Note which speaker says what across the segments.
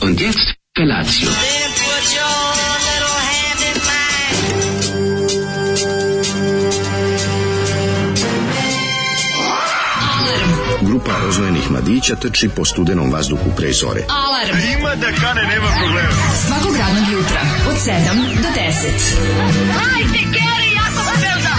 Speaker 1: Und jetzt Felatio.
Speaker 2: Grupa rozvojenih mladića trči po studenom vazduhu pre zore.
Speaker 3: Alarm.
Speaker 4: Ima da kane, nema problema.
Speaker 3: Svakog radnog jutra od 7 do 10. Hajde, Keri, jako da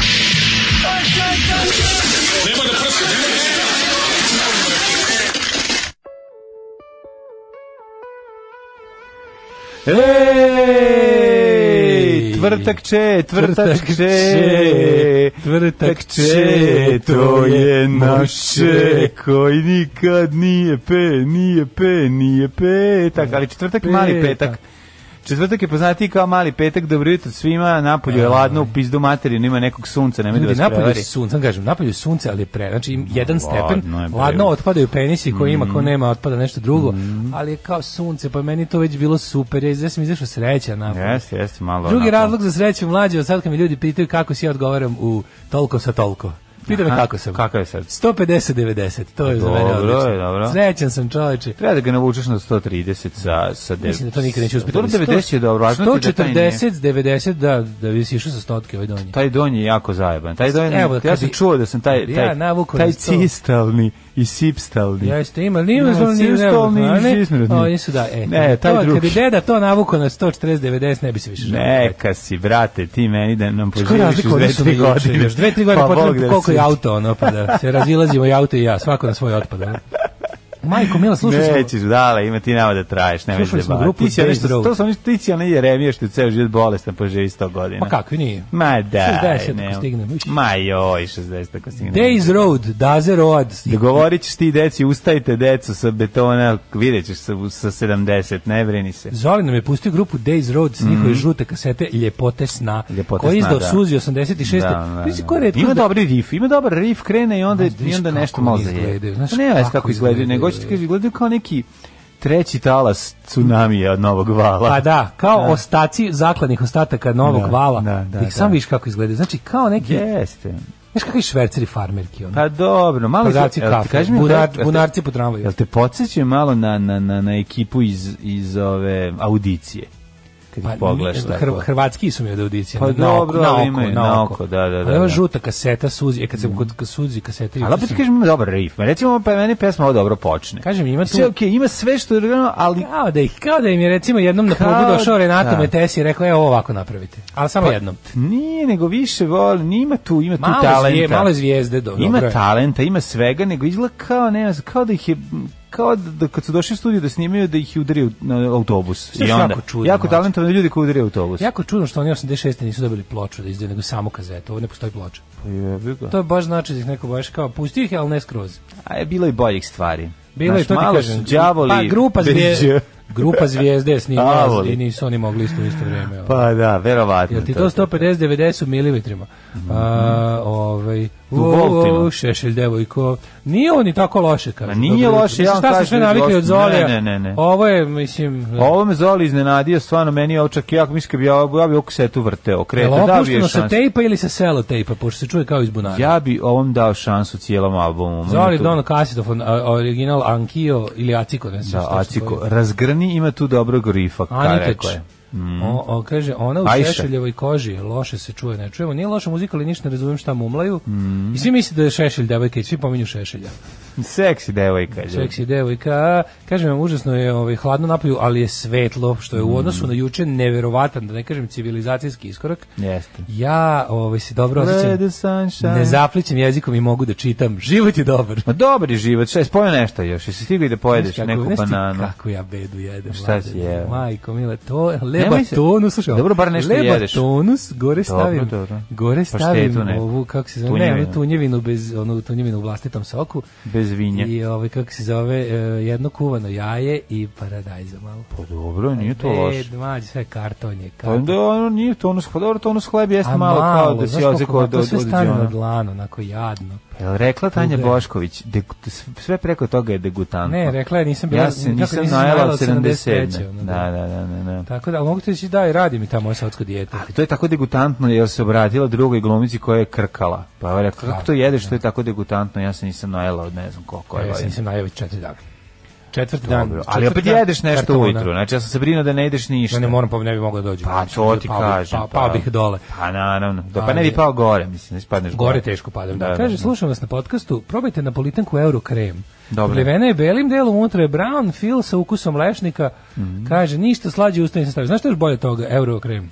Speaker 5: Ej, tvrtak če, tvrtak
Speaker 6: Tvrtak
Speaker 5: če,
Speaker 6: če, tvrtak
Speaker 5: če, to je naše, koji nikad nije pe, nije pe, nije petak, ali četvrtak je mali petak.
Speaker 6: Petak.
Speaker 5: Četvrtak je poznatiji kao mali petak, dobro jutro svima, napolju je ladno, u pizdu materinu, ima nekog sunca, nemoj da
Speaker 6: Ljudi,
Speaker 5: vas
Speaker 6: napolju je
Speaker 5: prevari.
Speaker 6: sunce, sam kažem, napolju je sunce, ali je pre, znači im- jedan stepen,
Speaker 5: ladno je, bre. Mhm.
Speaker 6: ladno otpadaju penisi koji ima, ko nema, otpada nešto drugo, ali je kao sunce, pa meni to već bilo super, ja iz- ja sam izašao sreća napolju.
Speaker 5: Jeste, jeste, malo.
Speaker 6: Drugi
Speaker 5: onako.
Speaker 6: razlog za sreću mlađe, od sad kad mi ljudi pitaju kako si, ja odgovaram u toliko sa toliko. Pita me
Speaker 5: Aha,
Speaker 6: kako sam.
Speaker 5: kakav je sad?
Speaker 6: 150-90, to je za mene
Speaker 5: Dobro je,
Speaker 6: odlično.
Speaker 5: dobro.
Speaker 6: Srećan sam čoveče.
Speaker 5: Treba da ga navučeš na 130 sa, sa dev-
Speaker 6: Mislim da to nikad neću uspjeti.
Speaker 5: Dobro, 90 je dobro, važno ti da taj nije.
Speaker 6: 140, 90, da, da bi si išao sa stotke ovaj donji.
Speaker 5: Taj donji je jako zajeban. Taj donji,
Speaker 6: Evo,
Speaker 5: ja
Speaker 6: kad
Speaker 5: sam
Speaker 6: bi-
Speaker 5: čuo da sam taj,
Speaker 6: kad bi
Speaker 5: taj,
Speaker 6: ja navukao
Speaker 5: taj
Speaker 6: na sto-
Speaker 5: cistalni i sipstalni.
Speaker 6: Jeste, ima, nije no,
Speaker 5: Ne,
Speaker 6: zvolni,
Speaker 5: sistolni
Speaker 6: ne,
Speaker 5: i
Speaker 6: ne,
Speaker 5: žismrodni.
Speaker 6: oni su da, e,
Speaker 5: Ne, taj
Speaker 6: to,
Speaker 5: drugi.
Speaker 6: Kad bi deda to navuko na 140-90, ne bi se više želeo.
Speaker 5: Neka si, brate, ti meni da nam
Speaker 6: Koja je
Speaker 5: poživiš
Speaker 6: razlika u
Speaker 5: još
Speaker 6: odnosu na
Speaker 5: dve, tri
Speaker 6: juče?
Speaker 5: godine. Pa
Speaker 6: Još dve, tri godine
Speaker 5: Bog
Speaker 6: potrebno
Speaker 5: da
Speaker 6: koliko
Speaker 5: se-
Speaker 6: je auto, ono, pa da se razilazimo i auto i ja, svako na svoj otpad. ono. Majko, Mila, slušali smo...
Speaker 5: Nećeš, dale, ima ti nama da traješ, nema
Speaker 6: Slušali smo
Speaker 5: da
Speaker 6: grupu
Speaker 5: Ti si onaj
Speaker 6: Space
Speaker 5: što,
Speaker 6: Road.
Speaker 5: to su oni ti si onaj Jeremija što je ceo život bolestan, poživi 100 godina.
Speaker 6: Ma kakvi Pa nije?
Speaker 5: Ma da.
Speaker 6: 60 ako
Speaker 5: nema.
Speaker 6: stignem.
Speaker 5: Ma joj, 60 ako stignem.
Speaker 6: Days Road, Daze Road,
Speaker 5: Dogovorit ćeš ti deci, ustajte decu sa betona, vidjet ćeš sa, sa 70, ne brini se.
Speaker 6: Zoli nam je pustio grupu Days Road s njihove žute kasete Ljepote sna,
Speaker 5: Mhm. Ljepote
Speaker 6: koji je
Speaker 5: sna,
Speaker 6: izdao
Speaker 5: da.
Speaker 6: Suzi 86.
Speaker 5: Da, da,
Speaker 6: Mislim,
Speaker 5: da.
Speaker 6: koja je retkost
Speaker 5: Ima
Speaker 6: da-
Speaker 5: dobri rif, ima dobar rif, krene i onda,
Speaker 6: Znaš,
Speaker 5: i
Speaker 6: vidiš
Speaker 5: onda
Speaker 6: kako
Speaker 5: nešto
Speaker 6: oni
Speaker 5: malo zaje.
Speaker 6: izgledaju, znaš,
Speaker 5: ne, znaš
Speaker 6: kako
Speaker 5: kako izgledaju, nego što
Speaker 6: izgledaju.
Speaker 5: ti izgledaju kao neki treći talas tsunamija od novog vala.
Speaker 6: Pa da, kao ostaci zakladnih ostataka novog
Speaker 5: Da,
Speaker 6: vala.
Speaker 5: da,
Speaker 6: Da,
Speaker 5: da,
Speaker 6: ih sam
Speaker 5: da.
Speaker 6: vidiš kako izgledaju. Znači kao neki,
Speaker 5: Jeste.
Speaker 6: znaš kakvi šverceri farmerki ono.
Speaker 5: Pa dobro, malo
Speaker 6: Prodavci
Speaker 5: jel ti
Speaker 6: kafe,
Speaker 5: kaži mi,
Speaker 6: bunar-
Speaker 5: jel te-
Speaker 6: bunarci po tramvaju.
Speaker 5: Jel te podsjećaju malo na, na, na, na ekipu iz, iz ove audicije? Kad ih pogledaš
Speaker 6: Hr-
Speaker 5: tako.
Speaker 6: Pa, hrvatski su mi od audicije.
Speaker 5: Pa
Speaker 6: na,
Speaker 5: dobro,
Speaker 6: na
Speaker 5: ali
Speaker 6: oko,
Speaker 5: imaju, na oko, da, da,
Speaker 6: Ali
Speaker 5: da,
Speaker 6: Ova
Speaker 5: da. Mhm.
Speaker 6: žuta kaseta Suzi, e, kad se kod Suzi kasete...
Speaker 5: Ali opet kažem ima dobar riff. Ma, Recimo, pa meni pesma ovo dobro počne.
Speaker 6: Kažem, ima tu-
Speaker 5: Sve okej, ima sve što je rano, ali
Speaker 6: Kao da, ih, kao da im je recimo jednom na
Speaker 5: Kao-
Speaker 6: probu došao Renato
Speaker 5: da. Pa,
Speaker 6: Metesi i rekao, evo ovako napravite. Ali samo jednom.
Speaker 5: Nije, nego više voli, ima tu, ima tu
Speaker 6: Malo
Speaker 5: talenta.
Speaker 6: zvije- malo zvijezde, do-
Speaker 5: Ima
Speaker 6: dobro je.
Speaker 5: talenta, ima svega, nego izgleda kao, ne znam, kao da ih je kao da, da kad su došli u studiju da snimaju da ih je udario na autobus.
Speaker 6: Što je jako čudno, znači.
Speaker 5: jako
Speaker 6: mlađe.
Speaker 5: talentovani ljudi koji udario autobus.
Speaker 6: Jako čudno što oni 86. nisu dobili ploču da izdaju, nego samo kazetu. Ovo ne postoji ploča.
Speaker 5: Pa jebi ga.
Speaker 6: To je baš znači da ih neko baš kao pusti ih, ali ne skroz.
Speaker 5: A je bilo i boljih stvari.
Speaker 6: Bilo je
Speaker 5: Znaš,
Speaker 6: to ti
Speaker 5: malo
Speaker 6: kažem.
Speaker 5: Su đavoli.
Speaker 6: pa grupa
Speaker 5: beđe.
Speaker 6: zvijezde, grupa zvijezde snimala
Speaker 5: Đavoli.
Speaker 6: i nisu oni mogli isto u isto vrijeme. ono.
Speaker 5: Pa da, verovatno.
Speaker 6: Jel ti to 150 90 u milimetrima? A, ovaj u
Speaker 5: Mhm. voltima.
Speaker 6: šešelj devojko. Nije on ni tako loše kaže.
Speaker 5: Ma nije
Speaker 6: Dobro,
Speaker 5: loše,
Speaker 6: mislim,
Speaker 5: ja vam
Speaker 6: šta
Speaker 5: kažem,
Speaker 6: smo sve navikli
Speaker 5: dosta-
Speaker 6: od Zolija.
Speaker 5: ne, ne, ne, ne.
Speaker 6: Ovo je mislim
Speaker 5: Ovo me Zoli iznenadio, stvarno meni je ovo čak i jako mislim da bi ja, ja bi ovu kasetu vrteo,
Speaker 6: Jel
Speaker 5: kretao, da bi je
Speaker 6: opušteno sa
Speaker 5: šansu.
Speaker 6: tejpa ili sa selo tejpa, pošto se čuje kao iz bunara.
Speaker 5: Ja bi ovom dao šansu cijelom albumu.
Speaker 6: Zoli
Speaker 5: Ima tu-
Speaker 6: Dono Kasidofon, a- original Ankio ili Aciko, ne znam
Speaker 5: Da,
Speaker 6: šta se
Speaker 5: Aciko,
Speaker 6: zove.
Speaker 5: razgrni ima tu dobrog rifa, kaj
Speaker 6: Aniteč.
Speaker 5: rekao je. Mhm.
Speaker 6: O, o, kaže, ona u
Speaker 5: Ajša.
Speaker 6: Šešeljevoj koži loše se čuje, ne čujemo. Nije loša muzika, ali ništa ne razumijem šta mumlaju.
Speaker 5: Mhm.
Speaker 6: I svi misle da je Šešelj devojka i svi pominju Šešelja.
Speaker 5: Seksi devojka. ljudi.
Speaker 6: Seksi devojka. Kažem vam, užasno je ovaj, hladno napolju, ali je svetlo, što
Speaker 5: Mm.
Speaker 6: je u odnosu na juče neverovatan, da ne kažem civilizacijski iskorak.
Speaker 5: Jeste.
Speaker 6: Ja ovaj, se dobro
Speaker 5: Let the
Speaker 6: osjećam.
Speaker 5: sunshine.
Speaker 6: Ne zaplićem jezikom i mogu da čitam. Život je dobar.
Speaker 5: Ma dobar je život, šta je, spojio nešto još, jesi stigli da pojedeš
Speaker 6: Znaš kako-
Speaker 5: neku
Speaker 6: znaš ti
Speaker 5: bananu. Pa
Speaker 6: Kako ja bedu jedem.
Speaker 5: Šta si
Speaker 6: mladene?
Speaker 5: jeo?
Speaker 6: Majko, mila, to leba
Speaker 5: Nemoj se-
Speaker 6: tonus, slušaj.
Speaker 5: Dobro, bar nešto
Speaker 6: leba
Speaker 5: jedeš.
Speaker 6: tonus, gore
Speaker 5: Dobro,
Speaker 6: stavim,
Speaker 5: dobro.
Speaker 6: gore
Speaker 5: Paštetu
Speaker 6: stavim
Speaker 5: neku.
Speaker 6: ovu, kako se zove, tunjevinu.
Speaker 5: Tunjevinu.
Speaker 6: ne, onu tunjevinu, bez, onu tunjevinu u vlastitom soku.
Speaker 5: Bez vinja.
Speaker 6: I ovaj, kako se zove, e, jedno kuvano jaje i paradajza malo.
Speaker 5: Pa dobro, nije to loše.
Speaker 6: Bed, mađe, sve karton je.
Speaker 5: Pa
Speaker 6: Karton.
Speaker 5: da, ono nije tonus, pa dobro, tonus hleb jeste
Speaker 6: A
Speaker 5: malo, kao da ono.
Speaker 6: znaš
Speaker 5: si
Speaker 6: koliko
Speaker 5: ozeko
Speaker 6: ma-
Speaker 5: od,
Speaker 6: to
Speaker 5: od,
Speaker 6: sve
Speaker 5: od
Speaker 6: stane na
Speaker 5: Đona.
Speaker 6: dlanu, onako jadno.
Speaker 5: Jel rekla Tanja
Speaker 6: Tuga.
Speaker 5: Bošković, degu- sve preko toga je degutantno.
Speaker 6: Ne, rekla je, nisam bila,
Speaker 5: Pa, ja se
Speaker 6: kako
Speaker 5: nisam
Speaker 6: nisi
Speaker 5: najela
Speaker 6: najela
Speaker 5: od
Speaker 6: od 77,
Speaker 5: 77.
Speaker 6: ono,
Speaker 5: Da,
Speaker 6: da.
Speaker 5: da, da, da, da.
Speaker 6: Tako da, ali mogu ti reći, da, i radi mi ta moja saudska dijeta.
Speaker 5: Ali to je tako degutantno jer se obratila drugoj glumici koja je krkala. Pa je rekla, kako to jedeš, to je tako degutantno, ja se nisam najela od ne znam koliko
Speaker 6: Pa, Ja
Speaker 5: je.
Speaker 6: se
Speaker 5: godina."
Speaker 6: nisam najavio četiri dana. Četvrti dan.
Speaker 5: Dobro, ali
Speaker 6: četvrti
Speaker 5: opet
Speaker 6: dan
Speaker 5: jedeš nešto
Speaker 6: kartona.
Speaker 5: ujutru. Znači, ja sam se brinuo da ne jedeš ništa.
Speaker 6: Ja ne moram, pa ne bi mogao da dođem.
Speaker 5: Pa
Speaker 6: Znači,
Speaker 5: to ti
Speaker 6: pao bi-
Speaker 5: kažem.
Speaker 6: pao- Pao bih dole.
Speaker 5: Pa naravno. Da, pa
Speaker 6: Ali-
Speaker 5: ne bi pao gore, mislim, da spadneš
Speaker 6: Gore teško padam. Da, Kaže, slušam vas na podcastu, probajte napolitanku euro krem.
Speaker 5: Dobro.
Speaker 6: Plevena je belim delom, unutra je brown, fil sa ukusom lešnika.
Speaker 5: Mhm.
Speaker 6: Kaže, ništa slađe usta nisam stavio. Znaš što je još bolje od toga? Euro krem.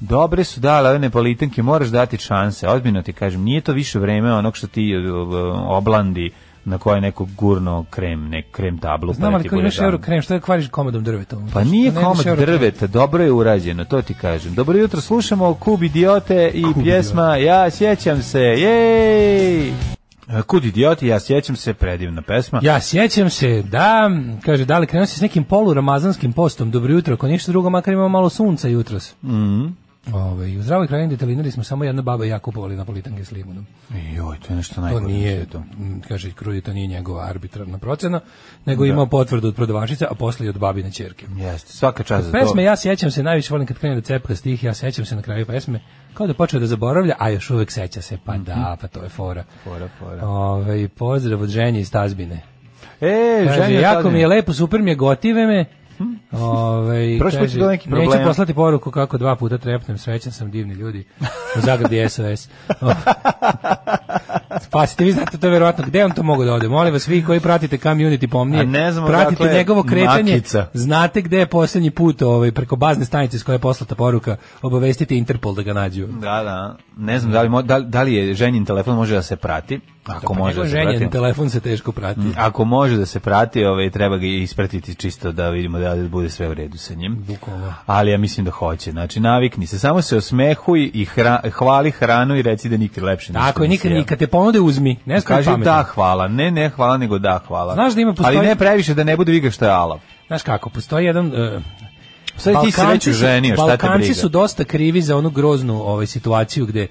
Speaker 5: Dobre su dale ove nepolitanke, moraš dati šanse. Ozbiljno ti kažem, nije to više vreme onog što ti uh, oblandi na koje neko gurno krem, nek krem tablu.
Speaker 6: Znam,
Speaker 5: da
Speaker 6: ali
Speaker 5: ti
Speaker 6: kao
Speaker 5: bude
Speaker 6: imaš
Speaker 5: dan.
Speaker 6: euro krem, što je kvariš komadom drvetom?
Speaker 5: Pa
Speaker 6: Što
Speaker 5: nije
Speaker 6: ne ideš
Speaker 5: komad
Speaker 6: euro krem?
Speaker 5: drveta, dobro je urađeno, to ti kažem. Dobro jutro, slušamo Kub idiote i pjesma Ja sjećam se, jej! Kud idioti, ja sjećam se, predivna pesma.
Speaker 6: Ja sjećam se da, kaže, da li krenuo si s nekim poluramazanskim postom, dobro jutro, ako ništa drugo, makar imamo malo sunca jutros. Mm.
Speaker 5: Mhm.
Speaker 6: Ove, u zdravoj krajini detalinari smo samo jedna baba i ja kupovali napolitanke s limunom.
Speaker 5: Joj, to je nešto
Speaker 6: To
Speaker 5: najbolje. na
Speaker 6: nije,
Speaker 5: svijetu.
Speaker 6: m, kaže Krudi, to nije njegova arbitrarna procena, nego je imao potvrdu od prodavačice, a posle i od babine ćerke.
Speaker 5: Jeste, svaka čast za to.
Speaker 6: Pesme ja sjećam se, najviše volim kad krene da cepka stih, ja sjećam se na kraju pesme, kao da počeo da zaboravlja, a još uvek seća se, pa da, pa to je fora.
Speaker 5: Fora, Mhm. fora.
Speaker 6: Ove, pozdrav od ženje iz Tazbine.
Speaker 5: E,
Speaker 6: Kaže,
Speaker 5: ženja
Speaker 6: jako
Speaker 5: Tadine.
Speaker 6: mi je lepo, super mi je, gotive me. Ovaj,
Speaker 5: Prošli put je
Speaker 6: kaže,
Speaker 5: bilo neki
Speaker 6: neću
Speaker 5: problema.
Speaker 6: poslati poruku kako dva puta trepnem, srećan sam, divni ljudi. U zagradi SOS. Spasite, vi znate to verovatno. Gde on to mogu da ode? Molim vas, vi koji pratite community pomnije,
Speaker 5: A ne znamo
Speaker 6: pratite
Speaker 5: odakle je
Speaker 6: njegovo kretanje,
Speaker 5: makica.
Speaker 6: znate gde je posljednji put ovaj, preko bazne stanice s koje je poslata poruka, obavestite Interpol da ga nađu.
Speaker 5: Da, da. Ne znam da li, mo- da, li- da li je ženin telefon može da se prati. Ako
Speaker 6: Pa
Speaker 5: može
Speaker 6: njegov
Speaker 5: da se Mm.
Speaker 6: ženjen
Speaker 5: prati.
Speaker 6: telefon se teško prati.
Speaker 5: Ako može da se prati, ovaj, treba ga ispratiti čisto da vidimo da bude sve u redu sa njim.
Speaker 6: Bukvalno.
Speaker 5: Ali ja mislim da hoće. Znači, navikni se. Samo se osmehuj i hra- hvali hranu i reci da nikad lepše ništa
Speaker 6: Tako je,
Speaker 5: nisi
Speaker 6: nikad,
Speaker 5: jeo.
Speaker 6: nikad te ponude uzmi. Ne skoj
Speaker 5: Kaži
Speaker 6: pametno.
Speaker 5: da hvala. Ne, ne hvala, nego da hvala.
Speaker 6: Znaš da ima postoji-
Speaker 5: Ali ne previše da ne bude viga što je alav.
Speaker 6: Znaš kako, postoji jedan... e,
Speaker 5: Sve ti se već
Speaker 6: Balkanci su-
Speaker 5: uženio, šta te
Speaker 6: Balkanci
Speaker 5: briga?
Speaker 6: su dosta krivi za onu groznu ovaj, situaciju gde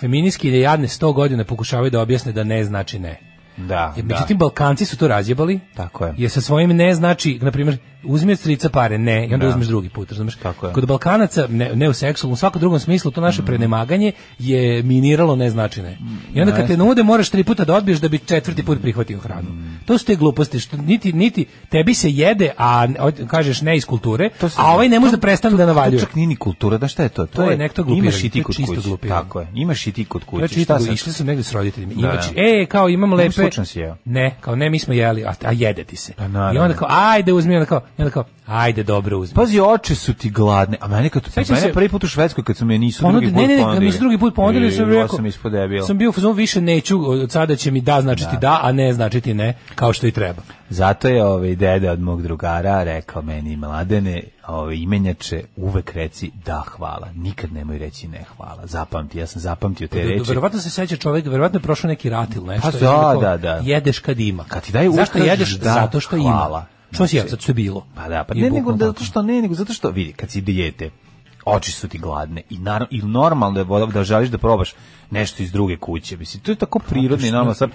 Speaker 6: feminijski ili jadne 100 godina pokušavaju da objasne da ne znači ne.
Speaker 5: Da,
Speaker 6: Jer,
Speaker 5: da.
Speaker 6: međutim, Balkanci su to razjebali.
Speaker 5: Tako je.
Speaker 6: Jer sa svojim ne znači, na primjer, uzmi od strica pare, ne, i onda
Speaker 5: Da.
Speaker 6: uzmeš drugi put, razumeš?
Speaker 5: Tako je. Mm.
Speaker 6: Kod Balkanaca, ne, ne u seksualnom, u svakom drugom smislu, to naše prenemaganje je miniralo ne znači ne. I onda kad te nude, moraš tri puta da odbiješ da bi četvrti put prihvatio hranu.
Speaker 5: Mm.
Speaker 6: To su te gluposti, što niti, niti tebi se jede, a ne- od- kažeš ne iz kulture,
Speaker 5: To se
Speaker 6: a
Speaker 5: zna.
Speaker 6: ovaj ne može da prestane da
Speaker 5: To
Speaker 6: navaljuje.
Speaker 5: čak nije ni kultura, da šta je to?
Speaker 6: To je nekto glupiranje,
Speaker 5: Imaš i
Speaker 6: to
Speaker 5: ti
Speaker 6: je
Speaker 5: kod
Speaker 6: čisto
Speaker 5: kuće.
Speaker 6: glupiranje.
Speaker 5: Tako je. Imaš i ti kod kuće.
Speaker 6: Znači,
Speaker 5: šta
Speaker 6: išli-
Speaker 5: sad?
Speaker 6: išli su negde s roditeljima.
Speaker 5: Da,
Speaker 6: Imaš,
Speaker 5: da.
Speaker 6: e, kao imam lepe...
Speaker 5: slučajno si jeo.
Speaker 6: Ne, kao ne, mi smo jeli, a, a jede ti se.
Speaker 5: Pa, naravno.
Speaker 6: I onda kao, ajde uzmi, i onda kao, i onda kao, ajde dobro uzmi.
Speaker 5: Pazi, oči su ti gladne. A mene kad
Speaker 6: Sećam
Speaker 5: mene
Speaker 6: se-
Speaker 5: prvi put u Švedskoj kad su me nisu
Speaker 6: Ponude-
Speaker 5: drugi put
Speaker 6: ne, ne, ne, kad
Speaker 5: ponudili.
Speaker 6: mi su drugi put ponudili, sam
Speaker 5: I, ja
Speaker 6: rekao,
Speaker 5: sam ispod debila.
Speaker 6: sam bio u fazonu, više neću, od sada će mi da značiti da. a ne značiti ne, kao što i treba.
Speaker 5: Zato je ovaj deda od mog drugara rekao meni mladene, ovaj imenjače uvek reci da hvala. Nikad nemoj reći ne hvala. Zapamti, ja sam zapamtio
Speaker 6: E,
Speaker 5: te reči.
Speaker 6: Verovatno se seća čovjek, verovatno je prošao neki rat ili nešto.
Speaker 5: Pa
Speaker 6: i onda
Speaker 5: da,
Speaker 6: kao,
Speaker 5: da, da.
Speaker 6: Jedeš kad ima.
Speaker 5: Kad ti daju
Speaker 6: Zašto
Speaker 5: ukažeš
Speaker 6: jedeš?
Speaker 5: da,
Speaker 6: Zato što
Speaker 5: hvala.
Speaker 6: ima. Što si jeo,
Speaker 5: Znači-
Speaker 6: zato što je bilo.
Speaker 5: Pa da, pa
Speaker 6: I
Speaker 5: ne nego
Speaker 6: bukvalno
Speaker 5: da,
Speaker 6: tako.
Speaker 5: zato što ne, nego zato što vidi, kad si dijete, oči su ti gladne i naravno i normalno je vo- da želiš da probaš nešto iz druge kuće, mislim, to je tako prirodno i normalno sad.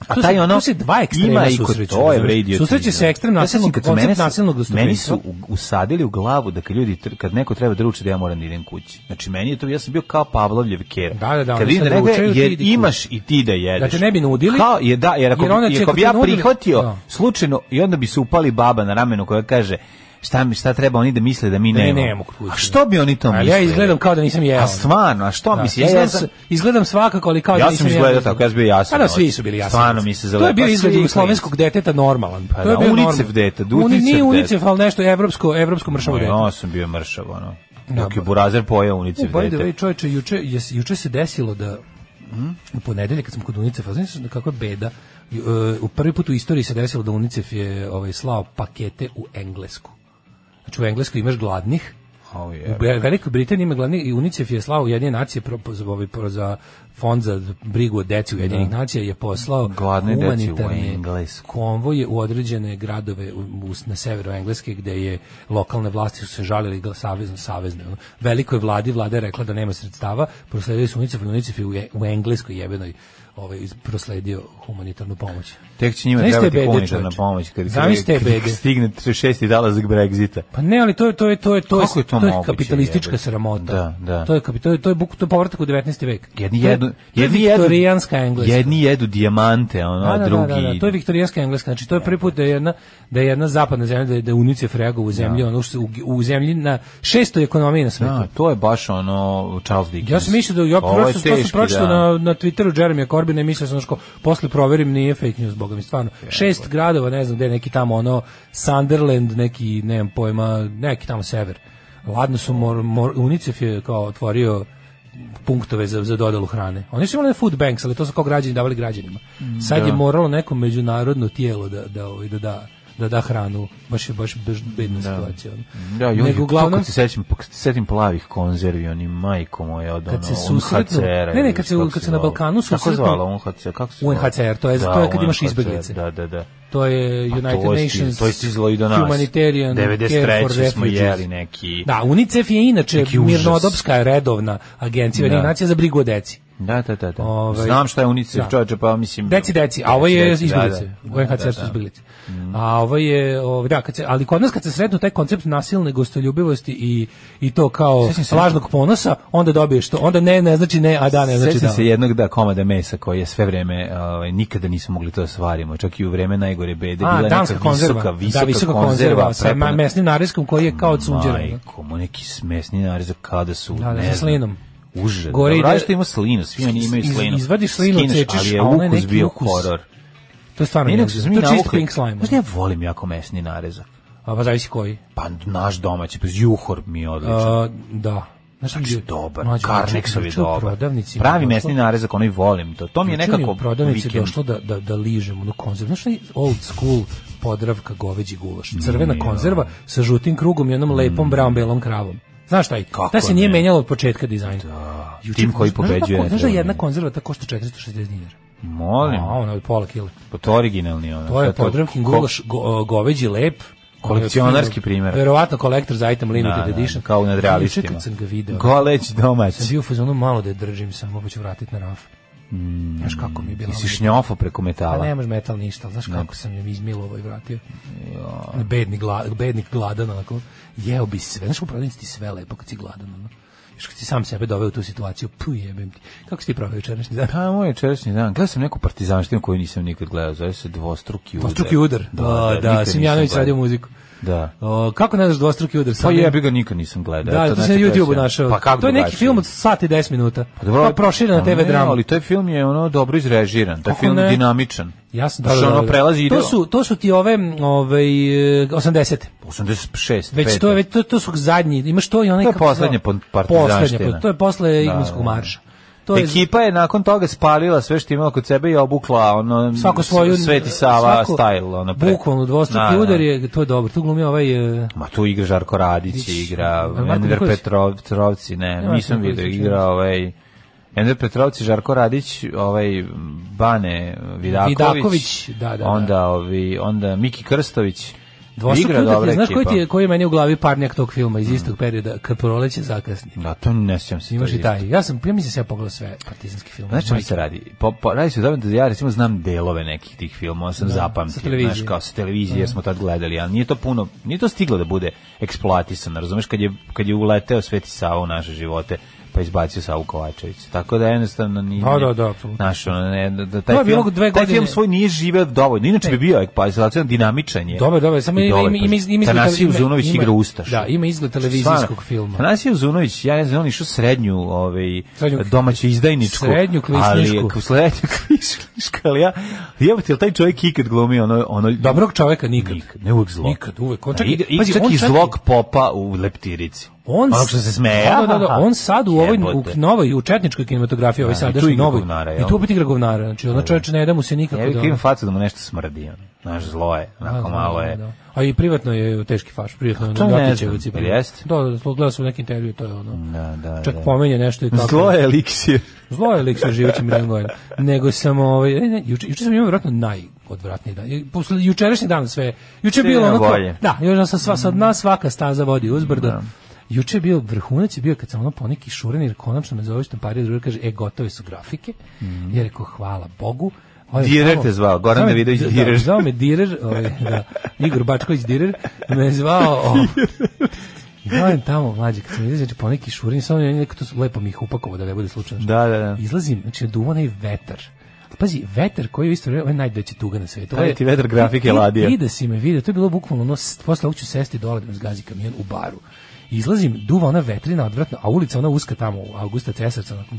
Speaker 6: Tu
Speaker 5: A
Speaker 6: se-
Speaker 5: taj ono
Speaker 6: tu se dva ekstrema
Speaker 5: ima i kod
Speaker 6: susreću,
Speaker 5: to je
Speaker 6: razumeš?
Speaker 5: vredio.
Speaker 6: Susreće se ekstrem nasilnog- koncept nasilnog
Speaker 5: Meni
Speaker 6: gostoprimstva.
Speaker 5: su u- usadili u glavu da kad ljudi tr- kad neko treba da ruči da ja moram da idem kući. Znači meni je to ja sam bio kao Pavlovljev kera.
Speaker 6: Da, da, da,
Speaker 5: Kad
Speaker 6: oni
Speaker 5: vidim
Speaker 6: sad
Speaker 5: da neko
Speaker 6: ručaju, ti
Speaker 5: jer
Speaker 6: idi kući.
Speaker 5: imaš i ti da jedeš.
Speaker 6: Da te ne bi nudili.
Speaker 5: Kao je da, jer ako,
Speaker 6: Jer onda će,
Speaker 5: jer ako
Speaker 6: ako
Speaker 5: bi
Speaker 6: te
Speaker 5: ja
Speaker 6: nudili-
Speaker 5: prihvatio
Speaker 6: Da.
Speaker 5: slučajno i onda bi se upali baba na ramenu koja kaže šta mi šta treba oni da misle da mi
Speaker 6: Da mi
Speaker 5: ne
Speaker 6: nemamo kuću.
Speaker 5: A što bi oni to
Speaker 6: Ali
Speaker 5: mislili?
Speaker 6: ja izgledam kao da nisam jeo. ono.
Speaker 5: A stvarno, a što
Speaker 6: Da,
Speaker 5: misliš? Ja,
Speaker 6: Pa izgledam,
Speaker 5: ja sam,
Speaker 6: s- izgledam svakako, ali kao da
Speaker 5: ja
Speaker 6: nisam
Speaker 5: sam izgledao
Speaker 6: jedan-
Speaker 5: tako, ja sam bio jasan.
Speaker 6: Pa da, svi su bili jasni.
Speaker 5: Stvarno mi se
Speaker 6: To je
Speaker 5: zalepa
Speaker 6: bio
Speaker 5: svi
Speaker 6: izgled
Speaker 5: klinci.
Speaker 6: jugoslovenskog deteta normalan.
Speaker 5: Pa
Speaker 6: to
Speaker 5: da,
Speaker 6: je bio
Speaker 5: UNICEF
Speaker 6: normalan.
Speaker 5: dete, da,
Speaker 6: Uni-
Speaker 5: UNICEF
Speaker 6: Nije
Speaker 5: dete.
Speaker 6: UNICEF, ali nešto evropsko, evropsko mršavo
Speaker 5: Moj,
Speaker 6: dete.
Speaker 5: Ja sam bio mršav, ono. Dok je burazer pojao unice
Speaker 6: U, E, by the
Speaker 5: dete.
Speaker 6: way, čoveče, juče, jes- juče se desilo da u ponedeljak kad smo kod UNICEF-a, znaš kakva beda, ju- e, u prvi put u istoriji se desilo da UNICEF je ovaj, slao pakete u Englesku. Znači u Engleskoj imaš gladnih,
Speaker 5: Au,
Speaker 6: u
Speaker 5: jebe.
Speaker 6: Be- Velikoj Britaniji ima glavni i UNICEF je slao Ujedinjene nacije pro, po- za, ovaj, pro- za fond za brigu o deci Ujedinjenih nacija je poslao
Speaker 5: Gladne deci u
Speaker 6: humanitarne
Speaker 5: Englesku.
Speaker 6: konvoje u određene gradove u, u, na severu Engleske gde je lokalne vlasti su se žalili gla- savezno savezne. ono. Velikoj vladi vlada je rekla da nema sredstava, prosledili su UNICEF, UNICEF je u, je- u E- Engleskoj jebenoj ovaj prosledio humanitarnu pomoć.
Speaker 5: Tek će njima
Speaker 6: Znaš te
Speaker 5: trebati
Speaker 6: bede,
Speaker 5: humanitarna
Speaker 6: čoveče?
Speaker 5: pomoć kad,
Speaker 6: Znaš te
Speaker 5: kad- kad
Speaker 6: bede.
Speaker 5: stigne tre- šesti dolazak Brexita.
Speaker 6: Pa ne, ali to je to je to je to je,
Speaker 5: Kako je to
Speaker 6: to je
Speaker 5: moguće,
Speaker 6: kapitalistička
Speaker 5: jebote?
Speaker 6: sramota.
Speaker 5: Da, da.
Speaker 6: To je kapi- to je to je buk to je povratak u 19. vek.
Speaker 5: Jedni
Speaker 6: To je-
Speaker 5: jedu,
Speaker 6: to je
Speaker 5: jedni jedu,
Speaker 6: viktorijanska engleska.
Speaker 5: jedni jedu dijamante, ono,
Speaker 6: Da,
Speaker 5: a
Speaker 6: da, da,
Speaker 5: drugi...
Speaker 6: da, da, to je viktorijanska engleska. Znači to je prvi put da je jedna da je jedna zapadna zemlja da je, da je UNICEF reagovao u zemlji, ono što se u, u zemlji na šestoj ekonomiji na svetu.
Speaker 5: Da, to je baš ono Charles Dickens.
Speaker 6: Ja sam mislio da ja
Speaker 5: Ovo je
Speaker 6: prosto to sam
Speaker 5: teški,
Speaker 6: pročitao
Speaker 5: da.
Speaker 6: na na Twitteru Jeremya Corbyna i mislio sam znači posle proverim nije fake news boga mi stvarno. Šest gradova, ne znam gde neki tamo ono Sunderland, neki nemam pojma, neki tamo sever. Ladno su mor, mor, UNICEF je kao otvorio punktove za, za dodalu hrane. Oni su imali food banks, ali to su kao građani davali građanima.
Speaker 5: Mm,
Speaker 6: Sad je moralo neko međunarodno tijelo da da ovaj, da da da da hranu. Baš je baš baš bedna situacija. ono.
Speaker 5: Da, i
Speaker 6: Nego
Speaker 5: nego
Speaker 6: uglavnom
Speaker 5: kad se sećam, pa kad se setim plavih konzervi, oni majko moja od ono,
Speaker 6: Kad se susretnu-
Speaker 5: UNHCR-a,
Speaker 6: ne, ne,
Speaker 5: ili
Speaker 6: kad se-
Speaker 5: kako
Speaker 6: kad se na
Speaker 5: zvalo.
Speaker 6: Balkanu
Speaker 5: Kako se
Speaker 6: susretnu-
Speaker 5: zvalo UNHCR? Kako se zvalo?
Speaker 6: UNHCR, to je-
Speaker 5: Da,
Speaker 6: to je kad imaš
Speaker 5: UNHCR,
Speaker 6: izbeglice.
Speaker 5: Da, da, da.
Speaker 6: To je
Speaker 5: A
Speaker 6: United
Speaker 5: Pa to je stiz-
Speaker 6: Nations
Speaker 5: To je stizlo i do nas.
Speaker 6: Humanitarian Care for
Speaker 5: 93. smo
Speaker 6: Refugees.
Speaker 5: jeli neki...
Speaker 6: Da, UNICEF je inače
Speaker 5: Neki užas.
Speaker 6: mirnodopska redovna agencija da.
Speaker 5: Da.
Speaker 6: nacija za brigu o deci.
Speaker 5: Da, da, da. da.
Speaker 6: Ovaj,
Speaker 5: Znam šta je UNICEF,
Speaker 6: da.
Speaker 5: čovječe, pa mislim...
Speaker 6: Deci, deci, a ovo
Speaker 5: Deci,
Speaker 6: je
Speaker 5: deci, da,
Speaker 6: izbjeglice.
Speaker 5: da.
Speaker 6: UNHCR su
Speaker 5: Da, Mm. da.
Speaker 6: izbjeglice. A ovo je, ovo, da, kad se, ali kod nas kad se sretnu taj koncept nasilne gostoljubivosti i, i to kao
Speaker 5: Sjećam se-
Speaker 6: lažnog ponosa, onda dobiješ to. Onda ne, ne znači ne, a da, ne znači
Speaker 5: Sećam
Speaker 6: da.
Speaker 5: se jednog da komada mesa koji je sve vreme ovaj nikada nismo mogli to da svarimo, čak i u vreme najgore bede
Speaker 6: A,
Speaker 5: bila je
Speaker 6: danska
Speaker 5: neka
Speaker 6: konzerva.
Speaker 5: visoka, visoka,
Speaker 6: da, visoka
Speaker 5: konzerva,
Speaker 6: konzerva, sa ma- mesnim nariskom koji je kao od sunđera. da.
Speaker 5: Majko, mu neki smesni narez kada su,
Speaker 6: Da, da,
Speaker 5: ne
Speaker 6: sa
Speaker 5: znam,
Speaker 6: slinom.
Speaker 5: Užas.
Speaker 6: Gore
Speaker 5: Gore
Speaker 6: ide-
Speaker 5: da, što ima slinu, svi oni imaju
Speaker 6: Iz-
Speaker 5: slinu.
Speaker 6: izvadiš slinu,
Speaker 5: Skineš,
Speaker 6: odsečeš,
Speaker 5: ali je
Speaker 6: a ona
Speaker 5: ukus
Speaker 6: neki
Speaker 5: bio
Speaker 6: ukus.
Speaker 5: horor.
Speaker 6: To je stvarno
Speaker 5: Ne, nego smo mi
Speaker 6: neozbiljno. To je čist
Speaker 5: navukli-
Speaker 6: pink slime. ono.
Speaker 5: Znaš, ja volim jako mesni narezak.
Speaker 6: A pa zavisi koji.
Speaker 5: Pa naš domaći, pa juhor mi je odličan.
Speaker 6: A, da. Znaš
Speaker 5: Znači,
Speaker 6: gdje-
Speaker 5: dobar,
Speaker 6: Mlađo,
Speaker 5: Karneksov je
Speaker 6: juče znači, u
Speaker 5: dobar.
Speaker 6: prodavnici mi
Speaker 5: Pravi
Speaker 6: došlo-
Speaker 5: mesni narezak, onaj volim to. To mi je
Speaker 6: juče mi
Speaker 5: nekako
Speaker 6: u prodavnici je
Speaker 5: vikend.
Speaker 6: došlo da, da, da ližem onu konzervu. Znaš li old school podravka goveđi gulaš? Crvena konzerva sa žutim krugom i onom lepom brown-belom kravom. Znaš taj?
Speaker 5: Mm. Kako
Speaker 6: ta se nije
Speaker 5: ne?
Speaker 6: menjala od početka dizajna. Juče-
Speaker 5: Tim koji
Speaker 6: znaš da-
Speaker 5: pobeđuje,
Speaker 6: Znaš da
Speaker 5: ne
Speaker 6: jedna
Speaker 5: treba.
Speaker 6: konzerva ta košta 460 dinara?
Speaker 5: Molim,
Speaker 6: A ona je pola kila.
Speaker 5: pa to je originalni ono.
Speaker 6: To je
Speaker 5: Zato-
Speaker 6: podravkin
Speaker 5: ko-
Speaker 6: gulaš go, goveđi lep. Ono
Speaker 5: Kolekcionarski primjerak.
Speaker 6: Verovatno kolektor za item limited
Speaker 5: Da, da,
Speaker 6: edition.
Speaker 5: kao nad realistima.
Speaker 6: Juče Kad sam ga video.
Speaker 5: Goleć
Speaker 6: sam
Speaker 5: domaći.
Speaker 6: bio u fazonu malo da je držim samo pa ću vratiti na raf. Mm. Znaš kako mi je bilo.
Speaker 5: Jesi šnjofo preko
Speaker 6: Pa ne
Speaker 5: metala.
Speaker 6: može metal ništa, ali znaš kako sam je izmilovao i vratio. Bedni, gla, bednik gladan, onako, jeo bi sve. Znaš, u prodavnici ti sve lepo kad si gladan, ono. Još kad si sam sebe doveo u tu situaciju, pu jebem ti. Kako si ti pravio jučerašnji dan?
Speaker 5: Pa moj jučerašnji dan, gledao sam neku partizanštinu koju nisam nikad gledao, zove se dvostruki udar.
Speaker 6: Dvostruki udar.
Speaker 5: Da,
Speaker 6: A,
Speaker 5: da,
Speaker 6: da,
Speaker 5: nikad
Speaker 6: Simjanović
Speaker 5: nisam
Speaker 6: radio
Speaker 5: gledao.
Speaker 6: muziku.
Speaker 5: Da.
Speaker 6: O, kako ne znaš dvostruki udar?
Speaker 5: Pa
Speaker 6: Sad ne-
Speaker 5: jebi ga nikad nisam gledao.
Speaker 6: Da,
Speaker 5: eto,
Speaker 6: to se na
Speaker 5: znači,
Speaker 6: YouTube
Speaker 5: sam-
Speaker 6: našao.
Speaker 5: Pa kako
Speaker 6: to je neki
Speaker 5: drugačije?
Speaker 6: film od sat i 10 minuta.
Speaker 5: Pa
Speaker 6: Pa,
Speaker 5: dobro,
Speaker 6: proširena
Speaker 5: pa
Speaker 6: TV
Speaker 5: ne,
Speaker 6: drama.
Speaker 5: Ali taj film je ono dobro izrežiran, taj
Speaker 6: Kako
Speaker 5: film je
Speaker 6: ne?
Speaker 5: dinamičan.
Speaker 6: Jasno,
Speaker 5: Znaš, ono prelazi i
Speaker 6: to
Speaker 5: do-
Speaker 6: su to su ti ove m, ovaj e, 80
Speaker 5: 86.
Speaker 6: Već
Speaker 5: peta.
Speaker 6: to je već to, to su zadnji, imaš to i onaj
Speaker 5: To je
Speaker 6: kako se zove?
Speaker 5: poslednja pon- partizanština.
Speaker 6: Poslednja, pa to je posle
Speaker 5: Da,
Speaker 6: Igmanskog
Speaker 5: da.
Speaker 6: marša. To je
Speaker 5: Ekipa je nakon toga spalila sve što je imala kod sebe i obukla ono
Speaker 6: svako svoju
Speaker 5: Sveti Sava
Speaker 6: svako-
Speaker 5: style ono pre.
Speaker 6: Bukvalno dvostruki
Speaker 5: Da, da.
Speaker 6: udar je to je dobro. Tu glumi ovaj e,
Speaker 5: Ma tu igra Žarko Radić,
Speaker 6: Vić,
Speaker 5: igra
Speaker 6: Marko
Speaker 5: Ender
Speaker 6: Nikolić?
Speaker 5: Petrov, Petrovci, ne,
Speaker 6: Marko
Speaker 5: nisam
Speaker 6: Nikolić,
Speaker 5: vidio,
Speaker 6: čini
Speaker 5: igra
Speaker 6: mi se.
Speaker 5: ovaj Ender Petrovci, Žarko Radić, ovaj Bane Vidaković,
Speaker 6: Vidaković, da, da, da.
Speaker 5: onda ovi, onda Miki Krstović,
Speaker 6: dvostruki
Speaker 5: igra
Speaker 6: udar.
Speaker 5: dobra
Speaker 6: Ti, znaš koji ti je
Speaker 5: ekipa.
Speaker 6: koji je meni u glavi parnjak tog filma iz istog perioda kad proleće zakasni.
Speaker 5: Da, to ne sjećam se.
Speaker 6: Imaš
Speaker 5: Mm, to
Speaker 6: i taj. Ja sam ja mislim se ja pogledao sve partizanski film.
Speaker 5: Znaš čemu se radi? Po, po, radi se o tome da ja recimo znam delove nekih tih filmova, sam
Speaker 6: sa
Speaker 5: zapamtio,
Speaker 6: televizije.
Speaker 5: znaš, kao sa televizije, jer smo tad gledali, ali nije to puno, nije to stiglo da bude eksploatisano, razumeš, kad je, kad je uleteo Sveti Sava u naše živote, pa izbacio Savu Kovačevića. Tako da jednostavno nije...
Speaker 6: Da, da, da, apsolutno.
Speaker 5: Znaš, ono, ne, da, da taj,
Speaker 6: To je bilo
Speaker 5: film,
Speaker 6: dve
Speaker 5: taj
Speaker 6: godine-
Speaker 5: film svoj nije živeo dovoljno, inače bi bio eksploatizan, dinamičan je.
Speaker 6: Dobar, dobar, samo
Speaker 5: I
Speaker 6: ima
Speaker 5: dobar,
Speaker 6: ima ima,
Speaker 5: pazi.
Speaker 6: ima izgled-
Speaker 5: Tanasij
Speaker 6: ima-
Speaker 5: Uzunović
Speaker 6: ima-
Speaker 5: igra Ustaša.
Speaker 6: Da, ima izgled televizijskog filma.
Speaker 5: Tanasij Uzunović, ja ne znam, on je išao srednju, ovaj,
Speaker 6: Srednju-
Speaker 5: domaću izdajničku.
Speaker 6: srednju kvislišku.
Speaker 5: Ali, srednju kvislišku, ali ja, jebate, jel taj čovjek ikad glumi ono, ono,
Speaker 6: Dobrog čoveka nikad.
Speaker 5: Nikad, ne uvek zlo.
Speaker 6: Nikad, uvek. On
Speaker 5: Da,
Speaker 6: čak,
Speaker 5: igra- igra
Speaker 6: pazi,
Speaker 5: čak
Speaker 6: on
Speaker 5: i
Speaker 6: čak-
Speaker 5: zlog popa u leptirici.
Speaker 6: On
Speaker 5: Onog što se smeja.
Speaker 6: Da, da, da, on sad u ovoj u
Speaker 5: Jebote.
Speaker 6: novoj u četničkoj kinematografiji, ovaj
Speaker 5: Da,
Speaker 6: sad
Speaker 5: i tu igra
Speaker 6: novoj.
Speaker 5: govnara, jel?
Speaker 6: I tu opet igra govnara. Znači, ona čovjek ne da mu se nikako
Speaker 5: Ja bih
Speaker 6: da-
Speaker 5: imam facu da mu nešto smrdi, ono. Znaš, zlo je,
Speaker 6: Da,
Speaker 5: onako
Speaker 6: da,
Speaker 5: malo je. Pa
Speaker 6: da, da. A i privatno je teški faš, privatno je
Speaker 5: to
Speaker 6: ono
Speaker 5: ne
Speaker 6: Ljotićevo
Speaker 5: znam,
Speaker 6: cipelo.
Speaker 5: jel jeste?
Speaker 6: Da, da, da, gledao sam neki intervju, to je ono.
Speaker 5: Da, da,
Speaker 6: Čak
Speaker 5: da.
Speaker 6: pomenje nešto i kako.
Speaker 5: Zlo je eliksir.
Speaker 6: Zlo je lik sa živećim Rengojem. Nego sam ovaj ne, ne, juče juče sam imao vjerojatno najodvratniji dan. I Posle jučerašnji dan sve. Juče je
Speaker 5: Sve
Speaker 6: bilo
Speaker 5: je
Speaker 6: ono kao-
Speaker 5: bolje.
Speaker 6: da, još sa sva sa od nas svaka staza vodi uzbrdo. Juče je bio vrhunac je bio kad sam ono po neki šuren jer konačno me zove što parija druga kaže e gotove su grafike. Ja rekao hvala Bogu. Ovaj,
Speaker 5: Mhm. Direr
Speaker 6: samo-
Speaker 5: te zvao, Goran
Speaker 6: zvao me-
Speaker 5: Davidović
Speaker 6: da,
Speaker 5: Direr.
Speaker 6: Zvao me Direr, ovaj, da, Igor Bačković Direr, me zvao... ovaj, o, Gledam tamo, mlađe, kad sam vidio, znači, poneki šurin, samo je neko to su- lepo mi ih upakovo da ne bude slučajno.
Speaker 5: Da, da, da.
Speaker 6: Izlazim, znači, duva onaj vetar. Pazi, vetar koji je u isto vreme, ovo je najveća tuga na svetu. Ovo
Speaker 5: Taj
Speaker 6: je-
Speaker 5: ti vetar grafike
Speaker 6: Ti- ti-
Speaker 5: ladija.
Speaker 6: ti da si me vidio, to je bilo bukvalno ono, s- posle ovog ću sesti dole da me zgazi kamion u baru. Izlazim, duva ona vetrina odvratna, a ulica ona uska tamo, Augusta Cesarca, onako,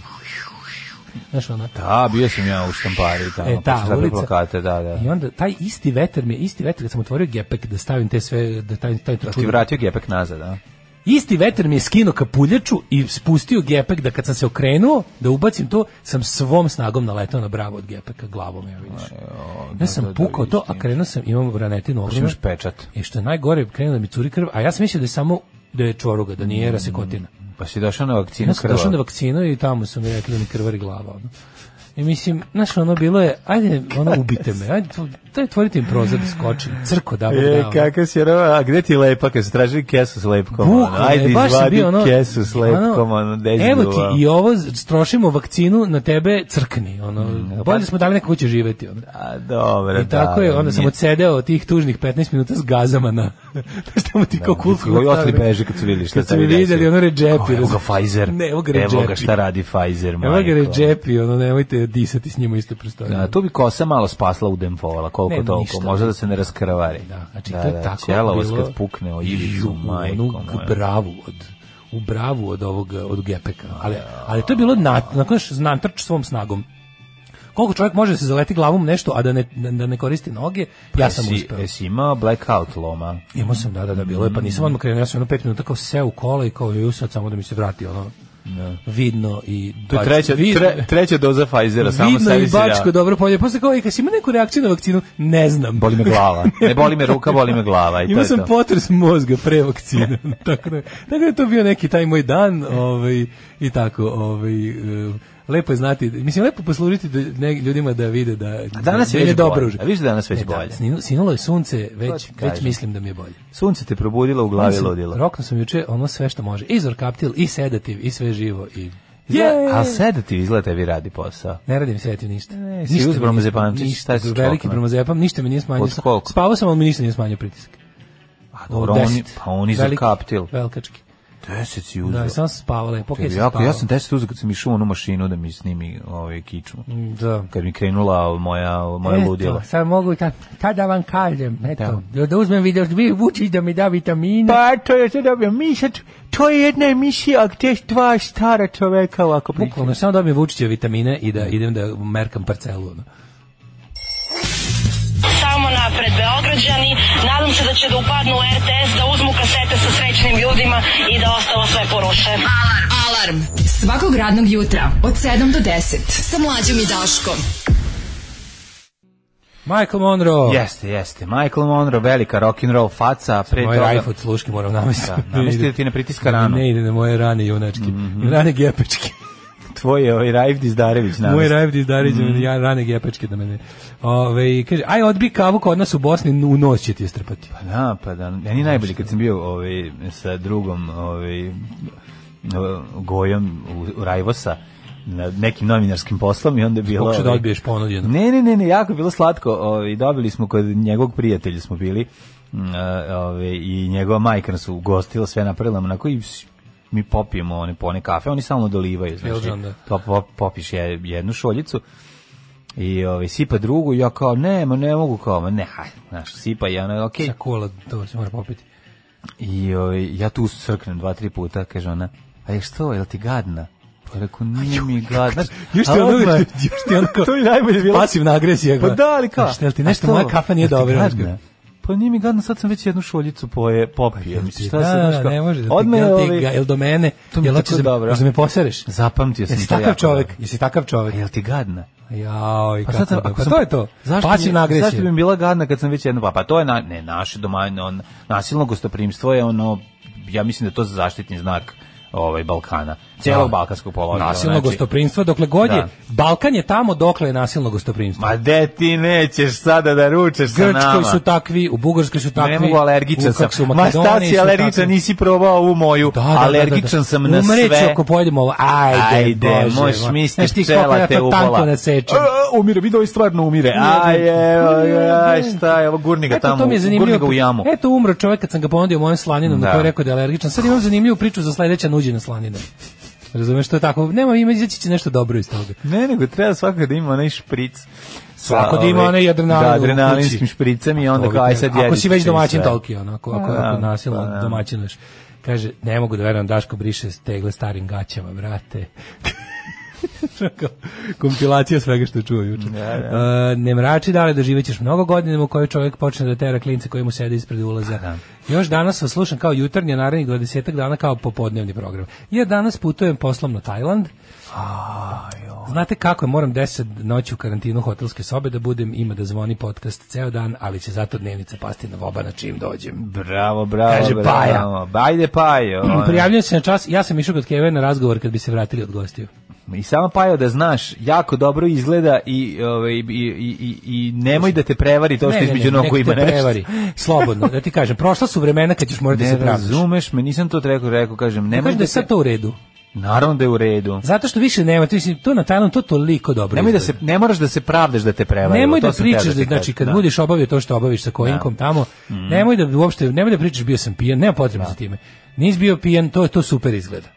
Speaker 6: znaš ona,
Speaker 5: Da, bio sam ja u štampari tamo.
Speaker 6: E, ta
Speaker 5: pa sam
Speaker 6: ulica.
Speaker 5: Plakate, da, da.
Speaker 6: I onda taj isti vetar mi je, isti vetar kad sam otvorio gepek da stavim te sve, da taj, taj
Speaker 5: Ti
Speaker 6: tračun.
Speaker 5: vratio gepek nazad, da?
Speaker 6: Isti vetar mi je skinuo kapuljaču i spustio gepek da kad sam se okrenuo, da ubacim to, sam svom snagom naletao na bravo od gepeka glavom, ja vidiš.
Speaker 5: da,
Speaker 6: Ja
Speaker 5: da,
Speaker 6: sam
Speaker 5: da,
Speaker 6: pukao to,
Speaker 5: vidiš ti
Speaker 6: a krenuo sam, imam branetinu
Speaker 5: Još
Speaker 6: ogromnu.
Speaker 5: imaš pečat.
Speaker 6: I što je najgore, krenuo da mi curi krv, a ja sam mislio da je samo da je čoruga, da nije rasekotina.
Speaker 5: Pa si došao na vakcinu
Speaker 6: Ja sam
Speaker 5: krva.
Speaker 6: došao na vakcinu i tamo su mi rekli da mi krvari glava. Ono. I mislim, znaš, ono bilo je, ajde, ono, ubite me, ajde, tvo- daj otvorite im prozor da skočim, crko da bog
Speaker 5: E,
Speaker 6: da, ono.
Speaker 5: kakav si rova, a gde ti je lepa, kad su tražili kesu s lepkom? ono?
Speaker 6: Bukvalno,
Speaker 5: Ajde,
Speaker 6: je, baš je
Speaker 5: izvadi
Speaker 6: bio ono,
Speaker 5: kesu s lepkom, ono, dezi
Speaker 6: Evo ti i ovo, strošimo vakcinu na tebe, crkni, ono, bolje smo dali neko ko će živeti, ono.
Speaker 5: A, dobro,
Speaker 6: I tako
Speaker 5: Mm, pa da,
Speaker 6: je, onda sam
Speaker 5: nije-
Speaker 6: odsedeo tih tužnih 15 minuta s gazama na... Znaš tamo ti kao kultku...
Speaker 5: Ovi ostali beže kad su vidjeli šta
Speaker 6: Kad su
Speaker 5: tebi
Speaker 6: mi
Speaker 5: desi.
Speaker 6: vidjeli ono Redžepi.
Speaker 5: Evo ga Pfizer.
Speaker 6: Ne, evo ga Redžepi.
Speaker 5: Evo ga šta radi Pfizer, majko.
Speaker 6: Evo ga Redžepi, ono, nemojte disati s njima isto prostorije.
Speaker 5: Da, tu bi kosa malo spasla u demfovala, koliko
Speaker 6: Ne,
Speaker 5: toliko,
Speaker 6: ništa.
Speaker 5: možda da se ne raskrvari.
Speaker 6: Da, znači to je tako
Speaker 5: ćela vas
Speaker 6: bilo.
Speaker 5: kad pukne o ivicu,
Speaker 6: Ju,
Speaker 5: majko
Speaker 6: onu
Speaker 5: moja.
Speaker 6: bravu od u bravu od ovog od gepeka. Ali ali to je bilo na nakon što znam trč svom snagom. Koliko čovjek može da se zaleti glavom u nešto, a da ne, da ne koristi noge, ja sam
Speaker 5: Jesi-
Speaker 6: uspeo.
Speaker 5: Jesi imao blackout loma?
Speaker 6: Imao sam, da, da, da, bilo je, pa
Speaker 5: Mm.
Speaker 6: nisam odmah krenuo, ja sam ono pet minuta kao seo u kola i kao ju sad samo da mi se vrati, ono, vidno i...
Speaker 5: To je
Speaker 6: bač-
Speaker 5: treća,
Speaker 6: Pa vidno-
Speaker 5: tre, treća doza Pfizera, samo
Speaker 6: vidno
Speaker 5: sebi
Speaker 6: i
Speaker 5: se
Speaker 6: bačko
Speaker 5: ja.
Speaker 6: dobro polje. Posle kao, i kad si imao neku reakciju na vakcinu, ne znam.
Speaker 5: Boli me glava. Ne boli me ruka, boli me glava. I to
Speaker 6: Imao
Speaker 5: je
Speaker 6: sam
Speaker 5: to.
Speaker 6: potres mozga pre vakcine. tako, da, tako da je to bio neki taj moj dan ovaj, i tako. Ovaj, eh, lepo je znati, mislim, lepo poslužiti da, ne, ljudima da vide da,
Speaker 5: danas
Speaker 6: da
Speaker 5: je
Speaker 6: im
Speaker 5: već bolje. A
Speaker 6: uživati.
Speaker 5: vidiš da je danas već
Speaker 6: Ne,
Speaker 5: bolje.
Speaker 6: E, sinu- sinulo je sunce, već,
Speaker 5: ti
Speaker 6: već
Speaker 5: kažem.
Speaker 6: mislim da mi je bolje.
Speaker 5: Sunce te probudilo u glavi
Speaker 6: Mislim,
Speaker 5: ludilo.
Speaker 6: Rokno sam juče ono sve što može. I Zorkaptil, i sedativ, i sve živo, i...
Speaker 5: Izgleda- A
Speaker 6: Jej!
Speaker 5: sada ti izgleda tebi radi posao.
Speaker 6: Ne radim sedativ ništa.
Speaker 5: Ne, si
Speaker 6: ništa
Speaker 5: uz
Speaker 6: mi
Speaker 5: bromozepamčić,
Speaker 6: ništa,
Speaker 5: šta si
Speaker 6: Veliki
Speaker 5: čoknut?
Speaker 6: bromozepam, ništa mi nije smanjio.
Speaker 5: Od koliko?
Speaker 6: Spavao sam, ali mi ništa nije smanjio pritisak.
Speaker 5: A
Speaker 6: Od
Speaker 5: dobro, on, je-
Speaker 6: 10.
Speaker 5: pa on je
Speaker 6: Veliki,
Speaker 5: zakaptil.
Speaker 6: Velkački.
Speaker 5: Deset si
Speaker 6: Da,
Speaker 5: uzeo.
Speaker 6: sam spavala, lepo
Speaker 5: Tebi
Speaker 6: kad sam
Speaker 5: jako,
Speaker 6: spavala.
Speaker 5: ja sam deset uzeo kad sam išao u onu mašinu da mi snimi ovaj kičmu.
Speaker 6: Da.
Speaker 5: Kad mi krenula moja, moja ludila.
Speaker 6: Eto, sad mogu, ta, ta da vam kažem, eto, da, uzmem video, vi vučić da mi da vitamine.
Speaker 7: Pa to je to dobro. Mi sad, to je jedna emisija gde dva stara čoveka ovako pričaju.
Speaker 6: Bukvalno, samo dobijem vučiće vitamine i da idem da merkam parcelu. Ono.
Speaker 1: Samo napred Beograđani, nadam se da će da upadnu u RTS, da uzmu kasete sa srećnim ljudima i da ostalo sve poruše. Alarm! Alarm! Svakog radnog jutra od 7 do 10 sa Mlađom i Daškom.
Speaker 6: Michael Monroe.
Speaker 5: Jeste, jeste. Michael Monroe, velika rock and roll faca, a pre
Speaker 6: Moj
Speaker 5: toga...
Speaker 6: rajf od sluške moram namestiti.
Speaker 5: Da, namesti da ti ne pritiska ranu. Mhm.
Speaker 6: Ne ide na moje rane junačke. Rane gepečke.
Speaker 5: Tvoj je ovaj Rajf Dizdarević namesti.
Speaker 6: Moj rajf dizdariđe,
Speaker 5: Mhm.
Speaker 6: ja rane gepečke da mene. Ove, kaže, aj odbi kavu kod nas u Bosni, u nos će ti je strpati.
Speaker 5: Da, pa da. Meni najbolje kad sam bio ovaj, sa drugom ovaj, eh, gojom u, u Rajvosa na nekim novinarskim poslom i onda je bilo...
Speaker 6: Pokušaj da
Speaker 5: ovaj,
Speaker 6: odbiješ ponuđeno.
Speaker 5: Ne, ne, ne, ne, jako je bilo slatko. Ovaj dobili smo kod njegovog prijatelja smo bili. mm, e, Ovaj i njegova majka nas ugostila, sve napravila nam onako i s- mi popijemo one pone kafe, oni samo dolivaju, znači.
Speaker 6: Filđan, da.
Speaker 5: To pop, popiš je- jednu šoljicu i ovaj sipa drugu, ja kao ne, ma ne mogu kao, ma ne, haj, znaš, sipa i ona, okej.
Speaker 6: Sa kola, to se mora popiti.
Speaker 5: I ovaj, ja tu srknem dva, tri puta, kaže ona, a je što, jel ti gadna? Pa rekao, nije mi gadna.
Speaker 6: Još ti
Speaker 5: A
Speaker 6: ono,
Speaker 5: odmah-
Speaker 6: još ti ono kao,
Speaker 5: To je najbolje bilo.
Speaker 6: pasivna agresija.
Speaker 5: Pa
Speaker 6: kao,
Speaker 5: da, ali kao.
Speaker 6: znaš, jel ti
Speaker 5: a
Speaker 6: nešto,
Speaker 5: što?
Speaker 6: moja kafa nije
Speaker 5: Jel ti
Speaker 6: dobra. znaš,
Speaker 5: gadna?
Speaker 6: kao,
Speaker 5: Pa nije mi gadno, sad sam već jednu šoljicu poje, popio.
Speaker 6: jel
Speaker 5: Mislim,
Speaker 6: ti-
Speaker 5: šta
Speaker 6: da,
Speaker 5: sad, znaš
Speaker 6: da,
Speaker 5: kao,
Speaker 6: ne može, da ti-
Speaker 5: odmah je
Speaker 6: jel, ti,
Speaker 5: ovaj-
Speaker 6: ga- jel do mene,
Speaker 5: To mi je
Speaker 6: jel
Speaker 5: tako
Speaker 6: hoćeš da,
Speaker 5: dobro.
Speaker 6: hoćeš da me posereš?
Speaker 5: Zapamtio sam
Speaker 6: Jesi
Speaker 5: to
Speaker 6: takav
Speaker 5: jako
Speaker 6: čovjek,
Speaker 5: dobro.
Speaker 6: jesi takav čovjek.
Speaker 5: A Jel ti gadna?
Speaker 6: Jao, i
Speaker 5: Pa
Speaker 6: kako
Speaker 5: sad sam,
Speaker 6: dobro.
Speaker 5: ako
Speaker 6: pa
Speaker 5: sam-
Speaker 6: to je to.
Speaker 5: Zašto mi-
Speaker 6: Pasivna agresija.
Speaker 5: Zašto bi mi bila gadna kad sam već jedno, pa, pa to je, na, ne, naše domaćno, on, nasilno gostoprimstvo je ono, ja mislim da je to zaštitni znak ovaj Balkana, celog balkanskog znači, poluostrva.
Speaker 6: Nasilno znači- gostoprimstvo, dokle god je,
Speaker 5: Da.
Speaker 6: Balkan je tamo dokle je nasilno gostoprimstvo.
Speaker 5: Ma de ti nećeš sada da ručeš sa nama.
Speaker 6: Grčkoj su takvi, u Bugarskoj su takvi.
Speaker 5: Ne mogu alergičan sam.
Speaker 6: u- kako su u
Speaker 5: Ma šta
Speaker 6: Makedoniji
Speaker 5: si
Speaker 6: su
Speaker 5: alergičan,
Speaker 6: takvi.
Speaker 5: nisi probao ovu moju.
Speaker 6: Da, da, da, da,
Speaker 5: alergičan
Speaker 6: da.
Speaker 5: sam na sve.
Speaker 6: Umreću ako pojedemo ovo. Ajde,
Speaker 5: Ajde,
Speaker 6: Bože.
Speaker 5: moš
Speaker 6: moj.
Speaker 5: misli
Speaker 6: Znaš ti koliko
Speaker 5: pčela
Speaker 6: ja
Speaker 5: te
Speaker 6: to
Speaker 5: ubola.
Speaker 6: tanko nasečem?
Speaker 5: A, umire, vidi ovaj stvarno umire. Aj, evo, aj, šta je, evo gurni ga
Speaker 6: Eto,
Speaker 5: tamo,
Speaker 6: to mi je zanimljivo.
Speaker 5: gurni ga u jamu.
Speaker 6: Eto, umro čovjek kad sam ga ponudio mojom slaninom, da.
Speaker 5: Da.
Speaker 6: na kojoj je rekao da je alergičan. Sad imam zanimljivu priču za sledeća nuđena slanina. Razumeš, to je tako. Nema ima, izaći će nešto dobro iz toga.
Speaker 5: Ne, nego treba svakako da ima onaj špric.
Speaker 6: Svako da ima
Speaker 5: Ovaj,
Speaker 6: onaj adrenalin
Speaker 5: Da,
Speaker 6: u kući.
Speaker 5: adrenalinskim špricem i onda
Speaker 6: Ovi
Speaker 5: kao, aj
Speaker 6: te-
Speaker 5: sad
Speaker 6: Ako
Speaker 5: jedite
Speaker 6: si već
Speaker 5: sve i
Speaker 6: domaćin
Speaker 5: sve.
Speaker 6: tolki, onako, ako,
Speaker 5: Pa
Speaker 6: ako
Speaker 5: da,
Speaker 6: nasilno
Speaker 5: pa da.
Speaker 6: domaćinuješ. Kaže, ne mogu da verujem Daško briše stegle starim gaćama, brate. Kompilacija svega što je čuo juče. E, ne mrači dale, doživjet ćeš mnogo godina u kojoj čovjek počne da tera klince koji mu sede ispred ulaza. Još danas vas slušam kao jutarnje, narednih 20 dana kao popodnevni program. Ja danas putujem poslom na Tajland. Znate kako je, moram 10 noći u karantinu hotelske sobe da budem, ima da zvoni podcast ceo dan, ali će zato dnevnica pasti na voba na čim dođem.
Speaker 5: Bravo, bravo,
Speaker 6: Kaže,
Speaker 5: bravo.
Speaker 6: Paja.
Speaker 5: Ajde, Pajo. ono.
Speaker 6: Prijavljujem se na čas, ja sam išao kod Keve na razgovor kad bi se vratili od gostiju.
Speaker 5: I samo Pajo da znaš, jako dobro izgleda i, ovaj, i, i, i, i nemoj da te prevari to što između nogu
Speaker 6: nek
Speaker 5: ima
Speaker 6: te
Speaker 5: nešto.
Speaker 6: prevari. Slobodno, da ti kažem, prošla su vremena kad ćeš morati da
Speaker 5: Ne
Speaker 6: se pravdaš.
Speaker 5: razumeš me, nisam to rekao, rekao, kažem,
Speaker 6: Ne
Speaker 5: nemoj
Speaker 6: kažem
Speaker 5: da,
Speaker 6: da je
Speaker 5: se...
Speaker 6: sad to u redu.
Speaker 5: Naravno da je u redu.
Speaker 6: Zato što više nema, to, mislim, to na Tajlandu to toliko dobro
Speaker 5: Nemoj da
Speaker 6: izgleda.
Speaker 5: se, ne moraš da se pravdaš da te prevari.
Speaker 6: Nemoj da pričaš da, znači kad budeš obavio to što obaviš sa kojinkom tamo,
Speaker 5: Mhm.
Speaker 6: nemoj da uopšte nemoj da pričaš bio sam pijan, nema potrebe za time. Nisi bio pijan, to je to super izgleda.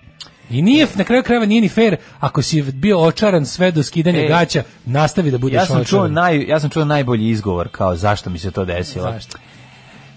Speaker 6: I nije na kraju krajeva nije ni fair ako si bio očaran sve do skidanja
Speaker 5: E,
Speaker 6: gaća, nastavi da budeš
Speaker 5: Ja sam, čuo
Speaker 6: očaran.
Speaker 5: naj, ja sam čuo najbolji izgovor kao zašto mi se to desilo.
Speaker 6: Zašto?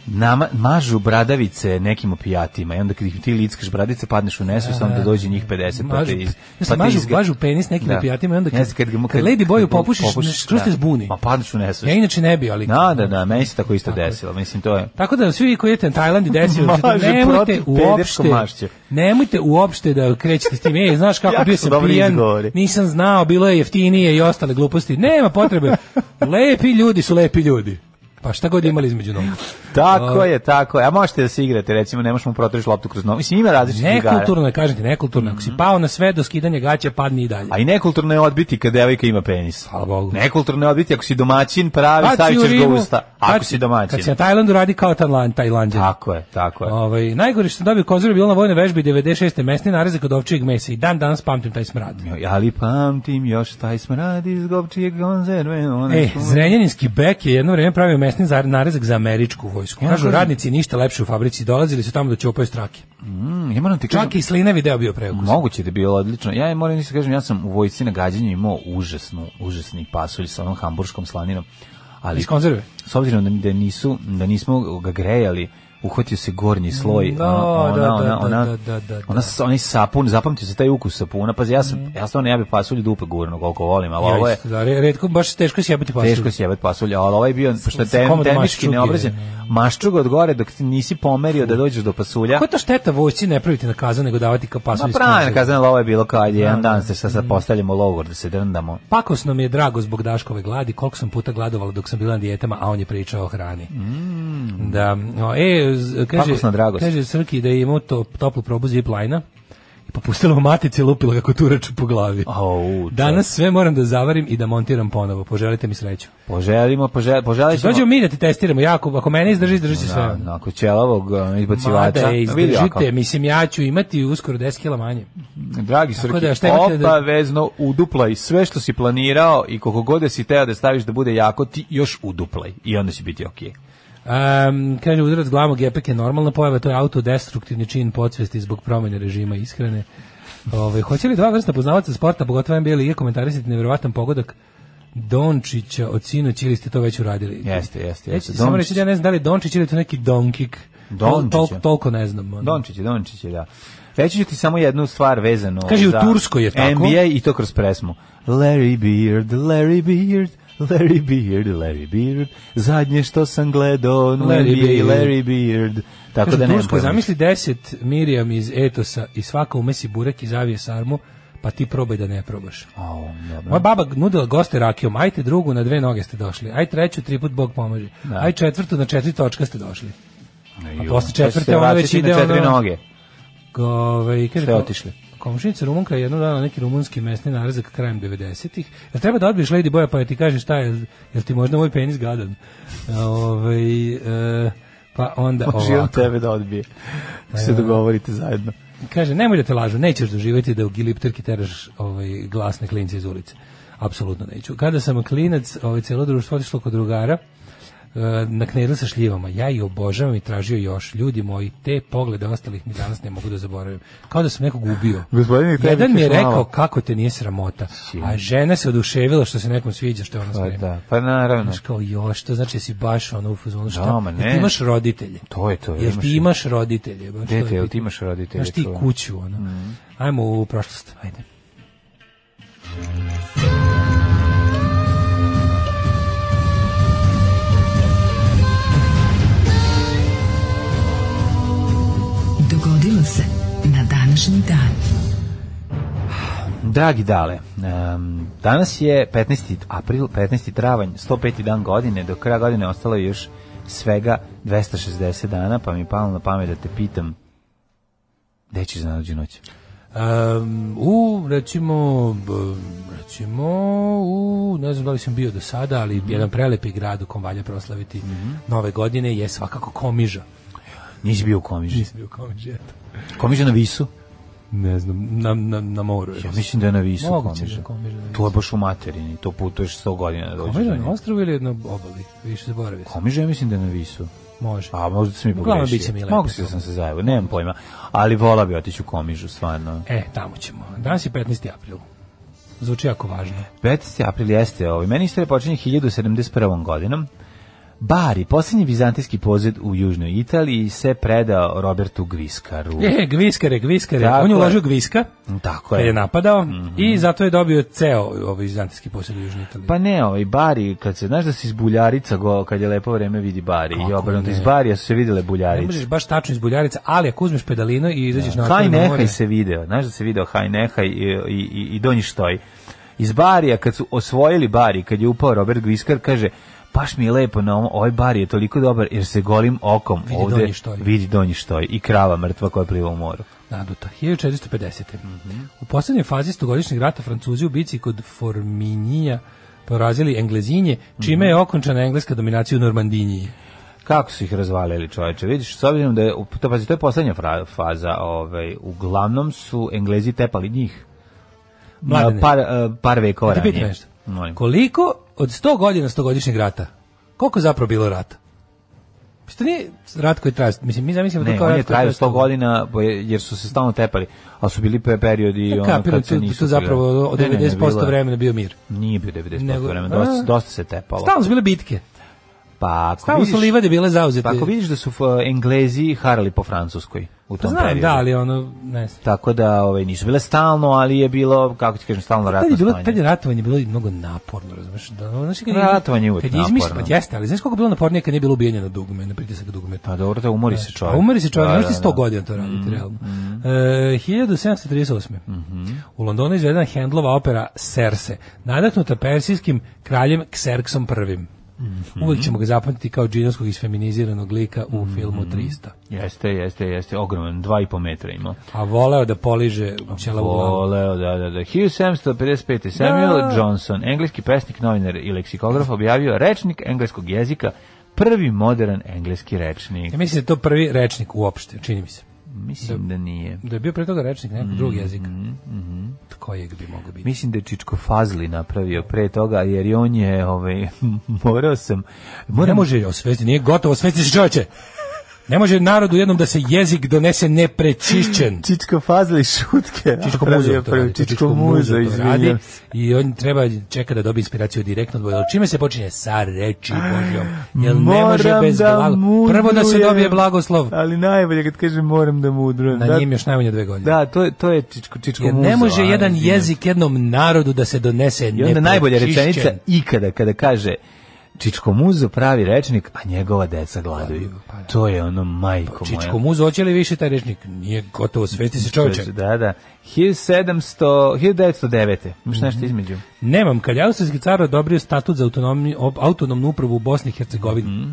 Speaker 5: Nama, mažu bradavice nekim opijatima i onda kad ih ti lickaš bradice padneš u nesvest, onda dođe njih 50 pa
Speaker 6: Mažu-
Speaker 5: te iz...
Speaker 6: ja sam
Speaker 5: pa te
Speaker 6: mažu-
Speaker 5: izga-
Speaker 6: mažu penis nekim opijatima i onda kad-
Speaker 5: Ne znam, mu-
Speaker 6: kad Lady Boyu
Speaker 5: mu
Speaker 6: popušiš, skroz te
Speaker 5: da.
Speaker 6: zbuni.
Speaker 5: Ma padneš u nesvest.
Speaker 6: Ja inače ne bi, ali
Speaker 5: Da, da, da, meni se tako isto desilo. Mislim, to je...
Speaker 6: Tako da svi koji idete na Tajland i desi vam se to,
Speaker 5: Maže
Speaker 6: nemojte
Speaker 5: protiv
Speaker 6: uopšte,
Speaker 5: pedersko mašće.
Speaker 6: nemojte uopšte da krećete s tim, ej, znaš kako
Speaker 5: Jako
Speaker 6: bio
Speaker 5: su
Speaker 6: sam
Speaker 5: dobri
Speaker 6: pijan,
Speaker 5: izgovori.
Speaker 6: nisam znao, bilo je jeftinije i ostale gluposti, nema potrebe, lepi ljudi su lepi ljudi. Pa šta god imali između nogu.
Speaker 5: Tako je, tako je. A možete da se igrate, recimo, ne možemo protoriš loptu kroz nogu. Mislim, ima različitih igara.
Speaker 6: Nekulturno je, kažem ti, nekulturno. Ako si
Speaker 5: Mhm.
Speaker 6: pao na sve do skidanja gaća, padni i dalje.
Speaker 5: A i nekulturno je odbiti kad devojka ima penis.
Speaker 6: Hvala Bogu.
Speaker 5: Nekulturno je odbiti ako si domaćin, pravi,
Speaker 6: Kad si
Speaker 5: stavit
Speaker 6: u
Speaker 5: ćeš ga u
Speaker 6: Rimu,
Speaker 5: usta.
Speaker 6: kad
Speaker 5: Ako
Speaker 6: si-
Speaker 5: si domaćin.
Speaker 6: Kad si na Tajlandu radi kao Tajland, Tajlandjan.
Speaker 5: Tako je, tako je.
Speaker 6: Ovaj najgore što sam dobio konzervu je bilo na vojnoj vežbi 96. mesni narezak od ovčijeg mesa i dan danas pamtim taj smrad.
Speaker 5: Ali pamtim još taj smrad iz govčije konzerve. One
Speaker 6: E,
Speaker 5: su-
Speaker 6: Zrenjaninski bek je jedno vrijeme pravio mesni za- narezak za američku vojsku. Kažu, radnici ništa lepše u fabrici dolazili su tamo da čopaju strake.
Speaker 5: Mm, ja moram ti kažem,
Speaker 6: Čak i slinavi deo bio preukus.
Speaker 5: Moguće da je bilo odlično. Ja moram da kažem, ja sam u vojci na gađanju imao užasnu, užasni pasulj sa onom hamburškom slaninom. Ali
Speaker 6: Iz konzerve.
Speaker 5: s obzirom da, da nisu da nismo ga grejali uhvatio se gornji sloj
Speaker 6: Da,
Speaker 5: ona
Speaker 6: da,
Speaker 5: ona ona
Speaker 6: da,
Speaker 5: ona,
Speaker 6: da, da, da, Mhm. da.
Speaker 5: ona s- onaj sapun zapamtio se taj ukus sapuna pa ja sam ja stvarno ja bi pasulj dupe gurno koliko volim ali ovo je
Speaker 6: Ja, da, re- retko, baš teško se jebati pasulj.
Speaker 5: teško sjebat pasulja ali ovaj je bio pošto je
Speaker 6: sa
Speaker 5: tem,
Speaker 6: komad
Speaker 5: termički
Speaker 6: maščuge,
Speaker 5: neobrađen maščuga od gore dok ti nisi pomerio da dođeš do pasulja pa
Speaker 6: Koja je to šteta vojsci ne praviti na kaza, nego davati kao pasulj
Speaker 5: Ma
Speaker 6: iz
Speaker 5: pravi,
Speaker 6: konzerve?
Speaker 5: kazano, ovo je bilo kad je jedan dan se sad,
Speaker 6: Mm.
Speaker 5: sad postavljamo logor da se drndamo.
Speaker 6: Pakosno mi je drago zbog Daškove gladi, koliko sam puta gladovala dok sam bila na dijetama, a on je pričao o hrani.
Speaker 5: Mm.
Speaker 6: Da, o, e, z- kaže,
Speaker 5: Pakosna dragost.
Speaker 6: kaže Srki da je imao to, toplu probu zip lajna i popustila u matici i lupila ga kuturaču po glavi.
Speaker 5: Au,
Speaker 6: Danas sve moram da zavarim i da montiram ponovo. Poželite mi sreću.
Speaker 5: Poželimo, požel, poželit ćemo-
Speaker 6: Dođemo mi da ti testiramo jako, ako mene izdrži, izdrži se sve.
Speaker 5: Da, Nakon ćelavog um, izbacivača.
Speaker 6: Mada je,
Speaker 5: Vidi ovako.
Speaker 6: izdržite, mislim ja ću imati uskoro 10 kila manje.
Speaker 5: Dragi Srki,
Speaker 6: da, šta imate da-
Speaker 5: obavezno uduplaj sve što si planirao i koliko god da si teo da staviš da bude jako, ti još uduplaj i onda će biti okej.
Speaker 6: Um, kaže, udarac glavom gepek je normalna pojava, to je autodestruktivni čin podsvesti zbog promjene režima ishrane. Ove, hoće li dva vrsta poznavaca sporta, pogotovo NBA lige, komentarisati nevjerovatan pogodak Dončića od sinoć ili ste to već uradili?
Speaker 5: Jeste, jeste,
Speaker 6: Ja
Speaker 5: jeste.
Speaker 6: ću samo
Speaker 5: Dončić.
Speaker 6: reći da ja ne znam da li je Dončić ili je to neki Donkik.
Speaker 5: Dončić,
Speaker 6: Tol,
Speaker 5: ja.
Speaker 6: tol, toliko ne znam. ono.
Speaker 5: Dončić je, Dončić je, da. Reći ću ti samo jednu stvar vezanu.
Speaker 6: Kaže, u
Speaker 5: za
Speaker 6: Turskoj je tako.
Speaker 5: NBA i to kroz presmu. Larry Beard, Larry Beard, Larry Beard, Larry Beard. Zadnje što sam gledao,
Speaker 6: Larry
Speaker 5: Larry Beard,
Speaker 6: Beard.
Speaker 5: Larry Beard. Tako
Speaker 6: Kaže,
Speaker 5: da ne
Speaker 6: Turskoj,
Speaker 5: znam.
Speaker 6: zamisli 10 Mirjam iz Etosa i svaka umesi burek i zavije sarmu, pa ti probaj da ne probaš.
Speaker 5: Au, dobro.
Speaker 6: Moja baba nudila goste rakijom, ajte drugu na dve noge ste došli, aj treću tri put Bog pomaže, aj četvrtu na četiri točka ste došli.
Speaker 5: Ju,
Speaker 6: posle
Speaker 5: to će se
Speaker 6: četvrte ona
Speaker 5: vraćati
Speaker 6: već ide
Speaker 5: na četiri
Speaker 6: ono-
Speaker 5: noge.
Speaker 6: Ovaj kaže
Speaker 5: Sve otišli.
Speaker 6: Komšinica Rumunka je jednog dana neki rumunski mesni narezak krajem 90-ih. Jel treba da odbiješ Lady Boja pa joj ti kaže šta je, jel ti možda moj penis gadan? Ovaj e, pa onda
Speaker 5: Može on
Speaker 6: ovako.
Speaker 5: tebe da odbije.
Speaker 6: Pa
Speaker 5: Se dogovorite zajedno.
Speaker 6: Kaže, nemoj da te lažu, nećeš doživjeti da u gilipterki teraš ovaj, glasne klince iz ulice. Apsolutno neću. Kada sam klinac, ovaj, celo društvo otišlo kod drugara, e, na knedlu sa šljivama. Ja i obožavam i tražio još. Ljudi moji, te poglede ostalih mi danas ne mogu da zaboravim. Kao da sam nekog ubio.
Speaker 5: Gospodine, treba
Speaker 6: Jedan
Speaker 5: bih
Speaker 6: mi je
Speaker 5: još malo.
Speaker 6: rekao kako te nije sramota. A žena se oduševila što se nekom sviđa što je ona
Speaker 5: Pa
Speaker 6: sprema.
Speaker 5: da, pa naravno.
Speaker 6: Znaš kao, još, to znači da si baš ono u fazonu šta?
Speaker 5: Da, ma
Speaker 6: Jel
Speaker 5: ne.
Speaker 6: ti imaš roditelje.
Speaker 5: To je to,
Speaker 6: Jel
Speaker 5: imaš-
Speaker 6: ti imaš roditelje. baš to je
Speaker 5: Dete, jel ti
Speaker 6: bitno.
Speaker 5: imaš roditelje?
Speaker 6: Znaš ti
Speaker 5: čujem?
Speaker 6: kuću, ono. Ajmo u prošlost, ajde.
Speaker 1: Dogodilo se na današnji dan.
Speaker 5: Dragi dale, em, danas je 15. april, 15. travanj, 105. dan godine, do kraja godine ostalo je još svega 260 dana, pa mi je palo na pamet da te pitam gde ćeš za nađu noć?
Speaker 6: Um, u, recimo, b- recimo, u, ne znam da li sam bio do sada, ali jedan prelepi grad u kom valja proslaviti nove godine je svakako Komiža.
Speaker 5: Nisi bio u Komiži.
Speaker 6: Nisam bio u Komiži, eto.
Speaker 5: Komiža na Visu?
Speaker 6: Ne znam, na, na, na moru je.
Speaker 5: Ja mislim da je na Visu
Speaker 6: Moguće da
Speaker 5: Komiža.
Speaker 6: je Komiža na Visu.
Speaker 5: To je baš u materini, to putuješ 100 godina da dođeš
Speaker 6: Komiža
Speaker 5: do
Speaker 6: na
Speaker 5: nje.
Speaker 6: ostrovu ili na obali? Više zaboravio sam.
Speaker 5: Komiža ja mislim da je na Visu.
Speaker 6: Može.
Speaker 5: A možda sam i
Speaker 6: Uglavnom, bit će mi
Speaker 5: pogrešio.
Speaker 6: lepo.
Speaker 5: Mogu se da sam se zajavio, nemam pojma. Ali vola bi otići u Komižu, stvarno.
Speaker 6: E, tamo ćemo. Danas je 15. april. Zvuči jako važno.
Speaker 5: 15. april jeste ovaj. Meni istorija počinje 1071. godinom. Bari, posljednji vizantijski pozed u južnoj Italiji, se predao Robertu Gviskaru.
Speaker 6: Je, E, gviskare, gviskare.
Speaker 5: Tako
Speaker 6: On je
Speaker 5: je.
Speaker 6: uložio gviska.
Speaker 5: Tako
Speaker 6: kad je
Speaker 5: Pa je. Mhm.
Speaker 6: napadao i zato je dobio ceo ovaj vizantijski posjed u Južnoj Italiji.
Speaker 5: Pa ne, ovaj Bari, kad se, znaš da se iz Buljarica, go, kad je lepo vreme, vidi Bari. I obrnuto,
Speaker 6: ne?
Speaker 5: iz Barija su se videle
Speaker 6: ne
Speaker 5: Buljarice.
Speaker 6: možeš baš tačno iz buljarica, ali ako uzmeš pedalino i izađeš na
Speaker 5: Haj
Speaker 6: otvoreno
Speaker 5: Nehaj
Speaker 6: more,
Speaker 5: se video, znaš da se video Haj Nehaj i, i, i, i Donji Štoj. Iz Barija, kad su osvojili Bari, kad je upao Robert Gviskar, kaže, baš mi je lepo na ovom, ovaj Bari je toliko dobar, jer se golim okom
Speaker 6: Vidi
Speaker 5: ovde
Speaker 6: Donji Štoj.
Speaker 5: vidi Donji Štoj i krava mrtva koja pliva u moru.
Speaker 6: naduta, 1450.
Speaker 5: Mhm.
Speaker 6: U posljednjoj fazi stogodišnjeg rata Francuzi u bici kod Forminija porazili Englezinje, čime
Speaker 5: Mhm.
Speaker 6: je okončana engleska dominacija u Normandiniji.
Speaker 5: Kako su ih razvalili čoveče, vidiš, s obzirom da je, to, pazi, to je poslednja fra- faza, ovaj, uglavnom su Englezi tepali njih. Na
Speaker 6: Mladene.
Speaker 5: Par, eh, par vekova
Speaker 6: Da ti pitam
Speaker 5: ranije.
Speaker 6: nešto.
Speaker 5: Molim.
Speaker 6: Koliko od 100 godina 100-godišnjeg rata, koliko je zapravo bilo rata? Što nije rat koji traje, mislim, mi zamislimo to
Speaker 5: Ne,
Speaker 6: kao
Speaker 5: on
Speaker 6: rat
Speaker 5: je
Speaker 6: koji
Speaker 5: trajao 100
Speaker 6: 100
Speaker 5: godina bo je- jer su se stalno tepali, ali su bili pe- periodi i
Speaker 6: Ja
Speaker 5: ono
Speaker 6: E, kapiram,
Speaker 5: kad se
Speaker 6: tu,
Speaker 5: nisu.
Speaker 6: tu zapravo od
Speaker 5: Ne, ne, ne,
Speaker 6: 90%
Speaker 5: bilo je-
Speaker 6: vremena bio mir.
Speaker 5: Nije bio 90%
Speaker 6: Nego-
Speaker 5: vremena, dosta,
Speaker 6: A.
Speaker 5: dosta se tepalo.
Speaker 6: Stalno su bile bitke.
Speaker 5: Pa ako
Speaker 6: Stalno su
Speaker 5: vidiš-
Speaker 6: livade bile zauzete.
Speaker 5: Pa ako vidiš da su f- Englezi harali po Francuskoj u
Speaker 6: Pa
Speaker 5: tom
Speaker 6: znam,
Speaker 5: periodu.
Speaker 6: da, ali ono, ne znam.
Speaker 5: Tako da ovaj, nisu bile stalno, ali je bilo, kako ti kažem, stalno
Speaker 6: Pa Tad
Speaker 5: ratno
Speaker 6: je, bilo,
Speaker 5: stanje.
Speaker 6: tad je ratovanje bilo i mnogo naporno, razumeš? Da, ono, znaš, kad
Speaker 5: Ratovanje je uvek
Speaker 6: kad izmišlj-
Speaker 5: naporno.
Speaker 6: Pa jeste, ali znaš koliko je bilo napornije kad nije bilo ubijanje na dugme, na pritisak dugmeta.
Speaker 5: Pa dobro, da umori se čovjek.
Speaker 6: A umri se čovjek,
Speaker 5: Da,
Speaker 6: ne možete
Speaker 5: da, Mhm,
Speaker 6: 100
Speaker 5: da.
Speaker 6: godina to raditi, realno. E, 1738.
Speaker 5: Mhm.
Speaker 6: U Londonu je izvedena Handlova opera Serse, nadaknuta persijskim kraljem Xerxom I.
Speaker 5: Mhm.
Speaker 6: Uvijek ćemo ga zapamtiti kao džinovskog isfeminiziranog lika u filmu 300.
Speaker 5: Jeste, jeste, jeste, ogroman, dva i po metra imao.
Speaker 6: A voleo da poliže ćela u glavu.
Speaker 5: Voleo, da, da, da. 1755. Samuel
Speaker 6: Da.
Speaker 5: Johnson, engleski pesnik, novinar i leksikograf, objavio rečnik engleskog jezika, prvi modern engleski rečnik.
Speaker 6: Ja mislim da je to prvi rečnik uopšte, čini mi se.
Speaker 5: Mislim da nije.
Speaker 6: Da je bio pre toga rečnik nekog drugog jezika.
Speaker 5: Mhm,
Speaker 6: Kojeg bi mogao biti?
Speaker 5: Mislim da je Čičko Fazli napravio pre toga, jer i on je, ovaj, morao sam...
Speaker 6: Ne
Speaker 5: Moram,
Speaker 6: može osvesti, nije gotovo, osvesti se čoveče! Ne može narodu jednom da se jezik donese neprečišćen.
Speaker 5: Čičko Fazli šutke.
Speaker 6: Čičko
Speaker 5: napravio
Speaker 6: muzo to
Speaker 5: prvi.
Speaker 6: radi.
Speaker 5: Čičko,
Speaker 6: Čičko
Speaker 5: muzo,
Speaker 6: muzo to radi
Speaker 5: izvinjam se.
Speaker 6: i on treba čeka da dobije inspiraciju direktno od Boga. Čime se počinje? Sa reči Božjom. Jel ne može
Speaker 5: Ah, Moram
Speaker 6: bez
Speaker 5: da
Speaker 6: blago. Prvo da se
Speaker 5: mudrujem.
Speaker 6: dobije blagoslov.
Speaker 5: Ali najbolje kad kažem moram da mudrujem.
Speaker 6: Na
Speaker 5: Da,
Speaker 6: njim još najmanje dve godine.
Speaker 5: da, to je, to je Čičko, čičko
Speaker 6: Jer
Speaker 5: muzo.
Speaker 6: ne može
Speaker 5: a,
Speaker 6: jedan
Speaker 5: izvinjam se.
Speaker 6: jezik jednom narodu da se donese
Speaker 5: I onda najbolja
Speaker 6: neprečišćen.
Speaker 5: rečenica ikada kada kaže Čičko muzo pravi rečnik, a njegova deca gladuju.
Speaker 6: Pa,
Speaker 5: To je ono majko moja.
Speaker 6: Čičko muzo, hoće li više taj rečnik? Nije gotovo, sveti se čoveče.
Speaker 5: Da, da. 1700, 1909. Imaš nešto
Speaker 6: Mhm.
Speaker 5: između?
Speaker 6: Nemam,
Speaker 5: Mhm.
Speaker 6: kad je austrijski car odobrio statut za autonomni- ob- autonomnu upravu u Bosni i Hercegovini.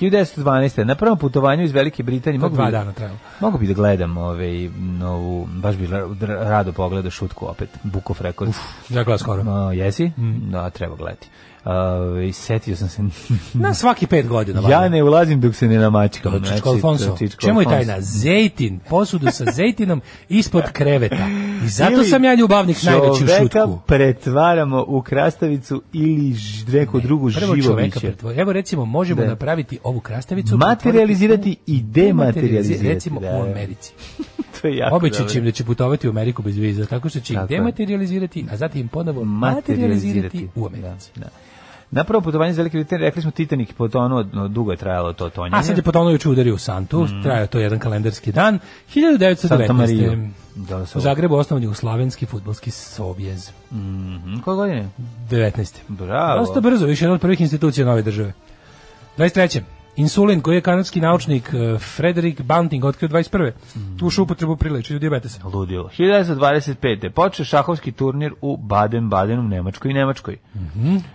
Speaker 5: 1912. Na prvom putovanju iz Velike Britanije mogu
Speaker 6: dva
Speaker 5: bi,
Speaker 6: dana trajalo.
Speaker 5: Mogu bi da gledam ovaj novu baš bi ra- rado pogledao šutku opet Book of Records.
Speaker 6: Ja glas skoro.
Speaker 5: Ma, jesi?
Speaker 6: Mhm.
Speaker 5: Da, treba gledati. Uh, setio sam se
Speaker 6: Na svaki pet godina.
Speaker 5: ja
Speaker 6: valjda.
Speaker 5: ne ulazim dok se ne namačkam.
Speaker 6: Čičko
Speaker 5: znači,
Speaker 6: Alfonso.
Speaker 5: to Čičko
Speaker 6: Čemu je
Speaker 5: Alfonso.
Speaker 6: tajna? Zejtin, posudu sa zejtinom ispod kreveta. I zato
Speaker 5: Ili
Speaker 6: sam ja ljubavnik najveći u
Speaker 5: čoveka
Speaker 6: šutku.
Speaker 5: pretvaramo u krastavicu ili ž- neku drugu
Speaker 6: Prvo
Speaker 5: živo
Speaker 6: čoveka
Speaker 5: biće.
Speaker 6: pretvori. Evo recimo možemo
Speaker 5: Da.
Speaker 6: napraviti ovu krastavicu.
Speaker 5: Materializirati i
Speaker 6: dematerializirati.
Speaker 5: dematerializirati.
Speaker 6: Recimo
Speaker 5: Da,
Speaker 6: u
Speaker 5: da.
Speaker 6: Americi.
Speaker 5: To je jako
Speaker 6: Obećat će
Speaker 5: dobro.
Speaker 6: im da će putovati u Ameriku bez viza, tako što će ih
Speaker 5: Tako je.
Speaker 6: dematerializirati, a zatim ponovo materializirati u Americi.
Speaker 5: Da, da. Na prvo putovanje za Velike Britanije rekli smo Titanic potonuo, no, dugo je trajalo to tonjenje.
Speaker 6: A sad je potonuo juče udario u Santu, trajao to jedan kalendarski dan,
Speaker 5: Mm. Santa Maria.
Speaker 6: 1919.
Speaker 5: Da, da se
Speaker 6: U Zagrebu osnovan je Slavenski futbolski sobjez.
Speaker 5: Mhm, Koje godine?
Speaker 6: 19.
Speaker 5: Bravo.
Speaker 6: Dosta brzo, više jedna od prvih institucija nove države. 23. Insulin koji je kanadski naučnik eh, Frederick Banting otkrio 21.
Speaker 5: Mm.
Speaker 6: Tu ušu upotrebu pri lečenju dijabetesa.
Speaker 5: Ludilo. 1925. Počeo šahovski turnir u Baden-Badenu, Nemačkoj i Nemačkoj.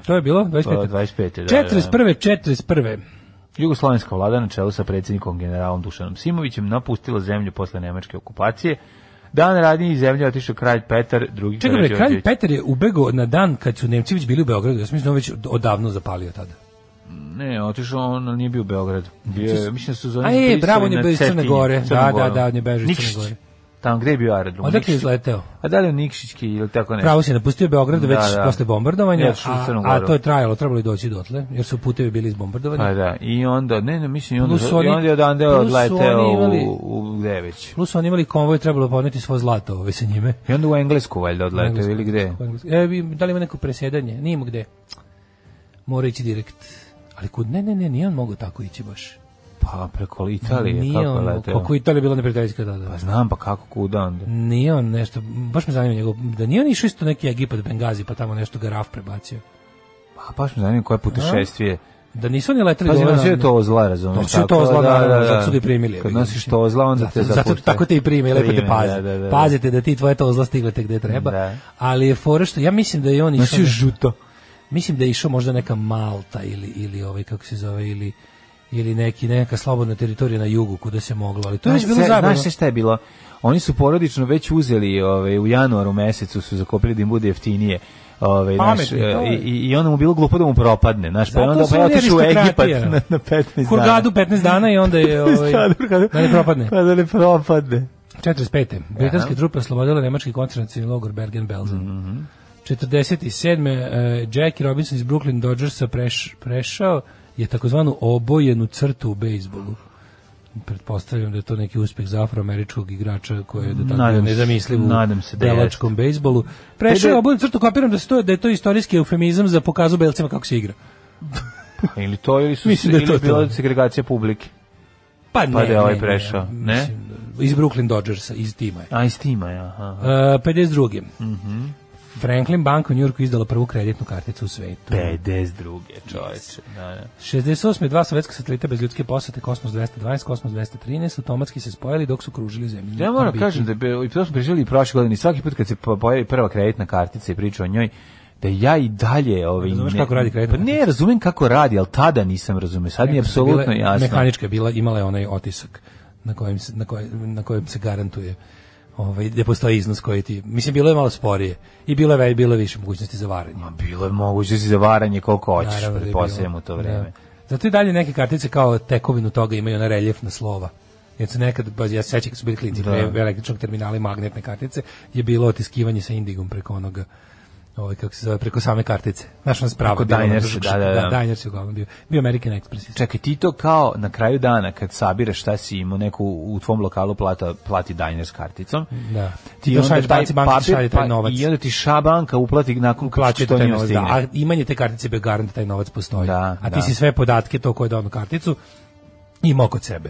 Speaker 6: To je bilo 25.
Speaker 5: To je 25., Pa, da, da.
Speaker 6: 41. 41.
Speaker 5: Jugoslovenska vlada na čelu sa predsjednikom generalom Dušanom Simovićem napustila zemlju posle nemačke okupacije. Dan radnji iz zemlje otišao kralj Petar II.
Speaker 6: Čekaj bre, kralj
Speaker 5: Karađorđević.
Speaker 6: Petar je ubegao na dan kad su Nemci već bili u Beogradu. Ja sam mislim da on već odavno zapalio tada.
Speaker 5: Ne, otišao on, ali nije bio u Beogradu. Bio, je, mislim da su zove
Speaker 6: A je, bravo, on je bio iz Crne Gore. Da, da, da, on je bežao iz Crne Gore.
Speaker 5: Tamo gde je bio aerodrom?
Speaker 6: Odakle je
Speaker 5: Nikšić.
Speaker 6: izleteo?
Speaker 5: A da li je Nikšićki ili tako nešto?
Speaker 6: Pravo si je napustio Beograd
Speaker 5: Da,
Speaker 6: već
Speaker 5: da.
Speaker 6: posle
Speaker 5: I
Speaker 6: bombardovanja,
Speaker 5: otišao u
Speaker 6: a,
Speaker 5: Crnu
Speaker 6: a
Speaker 5: Goru.
Speaker 6: to je trajalo, trebalo je doći dotle, jer su putevi bili izbombardovani.
Speaker 5: Pa da, i onda, ne, ne, mislim, i onda,
Speaker 6: Plus
Speaker 5: i
Speaker 6: oni-
Speaker 5: onda je odande
Speaker 6: plus
Speaker 5: odleteo
Speaker 6: oni imali-
Speaker 5: u, u, gde je već?
Speaker 6: Plus oni imali konvoj, trebalo je poneti svoje zlato ove sa njime.
Speaker 5: I onda u Englesku valjda odleteo
Speaker 6: Englesko,
Speaker 5: ili gde?
Speaker 6: englesko, englesko. E, vi- da li ima neko presjedanje? Nije mu gde. Mora ići direkt. Ali kud? Ne, ne, ne, nije on mogao tako ići baš.
Speaker 5: Pa preko Italije,
Speaker 6: nije ono,
Speaker 5: kako je
Speaker 6: on,
Speaker 5: leteo?
Speaker 6: Kako Italija bila neprijateljska, da, da.
Speaker 5: Pa znam, pa kako, kuda onda?
Speaker 6: Nije on nešto, baš me zanima njegov, da nije on išao isto neki Egipat Bengazi, pa tamo nešto ga raf prebacio.
Speaker 5: Pa baš me zanima koje putešestvije.
Speaker 6: Da nisu oni leteli
Speaker 5: Pazi,
Speaker 6: dole
Speaker 5: nosio je
Speaker 6: na-
Speaker 5: to zla, razumiješ?
Speaker 6: Nosio je to zla, da, da, zato su ga i primili.
Speaker 5: Kad nosiš to zla, onda
Speaker 6: zato,
Speaker 5: te
Speaker 6: zato
Speaker 5: zapušta.
Speaker 6: tako te i prime, i lepo te
Speaker 5: Prime,
Speaker 6: pazi.
Speaker 5: da, da, da.
Speaker 6: Pazite da ti tvoje to zla stigle te gde treba.
Speaker 5: Da.
Speaker 6: Ali je fora što, ja mislim da je on išao...
Speaker 5: Nosio
Speaker 6: na-
Speaker 5: žuto.
Speaker 6: Mislim da je išao možda neka Malta ili, ili ovaj, kako se zove, ili ili neki neka slobodna teritorija na jugu kuda se moglo, ali to je već bilo
Speaker 5: se-
Speaker 6: zabavno.
Speaker 5: Znaš se šta je bilo? Oni su porodično već uzeli ovaj, u januaru mesecu, su zakopili da im bude jeftinije. Ove, naš,
Speaker 6: Pametni, to je.
Speaker 5: i, i- i onda mu bilo glupo da mu propadne. Znaš, pa je
Speaker 6: Zato
Speaker 5: onda
Speaker 6: su
Speaker 5: pa je
Speaker 6: oni
Speaker 5: otišao u Egipat
Speaker 6: aristokratija.
Speaker 5: na, na 15
Speaker 6: Hurgadu
Speaker 5: dana.
Speaker 6: 15 ono. dana i onda je ovaj,
Speaker 5: Stani, Hurgadu.
Speaker 6: da ne propadne.
Speaker 5: Pa da ne propadne.
Speaker 6: 45. Britanske trupe oslobodile nemački koncentracioni logor Bergen-Belsen.
Speaker 5: Mhm.
Speaker 6: 47. eh, Jackie Robinson iz Brooklyn Dodgersa preš, prešao je takozvanu obojenu crtu u bejsbolu. Pretpostavljam da je to neki uspeh za afroameričkog igrača koji je da tako
Speaker 5: Nadam se-
Speaker 6: nezamisliv u
Speaker 5: nadam se da
Speaker 6: belačkom bejsbolu. Prešao je obojenu crtu, kapiram da, se to, da je to istorijski eufemizam za pokazu belcima kako se igra.
Speaker 5: Ili to, ili su se,
Speaker 6: Mislim da je
Speaker 5: ili
Speaker 6: to
Speaker 5: je bila
Speaker 6: to.
Speaker 5: segregacija publike.
Speaker 6: Pa, ne,
Speaker 5: da je ovaj
Speaker 6: ne, ne,
Speaker 5: prešao, ne?
Speaker 6: mislim, iz Brooklyn Dodgersa, iz tima je.
Speaker 5: A i s tima, ja. Aha.
Speaker 6: Uh, 52.
Speaker 5: Mhm.
Speaker 6: Franklin banka u Njurku izdala prvu kreditnu karticu u svetu.
Speaker 5: 52. čoveče. Da, da.
Speaker 6: 68. dva sovjetska satelita bez ljudske posete Kosmos 212, Kosmos 213 automatski se spojili dok su kružili zemlju.
Speaker 5: Ja moram
Speaker 6: Orbitu.
Speaker 5: kažem da bi, i to smo pričali i prošle godine, i svaki put kad se po- pojavi prva kreditna kartica i priča o njoj, da ja i dalje... Ovaj,
Speaker 6: Razumeš kako radi kreditna
Speaker 5: Pa ne,
Speaker 6: kartica?
Speaker 5: razumem kako radi, ali tada nisam razumio. Sad mi je apsolutno
Speaker 6: Bila je-
Speaker 5: jasno.
Speaker 6: Mehanička je bila, imala je onaj otisak na kojem se, na koje- na kojem se garantuje ovaj, da postoji iznos koji ti... Mislim, bilo je malo sporije i bilo je, ve- bilo je više mogućnosti za varanje.
Speaker 5: Ma, Bilo je moguće si zavaranje koliko hoćeš,
Speaker 6: Naravno da je
Speaker 5: pretpostavljam
Speaker 6: bilo.
Speaker 5: u to vreme.
Speaker 6: Da. Zato i dalje neke kartice kao tekovinu toga imaju na reljefna slova. Jer su nekad, ba, ja se sećam kad su bili klinci,
Speaker 5: Da.
Speaker 6: pre električnog terminala i magnetne kartice, je bilo otiskivanje sa indigom preko onoga ovaj kako se zove preko same kartice. Naš nas pravo
Speaker 5: Preko Dinersa, da, da, da.
Speaker 6: Diners je uglavnom bio. Bio American Express.
Speaker 5: Čekaj, ti to kao na kraju dana kad sabiraš šta si imao neku u tvom lokalu plata, plati diner s karticom,
Speaker 6: Da.
Speaker 5: ti
Speaker 6: Ti onda
Speaker 5: onda
Speaker 6: šalješ
Speaker 5: taj
Speaker 6: banci, banci
Speaker 5: papir,
Speaker 6: šalje taj
Speaker 5: pa-
Speaker 6: novac.
Speaker 5: i onda ti ša banka uplati nakon
Speaker 6: plaćaju
Speaker 5: što
Speaker 6: taj
Speaker 5: njima
Speaker 6: novac, da.
Speaker 5: stigne.
Speaker 6: A imanje te kartice bio garant da taj novac postoji.
Speaker 5: Da,
Speaker 6: a ti
Speaker 5: da.
Speaker 6: si sve podatke to koje je dao na karticu imao kod sebe.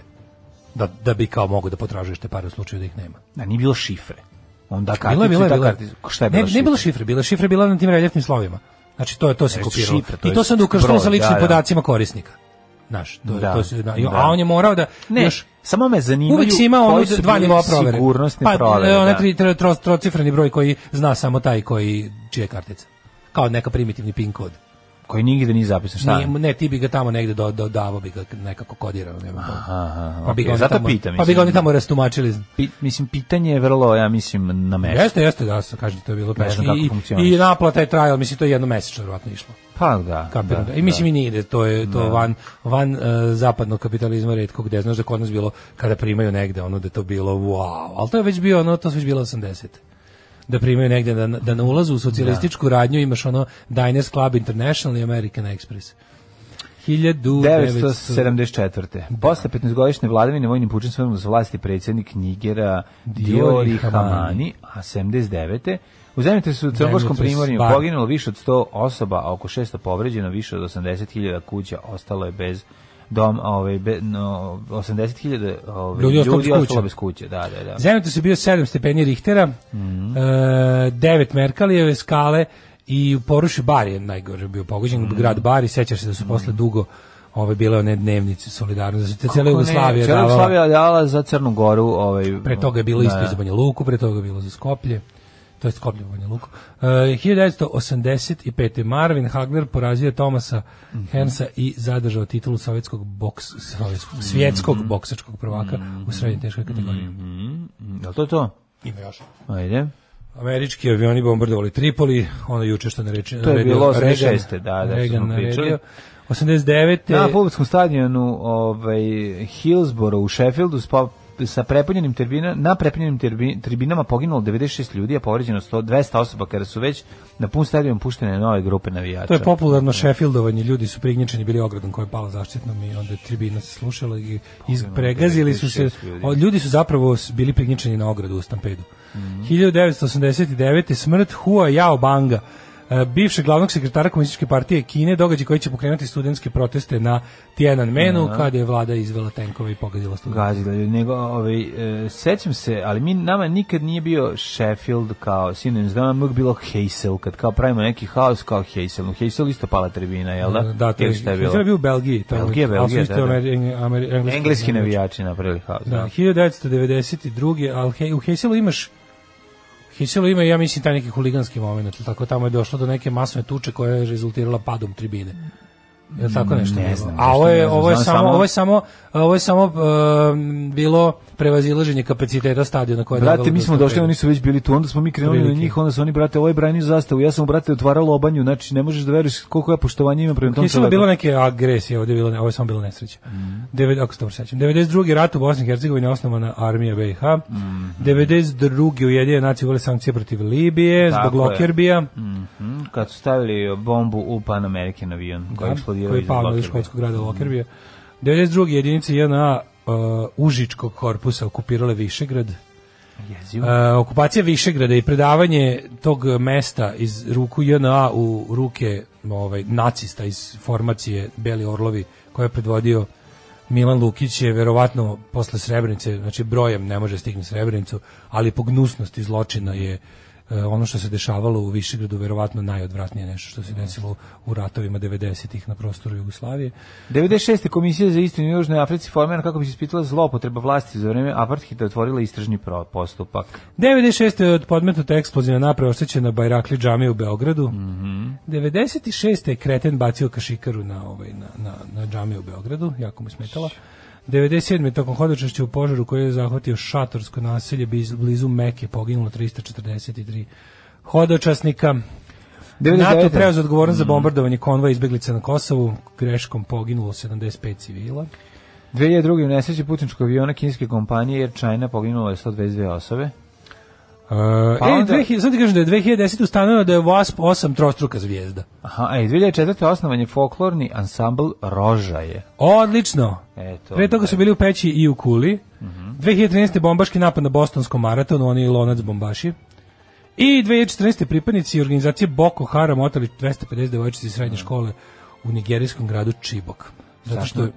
Speaker 6: Da, da bi kao mogu da potražuješ te pare u slučaju da ih nema.
Speaker 5: Da, nije bilo šifre. Onda karticu
Speaker 6: Bilo je, bilo je,
Speaker 5: i ta
Speaker 6: bilo je.
Speaker 5: kartica. Šta je bila
Speaker 6: ne, ne bilo šifre, bila šifre je bila na tim reljefnim slovima. Znači to je to se
Speaker 5: Znači,
Speaker 6: kopiralo.
Speaker 5: šifra, to
Speaker 6: I to
Speaker 5: je
Speaker 6: se onda ukrštalo
Speaker 5: broj,
Speaker 6: sa ličnim
Speaker 5: da, da.
Speaker 6: podacima korisnika. Znaš, to, je-
Speaker 5: Da,
Speaker 6: to se, da,
Speaker 5: da.
Speaker 6: a on je morao da
Speaker 5: Ne,
Speaker 6: još
Speaker 5: samo me zanimaju
Speaker 6: Uvijek si imao
Speaker 5: koji
Speaker 6: ono
Speaker 5: su
Speaker 6: dva
Speaker 5: bili
Speaker 6: nivoa provere.
Speaker 5: sigurnosne
Speaker 6: pa,
Speaker 5: provere,
Speaker 6: e, onaj
Speaker 5: da.
Speaker 6: tri, tri, tro, trocifreni broj koji zna samo taj koji čije kartica. Kao neka primitivni pin kod
Speaker 5: koji nigde nije zapisan, šta?
Speaker 6: Nije, ne, ti bi ga tamo negde do, do, davo bi ga nekako kodirao. Nema aha,
Speaker 5: aha,
Speaker 6: pa bi ga
Speaker 5: okej,
Speaker 6: oni
Speaker 5: zato
Speaker 6: tamo,
Speaker 5: pitam,
Speaker 6: Pa bi ga
Speaker 5: mislim.
Speaker 6: oni tamo rastumačili.
Speaker 5: Pi- mislim, pitanje je vrlo, ja mislim, na mestu.
Speaker 6: Jeste, jeste, da, sa- kažem ti, to je bilo
Speaker 5: Ne znam
Speaker 6: pešno.
Speaker 5: kako
Speaker 6: I,
Speaker 5: funkcioniše.
Speaker 6: I naplata je trajala, mislim, to je jednomesečno verovatno išlo.
Speaker 5: Pa da,
Speaker 6: Kapiram,
Speaker 5: da,
Speaker 6: da, I mislim i nije, to je to van, van e, zapadnog kapitalizma retko gde, znaš da kod nas bilo, kada primaju negde, ono da je to bilo, wow, ali to je već bio, ono, to su već bilo 80 da primaju negde, da, da na ulazu u socijalističku radnju imaš ono Diners Club International i American Express. 1900...
Speaker 5: 974. Posle 15-godišnje vladavine vojnim pučem svrnu s vlasti predsjednik Nigera
Speaker 6: Diori
Speaker 5: Diori
Speaker 6: Hamani.
Speaker 5: Hamani, a 79. U zemljete su u Crnogorskom
Speaker 6: Zemljotres,
Speaker 5: primorju
Speaker 6: bar.
Speaker 5: poginulo više od 100 osoba, a oko 600 povređeno, više od 80.000 kuća ostalo je bez dom, ovaj, be, no, 80.000 ovaj,
Speaker 6: Ljudi
Speaker 5: ljudi,
Speaker 6: ostalo bez kuće.
Speaker 5: ostalo bez kuće. Da, da, da.
Speaker 6: Zemljotres je bio 7 stepeni Richtera, mm
Speaker 5: Mhm.
Speaker 6: 9 Merkalijeve skale i u poruši Bar je najgore bio pogođen,
Speaker 5: Mhm.
Speaker 6: grad Bar i sećaš se da su posle dugo ove bile one dnevnice solidarnosti, da su te cijela Jugoslavija
Speaker 5: Cijela
Speaker 6: davala.
Speaker 5: Jugoslavija dala za Crnu Goru. Ovaj,
Speaker 6: Pre toga je bilo
Speaker 5: da,
Speaker 6: isto
Speaker 5: da.
Speaker 6: i za Banja Luku, pre toga je bilo za Skoplje, to je Skoplje Banja Luku. E, 1985. Marvin Hagler porazio Tomasa
Speaker 5: Mhm.
Speaker 6: Hensa i zadržao titulu sovjetskog, boks, sovjetskog svjetskog
Speaker 5: Mhm.
Speaker 6: boksačkog prvaka u srednjoj teškoj kategoriji.
Speaker 5: Jel to to?
Speaker 6: Ima još.
Speaker 5: Ajde.
Speaker 6: Američki avioni bombardovali Tripoli, ono juče što ne reče.
Speaker 5: To je
Speaker 6: naredio
Speaker 5: bilo
Speaker 6: Reagan.
Speaker 5: 86., da, da, što
Speaker 6: Reagan
Speaker 5: smo pričali.
Speaker 6: naredio. 89.
Speaker 5: Na futbolskom stadionu ovaj, Hillsborough u Sheffieldu s po- sa prepunjenim tribina, na prepunjenim terbi- tribinama poginulo 96 ljudi, a povređeno 100, 200 osoba kada su već na pun stadion puštene nove grupe navijača.
Speaker 6: To je popularno Sheffieldovanje, ljudi su prignječeni bili ogradom koja je pala zaštitnom i onda je tribina se slušala i iz, pregazili su se,
Speaker 5: 96 ljudi.
Speaker 6: o, ljudi su zapravo s- bili prignječeni na ogradu u stampedu.
Speaker 5: Mhm.
Speaker 6: 1989. smrt Hua Yao Banga, e, bivšeg glavnog sekretara komunističke partije Kine, događaj koji će pokrenuti studentske proteste na Tiananmenu, kada je vlada izvela tenkove i pogadila studente.
Speaker 5: Gazila ljudi, nego ovaj, e, sećam se, ali mi, nama nikad nije bio Sheffield kao sinonim, znam nam je uvijek bilo Hazel, kad kao pravimo neki haos kao Hazel, u Hazel isto pala tribina, jel da?
Speaker 6: Da, to je,
Speaker 5: Ili šta
Speaker 6: to je bio u Belgiji. tamo,
Speaker 5: Belgija,
Speaker 6: ali su
Speaker 5: Belgija,
Speaker 6: isto
Speaker 5: da, da.
Speaker 6: Ameri- Ameri- engleski-
Speaker 5: Engleski navijači napravili haos.
Speaker 6: Da, 1992. Ali he, u Heselu imaš Heselu ima, ja mislim, taj neki huliganski moment. jel Tako tamo je došlo do neke masne tuče koja je rezultirala padom tribine. Je li tako nešto?
Speaker 5: Ne
Speaker 6: bilo?
Speaker 5: znam,
Speaker 6: A
Speaker 5: nešto
Speaker 6: ovo
Speaker 5: ne
Speaker 6: je,
Speaker 5: znam,
Speaker 6: ovo je
Speaker 5: znam
Speaker 6: samo,
Speaker 5: samo-
Speaker 6: ovo je samo, ovo je samo em, bilo prevazilaženje kapaciteta stadiona koje je
Speaker 5: Brate,
Speaker 6: dovelo
Speaker 5: Pa mi
Speaker 6: do
Speaker 5: smo došli,
Speaker 6: stopera.
Speaker 5: oni su već bili tu, onda smo mi krenuli na
Speaker 6: Prilike.
Speaker 5: njih, onda su oni, brate, ovaj brani zastavu, ja sam, brate, otvarala obanju, znači ne možeš da veruješ koliko ja poštovanja imam prema tom
Speaker 6: Heselu je
Speaker 5: čoveku.
Speaker 6: bilo neke agresije, ovdje je bilo, ne- ovo je samo bilo nesreća.
Speaker 5: Mm.
Speaker 6: Devet, ako se dobro sećam. 92. rat u Bosni i Hercegovini osnovana armija BiH.
Speaker 5: Mhm.
Speaker 6: 92. ujedinjene nacije uvele sankcije protiv Libije
Speaker 5: Tako
Speaker 6: zbog
Speaker 5: je.
Speaker 6: Lokerbija.
Speaker 5: Mhm, Kad su stavili bombu u Pan American avion, koji je
Speaker 6: Da,
Speaker 5: eksplodirao
Speaker 6: koji je
Speaker 5: iznad
Speaker 6: pao iz
Speaker 5: Lockerbie.
Speaker 6: škotskog grada Lokerbija. 92. jedinice JNA uh, Užičkog korpusa okupirale Višegrad.
Speaker 5: Jezivo.
Speaker 6: Uh, okupacija Višegrada i predavanje tog mesta iz ruku JNA u ruke ovaj, nacista iz formacije Beli Orlovi koja je predvodio Milan Lukić je verovatno posle Srebrenice, znači brojem ne može stigni Srebrenicu, ali po gnusnosti zločina je e, ono što se dešavalo u Višegradu verovatno najodvratnije nešto što se desilo u- u ratovima 90-ih na prostoru Jugoslavije.
Speaker 5: 96. komisija za istinu u Južnoj Africi formirana kako bi se ispitala zlopotreba vlasti za vreme apartheida otvorila istražni pro- postupak.
Speaker 6: 96. je od podmetnuta eksplozija naprave oštećena Bajrakli džamija u Beogradu.
Speaker 5: Mhm.
Speaker 6: 96. je kreten bacio kašikaru na, ovaj, na, na, na džamiju u Beogradu, jako mu je smetala. 97. je tokom hodočašća u požaru koji je zahvatio šatorsko naselje biz- blizu Meke poginulo 343 hodočasnika.
Speaker 5: 99.
Speaker 6: NATO preuzeo odgovornost za bombardovanje konvoja izbeglica na Kosovu, greškom poginulo 75 civila.
Speaker 5: 2002. u nesreći putničkog aviona kineske kompanije Air China poginulo je 122 osobe.
Speaker 6: Uh,
Speaker 5: Pa
Speaker 6: e,
Speaker 5: onda-
Speaker 6: 2000 sad ti kažem da je 2010. ustanovio da je WASP 8 trostruka zvijezda.
Speaker 5: Aha, e, a i 2004. osnovan je folklorni ansambl Rožaje.
Speaker 6: Odlično.
Speaker 5: Eto, Mhm.
Speaker 6: Pre toga su bili u peći i u kuli. 2013. bombaški napad na bostonskom maratonu, oni lonac bombaši. I 2014. pripadnici organizacije Boko Haram otali 250 devojčica iz
Speaker 5: Mhm.
Speaker 6: srednje škole u nigerijskom gradu Čibok. Zato što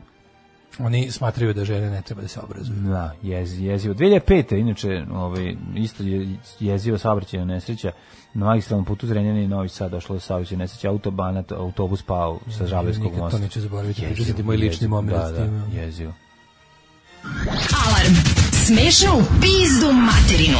Speaker 6: oni smatraju da žene ne treba da se obrazuju.
Speaker 5: Da, jezi, jezivo. 2005. inače, ovaj, isto je jezivo saobraćajna nesreća. Na magistralnom putu Zrenjana i Novi Sad došlo je saobraćajna nesreća, autobanat, autobus pao sa Žabljevskog
Speaker 6: Nikad
Speaker 5: mosta.
Speaker 6: to neću zaboraviti.
Speaker 5: Jezivo,
Speaker 6: Pričati moj lični
Speaker 5: jezivo,
Speaker 6: moment.
Speaker 5: Da,
Speaker 6: s ono. time.
Speaker 5: da, jezivo.
Speaker 1: Alarm. Smešno u pizdu materinu.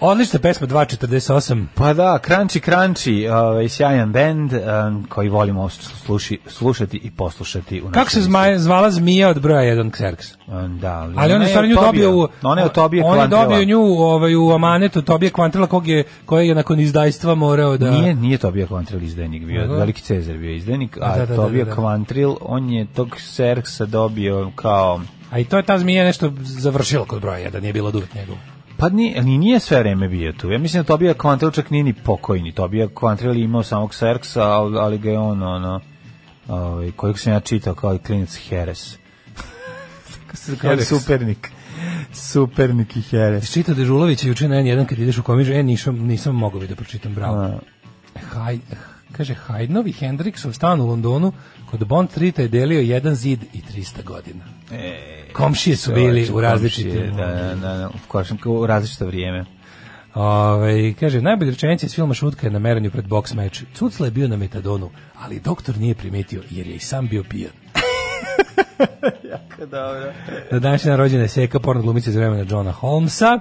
Speaker 6: Odlična pesma 248.
Speaker 5: Pa da, Crunchy Crunchy, ovaj, sjajan band um, koji volimo sluši, slušati i poslušati. U
Speaker 6: Kako
Speaker 5: našoj
Speaker 6: se
Speaker 5: listi.
Speaker 6: zmaje, zvala zmija od broja 1 Xerx?
Speaker 5: Um, Da,
Speaker 6: Ali on
Speaker 5: ona
Speaker 6: je stvarno nju
Speaker 5: Tobija.
Speaker 6: dobio u...
Speaker 5: Ona je od Tobije
Speaker 6: On je
Speaker 5: Kvantrela.
Speaker 6: dobio nju ovaj, u amanetu Tobije Kvantrela kog je, koje je nakon izdajstva morao da...
Speaker 5: Nije, nije Tobija Kvantril izdajnik bio,
Speaker 6: Nego?
Speaker 5: veliki Cezar bio izdajnik, a
Speaker 6: Da, da, da,
Speaker 5: Tobija
Speaker 6: da, da.
Speaker 5: Kvantril, on je tog Serksa dobio kao
Speaker 6: A i to je ta zmija nešto završila kod broja 1, nije bilo duvet njegovo.
Speaker 5: Pa nije, ali nije sve vreme bio tu. Ja mislim da Tobija Kvantril čak nije ni pokojni. Tobija Kvantril je imao samog Serksa, al- ali ga je on, ono, ovaj, kojeg sam ja čitao kao i klinac Heres. Kao
Speaker 6: Heres.
Speaker 5: supernik. Supernik i Heres.
Speaker 6: Čita Dežulović je juče na N1 kad ideš u komižu, e, nisam, nisam mogao bi da pročitam, bravo. Haj, kaže, Hajdnovi Hendriksov stan u Londonu kod Bond Streeta je delio jedan zid i 300 godina. komšije su E, bili u različitim...
Speaker 5: Da, da, da, da, u košem- u različito vrijeme.
Speaker 6: Ove, kaže, najbolja rečenica iz filma Šutka je na meranju pred boks meč. Cucla je bio na metadonu, ali doktor nije primetio jer je i sam bio pijan. Na današnji dan rođena je Seka, porno glumica iz vremena Johna Holmesa.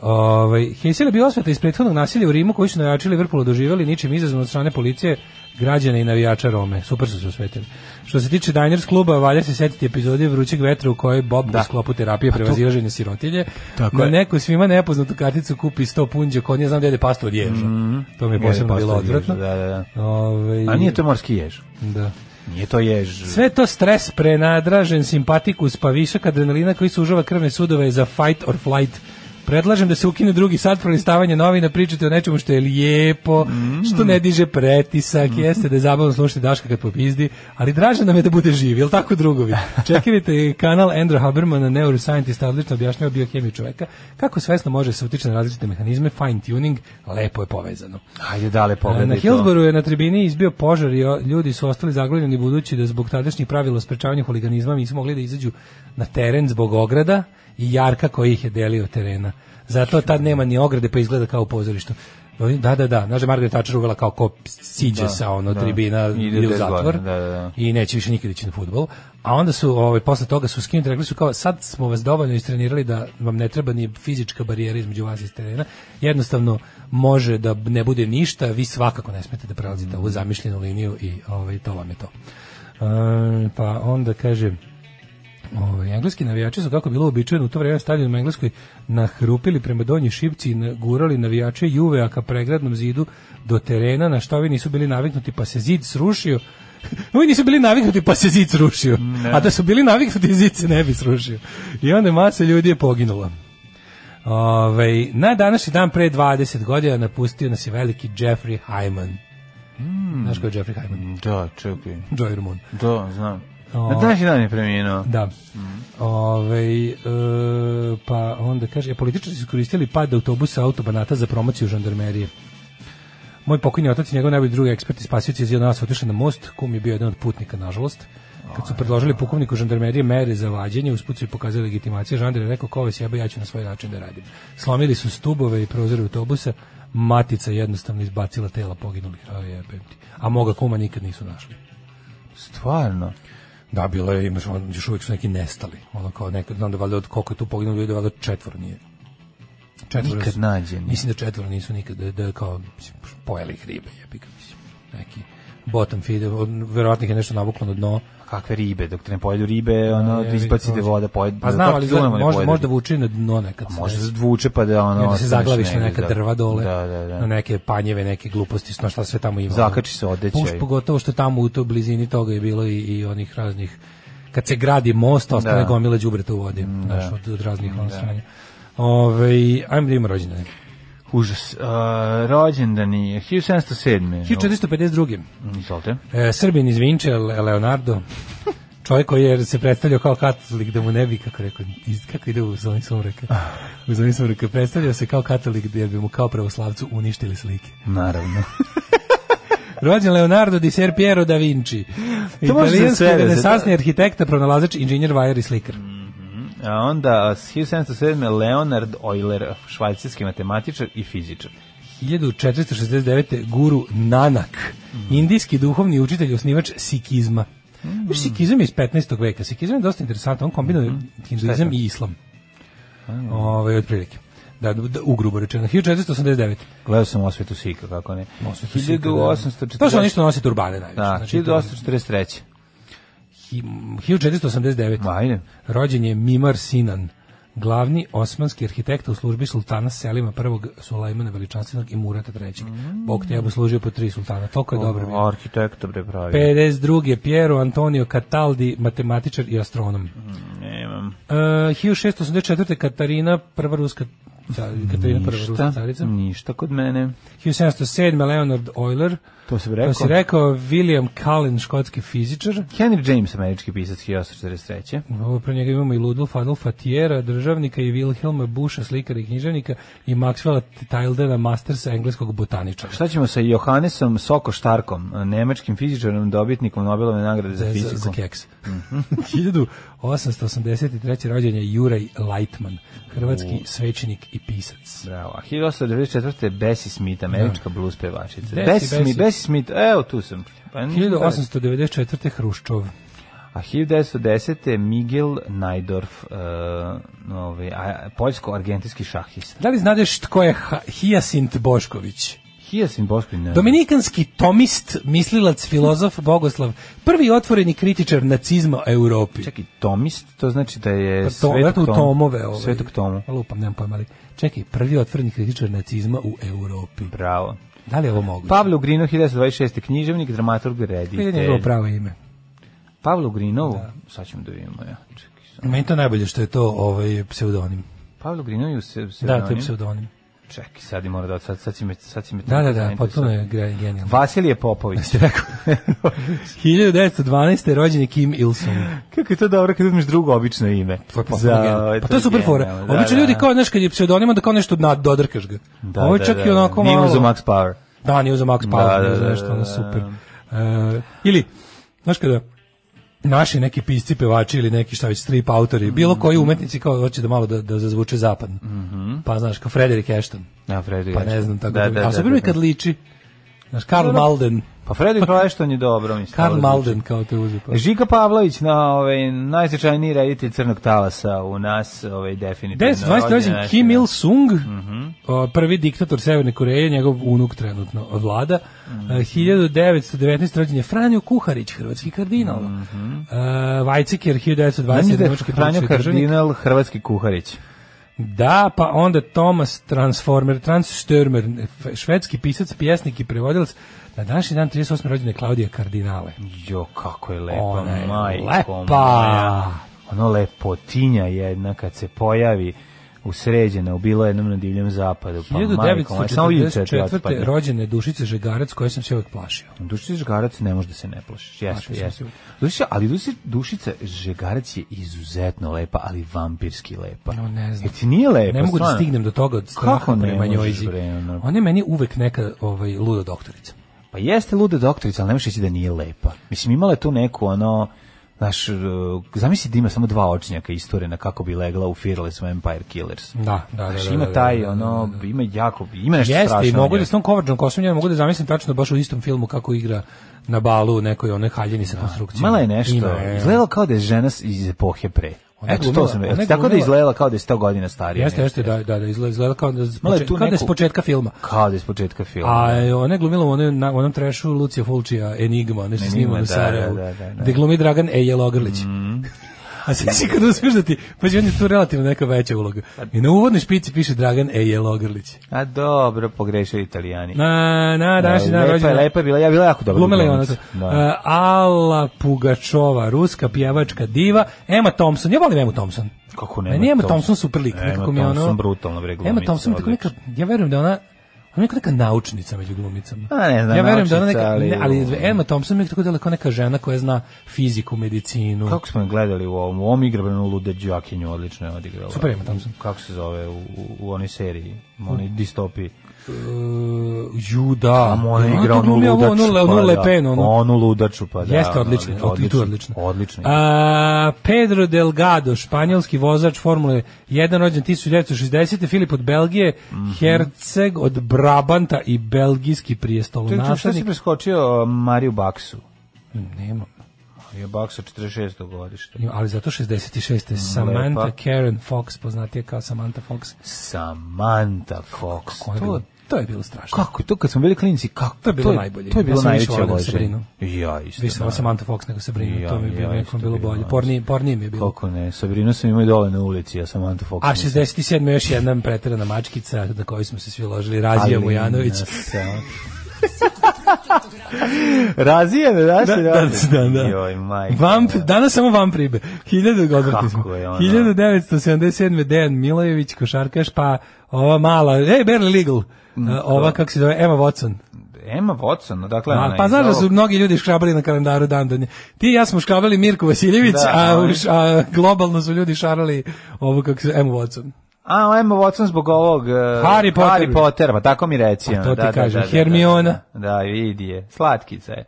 Speaker 6: Ovaj Hesel je bio osveta iz prethodnog nasilja u Rimu koji su navijači Liverpoola doživjeli ničim izazvan od strane policije, građana i navijača Rome. Super su se osvetili. Što se tiče Diners kluba, valja se setiti epizode vrućeg vetra u kojoj Bob u sklopu terapije prevazilaženja sirotilje
Speaker 5: Tako
Speaker 6: na
Speaker 5: je.
Speaker 6: neku svima nepoznatu karticu kupi 100 punđa konja, znam da jede pastu od ježa.
Speaker 5: Mhm.
Speaker 6: To mi je posebno
Speaker 5: Jede
Speaker 6: bilo
Speaker 5: pastu od ježa,
Speaker 6: odvratno.
Speaker 5: da, da,
Speaker 6: Ovaj,
Speaker 5: A nije to morski jež.
Speaker 6: Da.
Speaker 5: Nije to jež.
Speaker 6: Sve to stres, prenadražen, simpatikus, pa višak adrenalina koji sužava krvne sudove za fight or flight. Predlažem da se ukine drugi sat prolistavanja novina, pričate o nečemu što je lijepo, što ne diže pretisak, jeste da je zabavno slušati Daška kad popizdi, ali draže nam je da bude živ, jel tako drugovi? Čekajte kanal Andrew Habermana, neuroscientist, odlično objašnjava biohemiju čoveka, kako svesno može se utiče na različite mehanizme, fine tuning, lepo je povezano.
Speaker 5: Ajde dale pogledaj
Speaker 6: Na
Speaker 5: to.
Speaker 6: Hillsboru je na tribini izbio požar i o, ljudi su ostali zaglavljeni budući da zbog tadašnjih pravila o sprečavanju huliganizma nisu mogli da izađu na teren zbog ograda i jarka koji ih je delio od terena. Zato tad nema ni ograde pa izgleda kao u pozorištu. Oni- Da, da, da. Znaš da je Margaret Thatcher uvela kao ko siđe sa ono
Speaker 5: da.
Speaker 6: tribina
Speaker 5: Ide
Speaker 6: ide u
Speaker 5: bez
Speaker 6: zatvor
Speaker 5: godine, da, da, da.
Speaker 6: i neće više nikad ići na fudbal. A onda su ovaj posle toga su skinuti rekli su kao sad smo vas dovoljno istrenirali da vam ne treba ni fizička barijera između vas i terena. Jednostavno može da ne bude ništa, vi svakako ne smete da prelazite
Speaker 5: Mhm.
Speaker 6: ovu zamišljenu liniju i ovaj to vam je to. E, pa onda kaže Ovaj, engleski navijači su kako je bilo uobičajeno u to vrijeme stadion u Engleskoj nahrupili prema donji šipci i gurali navijače Juve a ka pregradnom zidu do terena na što ovi nisu bili naviknuti pa se zid srušio. Ovi nisu bili naviknuti pa se zid srušio. A da su bili naviknuti zid se ne bi srušio. I onda masa ljudi je poginula. Ovaj, na današnji dan pre 20 godina napustio nas je veliki Jeffrey Hyman. Znaš ko je Jeffrey Hyman?
Speaker 5: Da, čekaj.
Speaker 6: Joy Ramone.
Speaker 5: Da, znam.
Speaker 6: O.
Speaker 5: Na današnji dan je preminuo.
Speaker 6: Da. Ovaj, e, pa onda kaže, e, političari su koristili pad autobusa autobanata za promociju žandarmerije. Moj pokojni otac i njegov najbolji drugi ekspert i spasioci iz jednog nas otišli na most, kum je bio jedan od putnika, nažalost. Kad su predložili pukovniku žandarmerije mere za vađenje, usput su i pokazali legitimacije, žandar je rekao, ko vas jebe, ja ću na svoj način da radim. Slomili su stubove i prozore autobusa, matica je jednostavno izbacila tela poginulih, a, jebem ti. a moga kuma nikad nisu našli.
Speaker 5: Stvarno.
Speaker 6: Da, bilo je, imaš, on, još uvijek su neki nestali. Ono kao neko, znam da valjda od koliko je tu poginulo ljudi, valjda četvoro nije. Četvoro
Speaker 5: Nikad
Speaker 6: su-
Speaker 5: nađeni.
Speaker 6: Mislim da četvoro nisu nikad, da, da je kao, mislim, pojeli ih ribe, jebi ga, mislim, neki bottom feeder, on- verovatno ih je nešto navuklo na dno.
Speaker 5: Kakve ribe, dok te ne pojedu ribe, ono,
Speaker 6: Jebi,
Speaker 5: izbacite
Speaker 6: prođe.
Speaker 5: voda, pojedu.
Speaker 6: Pa znam, ali izgleda, možda, možda
Speaker 5: vuče.
Speaker 6: vuče na dno nekad.
Speaker 5: Možda se vuče pa da ono...
Speaker 6: I onda se
Speaker 5: ostaneš
Speaker 6: zaglaviš na
Speaker 5: negde,
Speaker 6: neka
Speaker 5: da.
Speaker 6: drva dole, Hm.
Speaker 5: Da, da, da.
Speaker 6: na neke panjeve, neke gluposti, na šta sve tamo ima.
Speaker 5: Zakači se odeća
Speaker 6: Puš,
Speaker 5: i-
Speaker 6: pogotovo što tamo u toj blizini toga je bilo i, i onih raznih, kad se gradi most, ostane
Speaker 5: Da. Mm,
Speaker 6: gomila đubreta u vodi, znaš, od, od raznih ono stranja. Ovaj, ajmo da ima rođendane.
Speaker 5: Užas. Uh, rođendan je 1707.
Speaker 6: 1452.
Speaker 5: No, Izvolite.
Speaker 6: E, Srbin iz Vinče, Le- Leonardo, čovjek koji je se predstavljao kao katolik da mu ne bi, kako rekao, iz, kako ide u zoni sumraka, u zoni sumraka, predstavljao se kao katolik jer bi mu kao pravoslavcu uništili slike.
Speaker 5: Naravno.
Speaker 6: Rođen Leonardo di Ser Piero da Vinci.
Speaker 5: To može za
Speaker 6: Italijanski
Speaker 5: sve da se-
Speaker 6: renesansni arhitekta, pronalazač, inženjer, vajar i slikar.
Speaker 5: A onda, uh, 1707. Leonard Euler, švajcarski matematičar i fizičar.
Speaker 6: 1469. guru Nanak, indijski duhovni učitelj i osnivač sikizma.
Speaker 5: Mm.
Speaker 6: Znaš, Sikizam je iz 15. veka.
Speaker 5: Mm-hmm.
Speaker 6: Sikizam je dosta interesantan, on kombinuje hinduizam i islam. Ove, Ovaj, otprilike. Da, da ugrubo rečeno. 1489.
Speaker 5: Gledao sam Osvetu Sika, kako ne.
Speaker 6: Osvetu Sika, da.
Speaker 5: 1840.
Speaker 6: To su oni što nose turbane najviše.
Speaker 5: Da,
Speaker 6: znači, to je
Speaker 5: 1843.
Speaker 6: hi- 1489.
Speaker 5: Ma, ajde.
Speaker 6: Rođen je Mimar Sinan, glavni osmanski arhitekta u službi sultana Selima I, Sulejmana Veličanstvenog i Murata III.
Speaker 5: Mm.
Speaker 6: Bog te je služio po tri sultana. Toliko je dobro bio.
Speaker 5: Arhitekta bre pravi.
Speaker 6: 52. je Piero Antonio Cataldi, matematičar i astronom.
Speaker 5: Mhm. Nemam.
Speaker 6: Uh, 1684. Katarina, prva ruska ca- Katarina prva ruska
Speaker 5: Ništa, Mm.
Speaker 6: carica.
Speaker 5: ništa kod mene.
Speaker 6: 1707. Leonard Euler.
Speaker 5: To sam rekao.
Speaker 6: To si rekao William Cullen, škotski fizičar.
Speaker 5: Henry James, američki pisac 1843.
Speaker 6: Ovo pre Ono, njega imamo i Ludolf Adolfa Tijera, državnika i Wilhelma Busha, slikara i književnika i Maxwella Tildena, mastersa engleskog botaničara.
Speaker 5: Šta ćemo sa Johannesom Soko Štarkom, nemačkim fizičarom, dobitnikom Nobelove nagrade za
Speaker 6: za,
Speaker 5: fiziku?
Speaker 6: za keks. 1883. rođen je Juraj Lightman, hrvatski svećenik i pisac.
Speaker 5: Bravo. A 1894. Bessie Smith, američka blues pevačica.
Speaker 6: Bessie,
Speaker 5: Bessie, Bessie. Smith,
Speaker 6: Bessie.
Speaker 5: Bessie Smith, evo tu sam. Pa nisam
Speaker 6: 1894. Hruščov.
Speaker 5: A 1910. Miguel Najdorf, uh, ovaj, a- poljsko-argentinski šahista.
Speaker 6: Da li znadeš tko je Ha- Hijasint Bošković?
Speaker 5: Hijasin Bošković, ne.
Speaker 6: Dominikanski tomist, mislilac, filozof, bogoslav, prvi otvoreni kritičar nacizma u Europi.
Speaker 5: Čekaj, tomist, to znači da je
Speaker 6: Pa to,
Speaker 5: svetog
Speaker 6: verovatno u
Speaker 5: Tomu-
Speaker 6: tomove. Ovaj.
Speaker 5: Svetog tomu.
Speaker 6: Lupam, nemam pojma, ali čekaj, prvi otvoreni kritičar nacizma u Europi.
Speaker 5: Bravo.
Speaker 6: Da li je ovo moguće?
Speaker 5: Pavle Ugrino, 1926. književnik, dramaturg,
Speaker 6: Ili je njegovo
Speaker 5: reditelj.
Speaker 6: pravo ime.
Speaker 5: Pavle Ugrinovu, sad ćemo da vidimo ja. Čekaj, samo.
Speaker 6: Meni je to najbolje što je to ovaj pseudonim.
Speaker 5: Pavle Ugrinovu se, se
Speaker 6: Da, to je pseudonim.
Speaker 5: Čekaj, sad i mora da, sad, sad si me, sad si me...
Speaker 6: Da, da, da, potpuno je gre- genijalno.
Speaker 5: Vasilije Popović.
Speaker 6: 1912. rođen je Kim Il-sung.
Speaker 5: Kako je to dobro kad uzmeš drugo obično ime?
Speaker 6: To je potpuno genijalno. Pa to je super fora.
Speaker 5: genijalno, da,
Speaker 6: Obično
Speaker 5: da.
Speaker 6: ljudi kao, znaš, kad je pseudonima da kao nešto nad, dodrkaš ga.
Speaker 5: Da,
Speaker 6: Ovo je
Speaker 5: da,
Speaker 6: čak
Speaker 5: da,
Speaker 6: i onako
Speaker 5: Nije
Speaker 6: malo...
Speaker 5: uzeo Max Power.
Speaker 6: Da, nije uzeo Max
Speaker 5: Da,
Speaker 6: Power,
Speaker 5: da,
Speaker 6: ne
Speaker 5: da,
Speaker 6: znaš što,
Speaker 5: da,
Speaker 6: ono
Speaker 5: da.
Speaker 6: super. E, ili, znaš kada, naši neki pisci, pevači ili neki šta već strip autori, bilo koji umetnici kao hoće da malo da, da zazvuče zapadno. Pa znaš, kao Frederick Ashton,
Speaker 5: Ja, Frederick.
Speaker 6: pa ne znam tako. Da, A super mi je kad liči, znaš, Karl Malden,
Speaker 5: Pa Frederick Ashton je dobro, mislim.
Speaker 6: Karl
Speaker 5: dobro
Speaker 6: Malden kao te pa. uzeo.
Speaker 5: zvuči. Žika Pavlović, na ovaj, najsjećajniji reditelj Crnog talasa u nas, ovaj, definitivno.
Speaker 6: 1928.
Speaker 5: rođen,
Speaker 6: Kim
Speaker 5: znači,
Speaker 6: Il-sung,
Speaker 5: Mhm.
Speaker 6: o, prvi diktator Severne Koreje, njegov unuk trenutno vlada.
Speaker 5: Mhm.
Speaker 6: E, 1919. rođen je Franjo Kuharić, hrvatski kardinal. Mm Vajcikir,
Speaker 5: da. Znaš
Speaker 6: 1920.
Speaker 5: da je
Speaker 6: nemački
Speaker 5: Mhm. Franjo
Speaker 6: politički državnik.
Speaker 5: Kardinal, Hrvatski kuharić.
Speaker 6: Da, pa onda Thomas Transformer, Transstürmer, f- švedski pisac, pjesnik i prevodilac. Na današnji dan 38. rođen je Klaudija Kardinale.
Speaker 5: Jo, kako je lepa,
Speaker 6: Ona je
Speaker 5: majko
Speaker 6: lepa.
Speaker 5: moja. Ono lepotinja jedna kad se pojavi usređena, u bilo jednom na divljem zapadu. Pa, majko moja, samo juče ti
Speaker 6: 1944.
Speaker 5: otpadne.
Speaker 6: rođen je Dušica Žegarac, koje sam se uvek plašio.
Speaker 5: Dušica Žegarac ne može da se ne plašiš. Jeste,
Speaker 6: Plašim se
Speaker 5: jeste.
Speaker 6: sigurno.
Speaker 5: Dušica, ali Dušica, Dušica Žegarac je izuzetno lepa, ali vampirski lepa.
Speaker 6: No, ne znam.
Speaker 5: Jer ti nije lepa,
Speaker 6: ne mogu da
Speaker 5: E, pa stvarno?
Speaker 6: stignem do toga od straha
Speaker 5: Kako ne
Speaker 6: prema njoj.
Speaker 5: možeš, bre, ono?
Speaker 6: Ona je meni uvek neka ovaj, luda doktorica.
Speaker 5: Pa jeste luda doktorica, ali ne možeš reći da nije lepa. Mislim, imala je tu neku, ono, znaš, uh, zamisli da ima samo dva očnjaka isturena kako bi legla u Fearless Vampire Killers.
Speaker 6: Da, da, da.
Speaker 5: Znaš,
Speaker 6: da, da,
Speaker 5: ima
Speaker 6: da,
Speaker 5: taj,
Speaker 6: da, da,
Speaker 5: ono,
Speaker 6: da, da.
Speaker 5: ima jako, ima nešto strašno.
Speaker 6: Jeste, i mogu
Speaker 5: u
Speaker 6: da
Speaker 5: njoj.
Speaker 6: s tom Kovačom Kosom, ja mogu da zamislim tačno baš u istom filmu kako igra na balu u nekoj onoj haljini sa konstrukcijom.
Speaker 5: Mala je nešto,
Speaker 6: Ima, e.
Speaker 5: izgledala kao da je žena s- iz epohe pre.
Speaker 6: Ona je
Speaker 5: Eto, to
Speaker 6: glumila-
Speaker 5: sam,
Speaker 6: ona je
Speaker 5: tako da je
Speaker 6: glumila-
Speaker 5: izgledala kao da je 100 godina starija.
Speaker 6: Jeste,
Speaker 5: nešto.
Speaker 6: jeste, da, da, da, izgleda, izgleda kao da, s
Speaker 5: Mala je
Speaker 6: početka,
Speaker 5: tu
Speaker 6: kao da je s
Speaker 5: neku-
Speaker 6: početka filma.
Speaker 5: Kao Pa, da je s početka filma.
Speaker 6: A e, ona je glumila u onom, na, onom trešu Lucija Fulčija, Enigma, nešto
Speaker 5: Enigma,
Speaker 6: snimano u
Speaker 5: da,
Speaker 6: Sarajevu,
Speaker 5: da, da, da, Mhm. da.
Speaker 6: gde glumi Dragan Eje Logrlić. A sve si kad uspeš da ti, pa on je tu relativno neka veća uloga.
Speaker 5: Pa-
Speaker 6: I na uvodnoj špici piše Dragan Eje Logrlić.
Speaker 5: A dobro, pogrešio italijani. E,
Speaker 6: Na, na, današnji dan
Speaker 5: lepa, je,
Speaker 6: rođena.
Speaker 5: lepa je bila, ja bila jako dobra.
Speaker 6: Glumila je ona
Speaker 5: glumica.
Speaker 6: to.
Speaker 5: Da.
Speaker 6: E, Ala Pugačova, ruska pjevačka diva, Emma Thompson, ja volim Emma Thompson.
Speaker 5: Kako ne?
Speaker 6: Meni je Emma Thompson super lik,
Speaker 5: Emma
Speaker 6: nekako mi je ono...
Speaker 5: Thompson brutalno, bre,
Speaker 6: Emma
Speaker 5: glumica,
Speaker 6: Thompson, tako neka,
Speaker 5: odlično.
Speaker 6: ja verujem da ona, ona je neka, neka naučnica među glumicama.
Speaker 5: A, ne znam,
Speaker 6: ja verujem da ona neka,
Speaker 5: naučnica, ali-
Speaker 6: ne, ali Emma Thompson mi je tako dela kao neka žena koja zna fiziku, medicinu.
Speaker 5: Kako smo je gledali u ovom, u ovom igrabranu Lude Đakinju, odlično je odigrala.
Speaker 6: Super Emma Thompson.
Speaker 5: Kako se zove u, u, u onoj seriji, u onoj distopiji.
Speaker 6: Uh, ju, da.
Speaker 5: Tamo ona
Speaker 6: Pa, Ona
Speaker 5: igra
Speaker 6: tu
Speaker 5: onu
Speaker 6: glumi ono,
Speaker 5: ludaču.
Speaker 6: ovu, onu,
Speaker 5: pa
Speaker 6: onu
Speaker 5: da.
Speaker 6: Le Pen, onu.
Speaker 5: Onu ludaču, pa da.
Speaker 6: Jeste
Speaker 5: ono,
Speaker 6: odlično, odlično, i tu je odlično.
Speaker 5: Odlično. je.
Speaker 6: A, Pedro Delgado, španjolski vozač Formule 1, rođen 1960. Filip od Belgije,
Speaker 5: Mhm.
Speaker 6: Herceg od Brabanta i belgijski
Speaker 5: Čekaj, čekaj, šta si
Speaker 6: prijestolonaslednik.
Speaker 5: preskočio uh, Mariju Baksu?
Speaker 6: Nema.
Speaker 5: Je Baksa 46. godište.
Speaker 6: Ali zato 66. Samantha Karen Fox, poznatija kao Samantha Fox.
Speaker 5: Samantha Fox.
Speaker 6: Ona je bila- to je bilo strašno.
Speaker 5: Kako to kad smo bili klinci, kako
Speaker 6: To je bilo najbolje.
Speaker 5: To je
Speaker 6: Ja
Speaker 5: bilo
Speaker 6: sam više
Speaker 5: najveće
Speaker 6: voleo
Speaker 5: loženje.
Speaker 6: Sabrinu.
Speaker 5: Ja isto.
Speaker 6: Više sam
Speaker 5: da.
Speaker 6: Samantha Fox nego Sabrina,
Speaker 5: Ja,
Speaker 6: to mi je bilo
Speaker 5: ja,
Speaker 6: nekom
Speaker 5: isto
Speaker 6: bilo
Speaker 5: bilo,
Speaker 6: bolje.
Speaker 5: ja.
Speaker 6: Pornije, pornije mi je bilo.
Speaker 5: Koliko ne, Sabrinu sam imao i dole na ulici, a Samantha Fox.
Speaker 6: A 67. još jedna preterana mačkica na koju smo se svi ložili, Razija Vujanović.
Speaker 5: ono. Razija, da, da,
Speaker 6: da, da, da.
Speaker 5: Joj, majko.
Speaker 6: Vamp, danas samo vamp ribe. 1000
Speaker 5: Kako
Speaker 6: odvrti smo.
Speaker 5: je ona?
Speaker 6: 1977. Dejan Milojević, košarkaš, pa ova mala, ej, Barely Legal,
Speaker 5: Mm,
Speaker 6: a, ova kako se zove, Emma Watson.
Speaker 5: Emma Watson, dakle.
Speaker 6: A,
Speaker 5: ona
Speaker 6: pa
Speaker 5: iz
Speaker 6: znaš da su
Speaker 5: ovog-
Speaker 6: mnogi ljudi škrabali na kalendaru dan do nje. Ti i ja smo škrabali Mirko Vasiljević,
Speaker 5: Da,
Speaker 6: a,
Speaker 5: ali-
Speaker 6: uš- a globalno su ljudi šarali ovu kako se Emma Watson.
Speaker 5: A, Emma Watson zbog ovog... eh,
Speaker 6: Harry Potter.
Speaker 5: Harry Potter, pa tako mi reci.
Speaker 6: Pa
Speaker 5: ono,
Speaker 6: to ti
Speaker 5: da, da,
Speaker 6: kažem,
Speaker 5: da, da, da.
Speaker 6: Hermiona.
Speaker 5: Da, vidi je, slatkica je.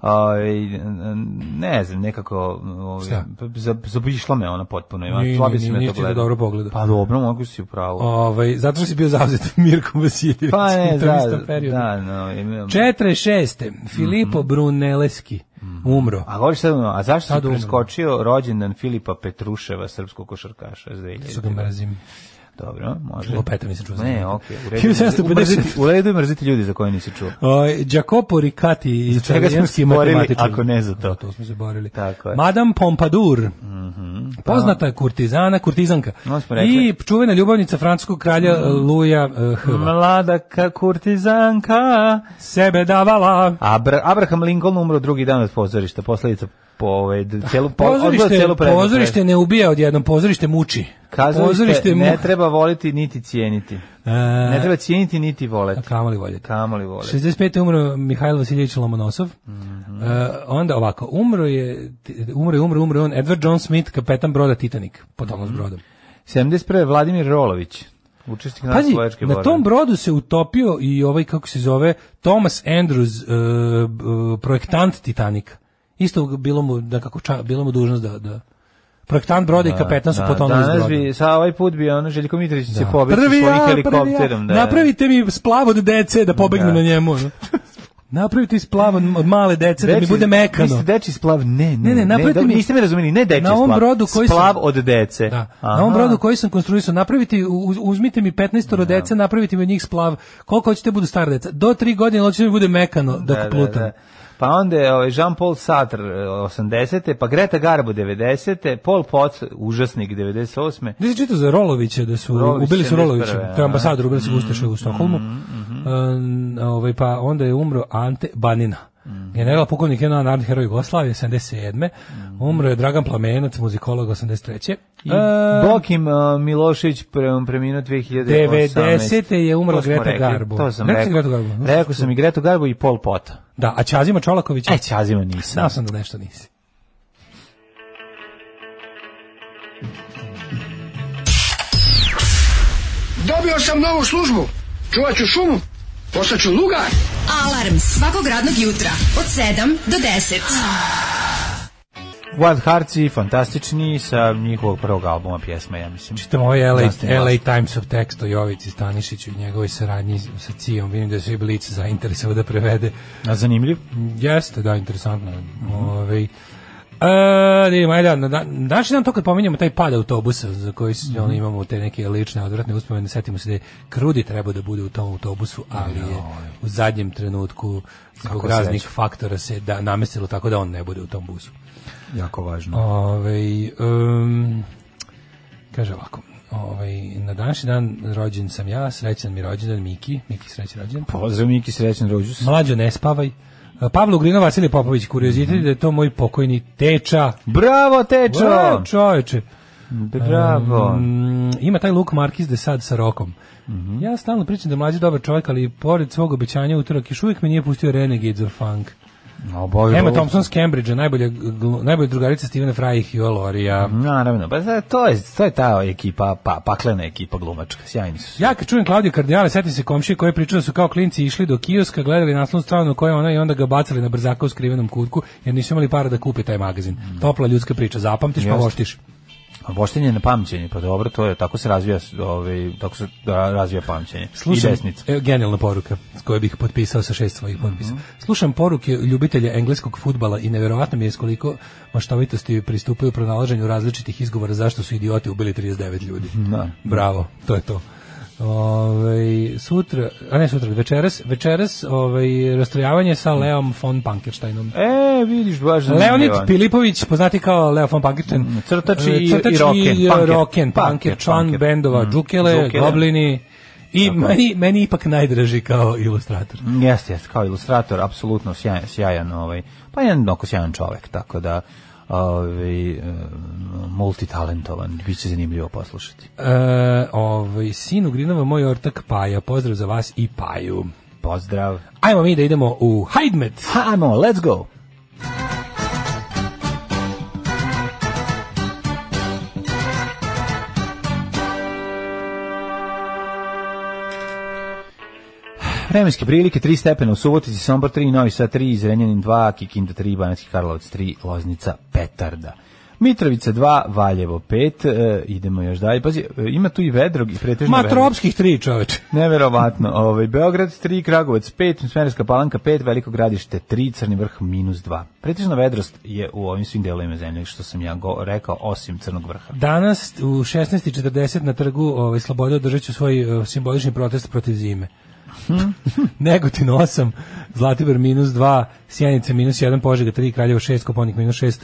Speaker 5: Ovaj, n- ne znam, nekako ovaj,
Speaker 6: Šta?
Speaker 5: za- zaobišla me ona potpuno.
Speaker 6: Ni,
Speaker 5: Ima,
Speaker 6: ni,
Speaker 5: slabije
Speaker 6: ni,
Speaker 5: sam ja to
Speaker 6: nisi ti
Speaker 5: gledao.
Speaker 6: dobro pogledao.
Speaker 5: Pa dobro, mogu si upravo.
Speaker 6: Ovaj, zato što si bio zauzet Mirko Vasiljević
Speaker 5: pa
Speaker 6: u
Speaker 5: ne,
Speaker 6: tom
Speaker 5: da,
Speaker 6: istom periodu.
Speaker 5: da, no, imam.
Speaker 6: 46. Filipo Brunelleschi umro.
Speaker 5: Mhm. A govoriš sad, ono, a zašto
Speaker 6: Sad
Speaker 5: si
Speaker 6: umrem.
Speaker 5: preskočio rođendan Filipa Petruševa, srpskog košarkaša iz
Speaker 6: Su ga
Speaker 5: 2000?
Speaker 6: mrzim.
Speaker 5: Dobro, može.
Speaker 6: Lopeta nisam čuo za
Speaker 5: Ne,
Speaker 6: njega.
Speaker 5: okej. u redu.
Speaker 6: 1750.
Speaker 5: U redu je mrziti ljudi za koje nisi čuo.
Speaker 6: Oj, Jacopo
Speaker 5: čega
Speaker 6: Ricati,
Speaker 5: smo se
Speaker 6: italijanski
Speaker 5: borili,
Speaker 6: matematičar.
Speaker 5: ako ne za to?
Speaker 6: Da, to smo se borili.
Speaker 5: Tako je. Mhm.
Speaker 6: Madame Pompadour, poznata je kurtizana, kurtizanka.
Speaker 5: No, smo rekli. Mm.
Speaker 6: I čuvena ljubavnica francuskog kralja Luja eh, Hva.
Speaker 5: Mlada ka- kurtizanka.
Speaker 6: Sebe davala.
Speaker 5: Abra, Abraham Lincoln umro drugi dan od pozorišta, posledica po ovaj d- celu po, odbio
Speaker 6: Pozorište,
Speaker 5: celu prednost.
Speaker 6: pozorište ne ubija odjednom, pozorište muči.
Speaker 5: Kazalište
Speaker 6: mu-
Speaker 5: ne treba voliti niti cijeniti.
Speaker 6: E, Dakle,
Speaker 5: Ne treba cijeniti niti
Speaker 6: a
Speaker 5: voleti.
Speaker 6: kamoli voljeti.
Speaker 5: Kamoli voleti.
Speaker 6: 65. umro Mihajlo Vasiljević Lomonosov.
Speaker 5: Mhm.
Speaker 6: E, onda ovako, umro je, ti- umro je, umro, umro je on Edward John Smith, kapetan broda Titanic, potonuo s
Speaker 5: Mhm.
Speaker 6: brodom.
Speaker 5: 71. Vladimir Rolović, učestnik na
Speaker 6: Pazi,
Speaker 5: slovačke
Speaker 6: na tom brodu se utopio i ovaj, kako se zove, Thomas Andrews, e, b- e, projektant Titanika. Isto bilo mu, da kako, ča- bilo mu dužnost da, da Projektant broda i kapetan su potonuli s
Speaker 5: Danas
Speaker 6: broda.
Speaker 5: bi, sa ovaj put bi ono, Željko Mitrović se
Speaker 6: Da.
Speaker 5: pobeći
Speaker 6: Prvi
Speaker 5: svojim
Speaker 6: ja, prvi
Speaker 5: helikopterom.
Speaker 6: ja.
Speaker 5: da.
Speaker 6: Napravite mi splav od dece da pobegnu na njemu. ono. Napravite splav od od male dece da mi
Speaker 5: Deči-
Speaker 6: bude mekano.
Speaker 5: Niste deči splav, ne, ne,
Speaker 6: Ne, ne, napravite
Speaker 5: dobro,
Speaker 6: mi-
Speaker 5: Niste me razumeli, ne deči
Speaker 6: Na ovom
Speaker 5: splav,
Speaker 6: brodu koji sam-
Speaker 5: splav od dece.
Speaker 6: Da.
Speaker 5: Aha.
Speaker 6: Na ovom brodu koji sam konstruisao, napravite, uz- uzmite mi 15 dece, napravite mi od njih splav. Koliko hoćete budu stara deca? Do 3 godine hoće mi bude mekano dok
Speaker 5: Da, da,
Speaker 6: plutam.
Speaker 5: da. Pa onda je ovaj, Jean-Paul Sartre eh, 80. pa Greta Garbo 90. Paul Potts, užasnik 98.
Speaker 6: Gde si čitao za Rolovića da su
Speaker 5: Rolović
Speaker 6: ubili su
Speaker 5: 71.,
Speaker 6: Rolovića, to
Speaker 5: a?
Speaker 6: je ambasador, ubili su
Speaker 5: Mm-hmm,
Speaker 6: mm, u Stokholmu. Um, ovaj pa onda je umro Ante Banina.
Speaker 5: Mm-hmm.
Speaker 6: General pukovnik je narodni heroj Jugoslavije 77. Umro je Dragan Plamenac, muzikolog 83.
Speaker 5: Mm-hmm. I
Speaker 6: E,
Speaker 5: Bokim eh, Milošević pre- preminuo 2018.
Speaker 6: 90. je umrla
Speaker 5: To smo
Speaker 6: Greta
Speaker 5: rekli,
Speaker 6: Garbo.
Speaker 5: To sam
Speaker 6: Rekao sam
Speaker 5: rekao.
Speaker 6: Gretu Garbo.
Speaker 5: Rekao sam i Gretu Garbo i Paul Pota.
Speaker 6: da, a Ćazima Čolakovića?
Speaker 5: E, Ćazima nisam.
Speaker 6: Znao sam da nešto nisi.
Speaker 8: Dobio sam novu službu. Čuvat ću šumu. Postaću lugar.
Speaker 1: Alarm svakog radnog jutra od 7 do 10.
Speaker 5: Wild Hearts i fantastični sa njihovog prvog albuma pjesma, ja mislim.
Speaker 6: Čitam ovaj LA,
Speaker 5: Justin
Speaker 6: LA Times of Text o Jovici Stanišiću i njegovoj saradnji sa Cijom. Vidim da su i Blic zainteresovao da prevede.
Speaker 5: A zanimljiv?
Speaker 6: Jeste, da, interesantno. je. Ovaj E, da vidimo, ajde, da, na, da, danas je dan to kad pominjemo taj pad autobusa za koji s- ono, imamo te neke lične odvratne uspomene, setimo se da je Krudi trebao da bude u tom autobusu, ali je u zadnjem trenutku zbog
Speaker 5: Kako
Speaker 6: raznih
Speaker 5: sreća.
Speaker 6: faktora se da namestilo tako da on ne bude u tom busu.
Speaker 5: Jako važno.
Speaker 6: Ovaj em, kaže ovako, ovaj na današnji dan rođen sam ja, srećan mi rođendan Miki, Miki srećan rođendan.
Speaker 5: Pozdrav Miki, srećan rođus.
Speaker 6: Mlađo, ne spavaj. Pavlo Grino, Vasilije Popović, kuriozitet da je to moj pokojni teča.
Speaker 5: Bravo, Tečo!
Speaker 6: E, čoveče.
Speaker 5: Bravo.
Speaker 6: Mm, ima taj Luk Markiz de sad sa rokom.
Speaker 5: Mhm.
Speaker 6: Ja stalno pričam da je mlađi dobar čovjek, ali pored svog obećanja utorak još uvijek me nije pustio Renegades of Funk.
Speaker 5: Obavio
Speaker 6: Emma
Speaker 5: ovo.
Speaker 6: Thompson s Cambridge, najbolja, glu- najbolja drugarica Stevena Fraja i Hugh Lorija.
Speaker 5: Naravno, pa za- to je, to je ta ekipa, pa, paklena ekipa glumačka, sjajni su.
Speaker 6: Ja kad čujem Klaudiju Kardinale, setim se komšije koji pričaju da su kao klinci išli do kioska, gledali naslovnu stranu na kojoj je ona i onda ga bacali na brzaka u skrivenom kutku, jer nisu imali para da kupe taj magazin. Topla ljudska priča, zapamtiš pa
Speaker 5: Jeste.
Speaker 6: voštiš.
Speaker 5: A voštenje na pamćenje, pa dobro, to je tako se razvija, ovaj tako se ra- razvija pamćenje. I
Speaker 6: Slušam,
Speaker 5: desnica. Mhm.
Speaker 6: evo, genijalna poruka s koju bih potpisao sa šest svojih potpisa. Slušam poruke ljubitelja engleskog futbala i nevjerovatno mi je s koliko maštovitosti pristupaju pronalaženju različitih izgovora zašto su idioti ubili 39 ljudi.
Speaker 5: Da.
Speaker 6: Bravo, to je to. Ovaj sutra, a ne sutra, večeras, večeras ovaj, rastrojavanje sa Leom von Pankersteinom.
Speaker 5: E, vidiš, baš
Speaker 6: Leonid
Speaker 5: zanimljivo.
Speaker 6: Pilipović, poznati kao Leo von Pankerten.
Speaker 5: Mm, crtač i-
Speaker 6: E,
Speaker 5: i roken,
Speaker 6: i
Speaker 5: punker.
Speaker 6: roken, punker,
Speaker 5: Punker,
Speaker 6: član
Speaker 5: punker.
Speaker 6: bendova
Speaker 5: Mm.
Speaker 6: Džukele,
Speaker 5: Džukele.
Speaker 6: Goblini. I meni, meni ipak najdraži kao ilustrator.
Speaker 5: Jeste, jeste, kao ilustrator, apsolutno sjajan, sjajan ovaj, pa jedan mnogo sjajan čovek, tako da ovaj, e, multitalentovan, bit će zanimljivo poslušati.
Speaker 6: E, ovaj, sin Ugrinova, moj ortak Paja. Pozdrav za vas i Paju.
Speaker 5: Pozdrav.
Speaker 6: Ajmo mi da idemo u Hajdmet.
Speaker 5: Hajmo, let's go! Vremenske prilike 3 stepena u Subotici, Sombor 3, Novi Sad 3, Zrenjanin 2, Kikinda 3, Banatski Karlovac 3, Loznica Petarda. Mitrovica 2, Valjevo 5, e, idemo još dalje. Pazi, e, ima tu i vedrog i pretežno
Speaker 6: Ma
Speaker 5: vedrog.
Speaker 6: tropskih tri čoveče.
Speaker 5: Neverovatno. Ovaj Beograd 3, Kragujevac 5, Smederevska Palanka 5, Veliko Gradište 3, Crni vrh minus 2. Pretežna vedrost je u ovim svim delovima zemlje što sam ja go rekao osim Crnog vrha.
Speaker 6: Danas u 16.40 na trgu ovaj, Slobode održat ću svoj eh, simbolični protest protiv zime. Negotin 8, Zlatibor minus 2, Sjenica minus 1, Požega 3, Kraljevo 6, Koponik minus 6,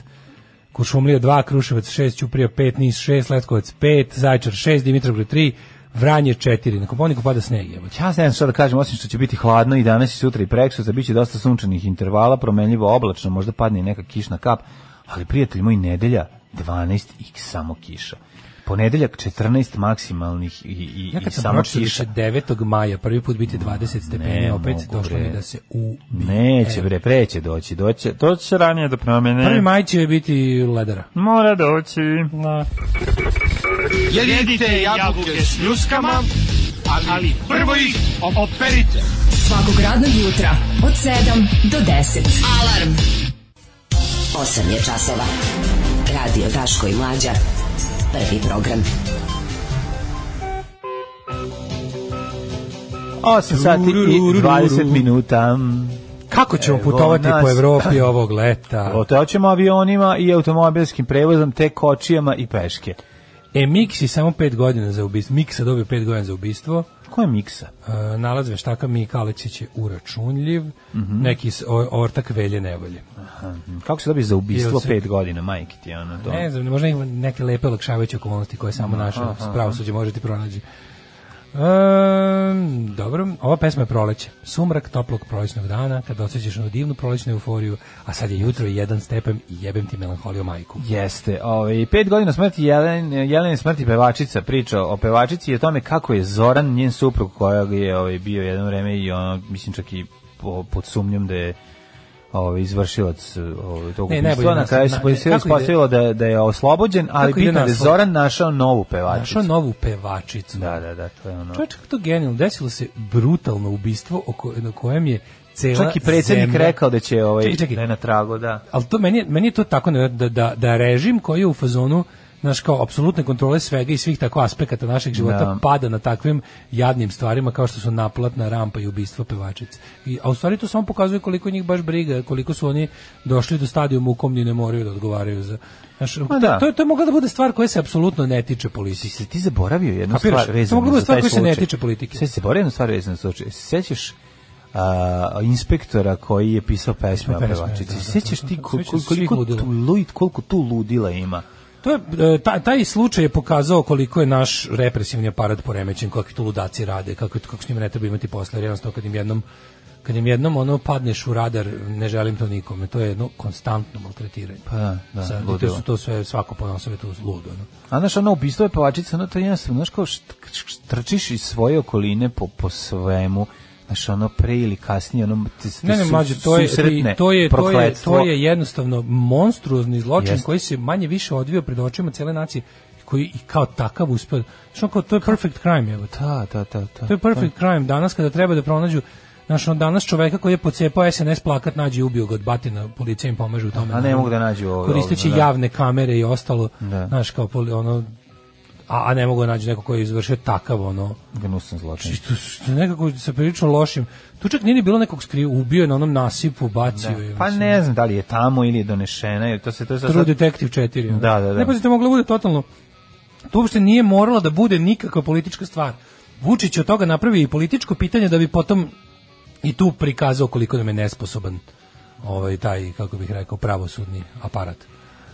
Speaker 6: Kuršumlija 2, Kruševac 6, Ćuprija 5, Nis 6, Letkovac 5, Zajčar 6, Dimitrovgrad 3, Vranje 4. Na Koponiku pada sneg, jebote.
Speaker 5: Ja ne znam šta da kažem, osim što će biti hladno i danas i sutra i preksutra, biće dosta sunčanih intervala, promenljivo oblačno, možda padne i neka kišna kap, ali prijatelj moj nedelja 12 i samo kiša. Ponedeljak 14 maksimalnih i, i,
Speaker 6: Ja
Speaker 5: i
Speaker 6: kad sam
Speaker 5: samo
Speaker 6: pročito da
Speaker 5: kiša.
Speaker 6: će 9. maja prvi put biti 20 stepeni,
Speaker 5: ne
Speaker 6: opet
Speaker 5: mogu,
Speaker 6: došlo
Speaker 5: bre.
Speaker 6: mi da se ubi.
Speaker 5: Neće bre, preće doći, doći, to će ranije do promene.
Speaker 6: Prvi maj će biti ledara.
Speaker 5: Mora doći.
Speaker 4: Jedite jabuke s ljuskama, ali prvo ih operite.
Speaker 1: Svakog radnog jutra od 7 do 10. Alarm.
Speaker 3: 8 je časova. Radio Daško i Mlađa. Prvi program.
Speaker 5: 8 sati i 20 minuta.
Speaker 6: Kako ćemo
Speaker 5: Evo
Speaker 6: putovati
Speaker 5: nas.
Speaker 6: po Evropi ovog leta?
Speaker 5: Oteoćemo avionima i automobilskim prevozom, te kočijama i peške.
Speaker 6: E, Miksi samo 5 godina za ubistvo. Miksa dobio 5 godina za ubistvo.
Speaker 5: Ko je miksa?
Speaker 6: E, nalaz veštaka Mika Aleksić je uračunljiv. Neki s- o- ortak velje nevolje.
Speaker 5: Kako se dobije za ubistvo
Speaker 6: Jel se-
Speaker 5: 5 godina, majke ti ono? To.
Speaker 6: Ne znam, možda ima neke lepe olakšavajuće okolnosti koje samo naše pravosuđe može ti pronađi. Ehm, dobro, ova pesma je proleće. Sumrak toplog prolećnog dana, kad osjećaš onu divnu prolećnu euforiju, a sad je jutro i jedan stepen i jebem ti melanholiju majku.
Speaker 5: Jeste. Ovaj 5 godina smrti Jelen, Jelene smrti pevačica priča o pevačici i o tome kako je Zoran njen suprug koja je ovaj bio jedno vreme i ono mislim čak i po, pod sumnjom da je ovaj izvršilac ovaj tog
Speaker 6: Ne,
Speaker 5: ubistva
Speaker 6: najbolje
Speaker 5: na
Speaker 6: nas-
Speaker 5: kraju
Speaker 6: na-
Speaker 5: se
Speaker 6: ne,
Speaker 5: policija
Speaker 6: kako ide-
Speaker 5: ispostavilo da da je oslobođen, ali
Speaker 6: Kako ide
Speaker 5: bitno je da je
Speaker 6: naslov?
Speaker 5: Zoran našao novu pevačicu.
Speaker 6: Našao novu pevačicu.
Speaker 5: Da, da, da, to je ono.
Speaker 6: Čovječ, kako to genijalno, desilo se brutalno ubistvo oko, na kojem je cela
Speaker 5: Čak i predsjednik
Speaker 6: zemlja-
Speaker 5: rekao da će ovaj
Speaker 6: Čekaj, čekaj.
Speaker 5: da je na tragu, da.
Speaker 6: Ali to meni, je- meni je to tako nevjerojatno da, da, da režim koji je u fazonu naš kao apsolutne kontrole svega i svih tako aspekata našeg života
Speaker 5: Da.
Speaker 6: pada na takvim jadnim stvarima kao što su naplatna rampa i ubistvo pevačice. I, a u stvari to samo pokazuje koliko njih baš briga, koliko su oni došli do stadijuma u kom ni ne moraju da odgovaraju za... Znaš, to,
Speaker 5: da.
Speaker 6: to, je- to je mogla da bude stvar koja se apsolutno ne tiče politike.
Speaker 5: Si ti zaboravio jednu
Speaker 6: Kapiraš?
Speaker 5: stvar
Speaker 6: To
Speaker 5: vezanu
Speaker 6: mogu biti
Speaker 5: za taj
Speaker 6: stvar koja se ne
Speaker 5: slučaj.
Speaker 6: tiče politike.
Speaker 5: Sve si zaboravio jednu stvar vezanu za slučaj. Se Sećaš a, inspektora koji je pisao pesme o
Speaker 6: Pesme, da,
Speaker 5: pevačici.
Speaker 6: da,
Speaker 5: Se Sećaš
Speaker 6: da,
Speaker 5: ti
Speaker 6: da,
Speaker 5: kol-
Speaker 6: sećam se svih
Speaker 5: koliko,
Speaker 6: ludila.
Speaker 5: tu lud, koliko tu ludila ima?
Speaker 6: To je, e, taj, taj slučaj je pokazao koliko je naš represivni aparat poremećen, kakvi tu ludaci rade, kako, kako s njima ne treba imati posla, jer jednostavno kad im jednom kad im jednom ono padneš u radar, ne želim to nikome, to je jedno konstantno maltretiranje.
Speaker 5: Pa da, da,
Speaker 6: Sad, to
Speaker 5: ludilo.
Speaker 6: su to sve, svako ponosove tu ludo. Ono.
Speaker 5: A znaš, ono, ubistvo je pevačica, ono, to je jednostavno, znaš, kao št- št- trčiš iz svoje okoline po, po svemu, znaš, ono, pre ili kasnije, ono, ti, ti
Speaker 6: Ne, ne,
Speaker 5: su-
Speaker 6: mlađe, to je,
Speaker 5: susretne
Speaker 6: to je, to je,
Speaker 5: prokletstvo.
Speaker 6: to je jednostavno monstruozni zločin
Speaker 5: Jeste.
Speaker 6: koji se manje više odvio pred očima cele nacije, koji i kao takav ono uspeo. Što kao, to je perfect crime, evo.
Speaker 5: Da, da, da, da.
Speaker 6: To je perfect crime danas kada treba da pronađu Znaš, on danas čoveka koji je pocepao SNS plakat nađe i ubio ga od batina, policija im pomaže u tome.
Speaker 5: A ne mogu da nađu ovo.
Speaker 6: Koristeći
Speaker 5: ovo, da.
Speaker 6: javne kamere i ostalo,
Speaker 5: Da.
Speaker 6: znaš, kao poli- ono, a, a ne mogu da nađu neko koji je izvršio takav, ono,
Speaker 5: Gnusan zločin.
Speaker 6: što, što nekako se prilično lošim. Tu čak nije ni bilo nekog skriva, ubio je na onom nasipu, bacio je.
Speaker 5: Pa
Speaker 6: mislim.
Speaker 5: ne znam da li je tamo ili je donešena, jer to se to je sad...
Speaker 6: True Detective 4. ono.
Speaker 5: Da, da, da.
Speaker 6: Ne pazite, moglo bude totalno. To uopšte nije morala da bude nikakva politička stvar. Vučić je od toga napravi i političko pitanje da bi potom i tu prikazao koliko nam je nesposoban ovaj taj kako bih rekao pravosudni aparat.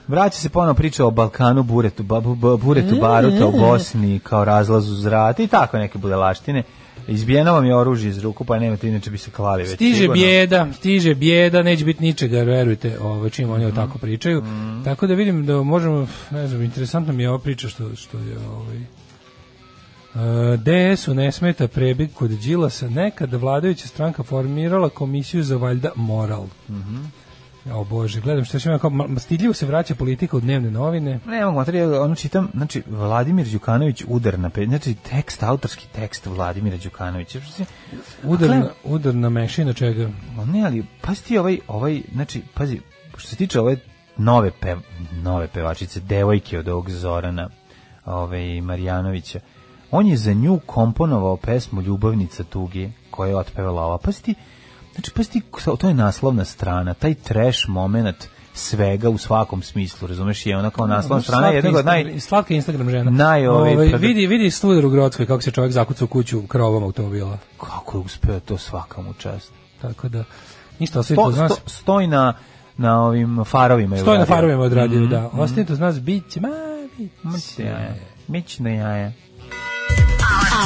Speaker 5: Vraća se ponovno priča o Balkanu, buretu, ba, ba- buretu baruta u
Speaker 6: Mm.
Speaker 5: Bosni kao razlazu zrata i tako neke budalaštine. Izbijeno vam je oružje iz ruku, pa nemate, inače bi se klali već.
Speaker 6: Stiže
Speaker 5: sigurno.
Speaker 6: bijeda, stiže bijeda, neće biti ničega, verujte, ovaj čim oni o tako pričaju. Tako da vidim da možemo, ne znam, interesantno mi je ova priča što što je ovaj E, DS-u ne smeta prebig kod Đilasa. Nekada vladajuća stranka formirala komisiju za valjda moral. O bože, gledam što će ima kao, ma- ma stidljivo se vraća politika u dnevne novine.
Speaker 5: Ne mogu, materijal, ono čitam, znači, Vladimir Đukanović udar na pe... Znači, tekst, autorski tekst Vladimira Đukanovića. Znači,
Speaker 6: Udar,
Speaker 5: Dakle-
Speaker 6: na, udar na mešina čega?
Speaker 5: Ma Pa ne, ali pazi ti ovaj, ovaj, znači, pazi, što se tiče ove nove, pe, nove pevačice, devojke od ovog Zorana ove, Marjanovića, on je za nju komponovao pesmu Ljubavnica tuge, koja je otpevala ova. Pazi ti, znači, pazi ti, to je naslovna strana, taj trash moment svega u svakom smislu, razumeš, je ona kao naslovna strana,
Speaker 6: Slatka
Speaker 5: jednog od naj...
Speaker 6: Ono, Instagram- slatka Instagram žena.
Speaker 5: naj, ovaj,
Speaker 6: Ovaj,
Speaker 5: produ-
Speaker 6: vidi, vidi studar u Grodskoj kako se čovjek zakuca u kuću krovom automobila.
Speaker 5: Kako je uspeo to svakamu čast.
Speaker 6: Tako da, ništa ostavite
Speaker 5: Sto,
Speaker 6: uz nas.
Speaker 5: sto, stoj na, na ovim farovima. je
Speaker 6: Stoje na
Speaker 5: uradio.
Speaker 6: farovima odradio,
Speaker 5: Mhm.
Speaker 6: da. Ostavite uz nas, bit će, ma, bit će.
Speaker 5: Mić na jaja. Mić na jaja.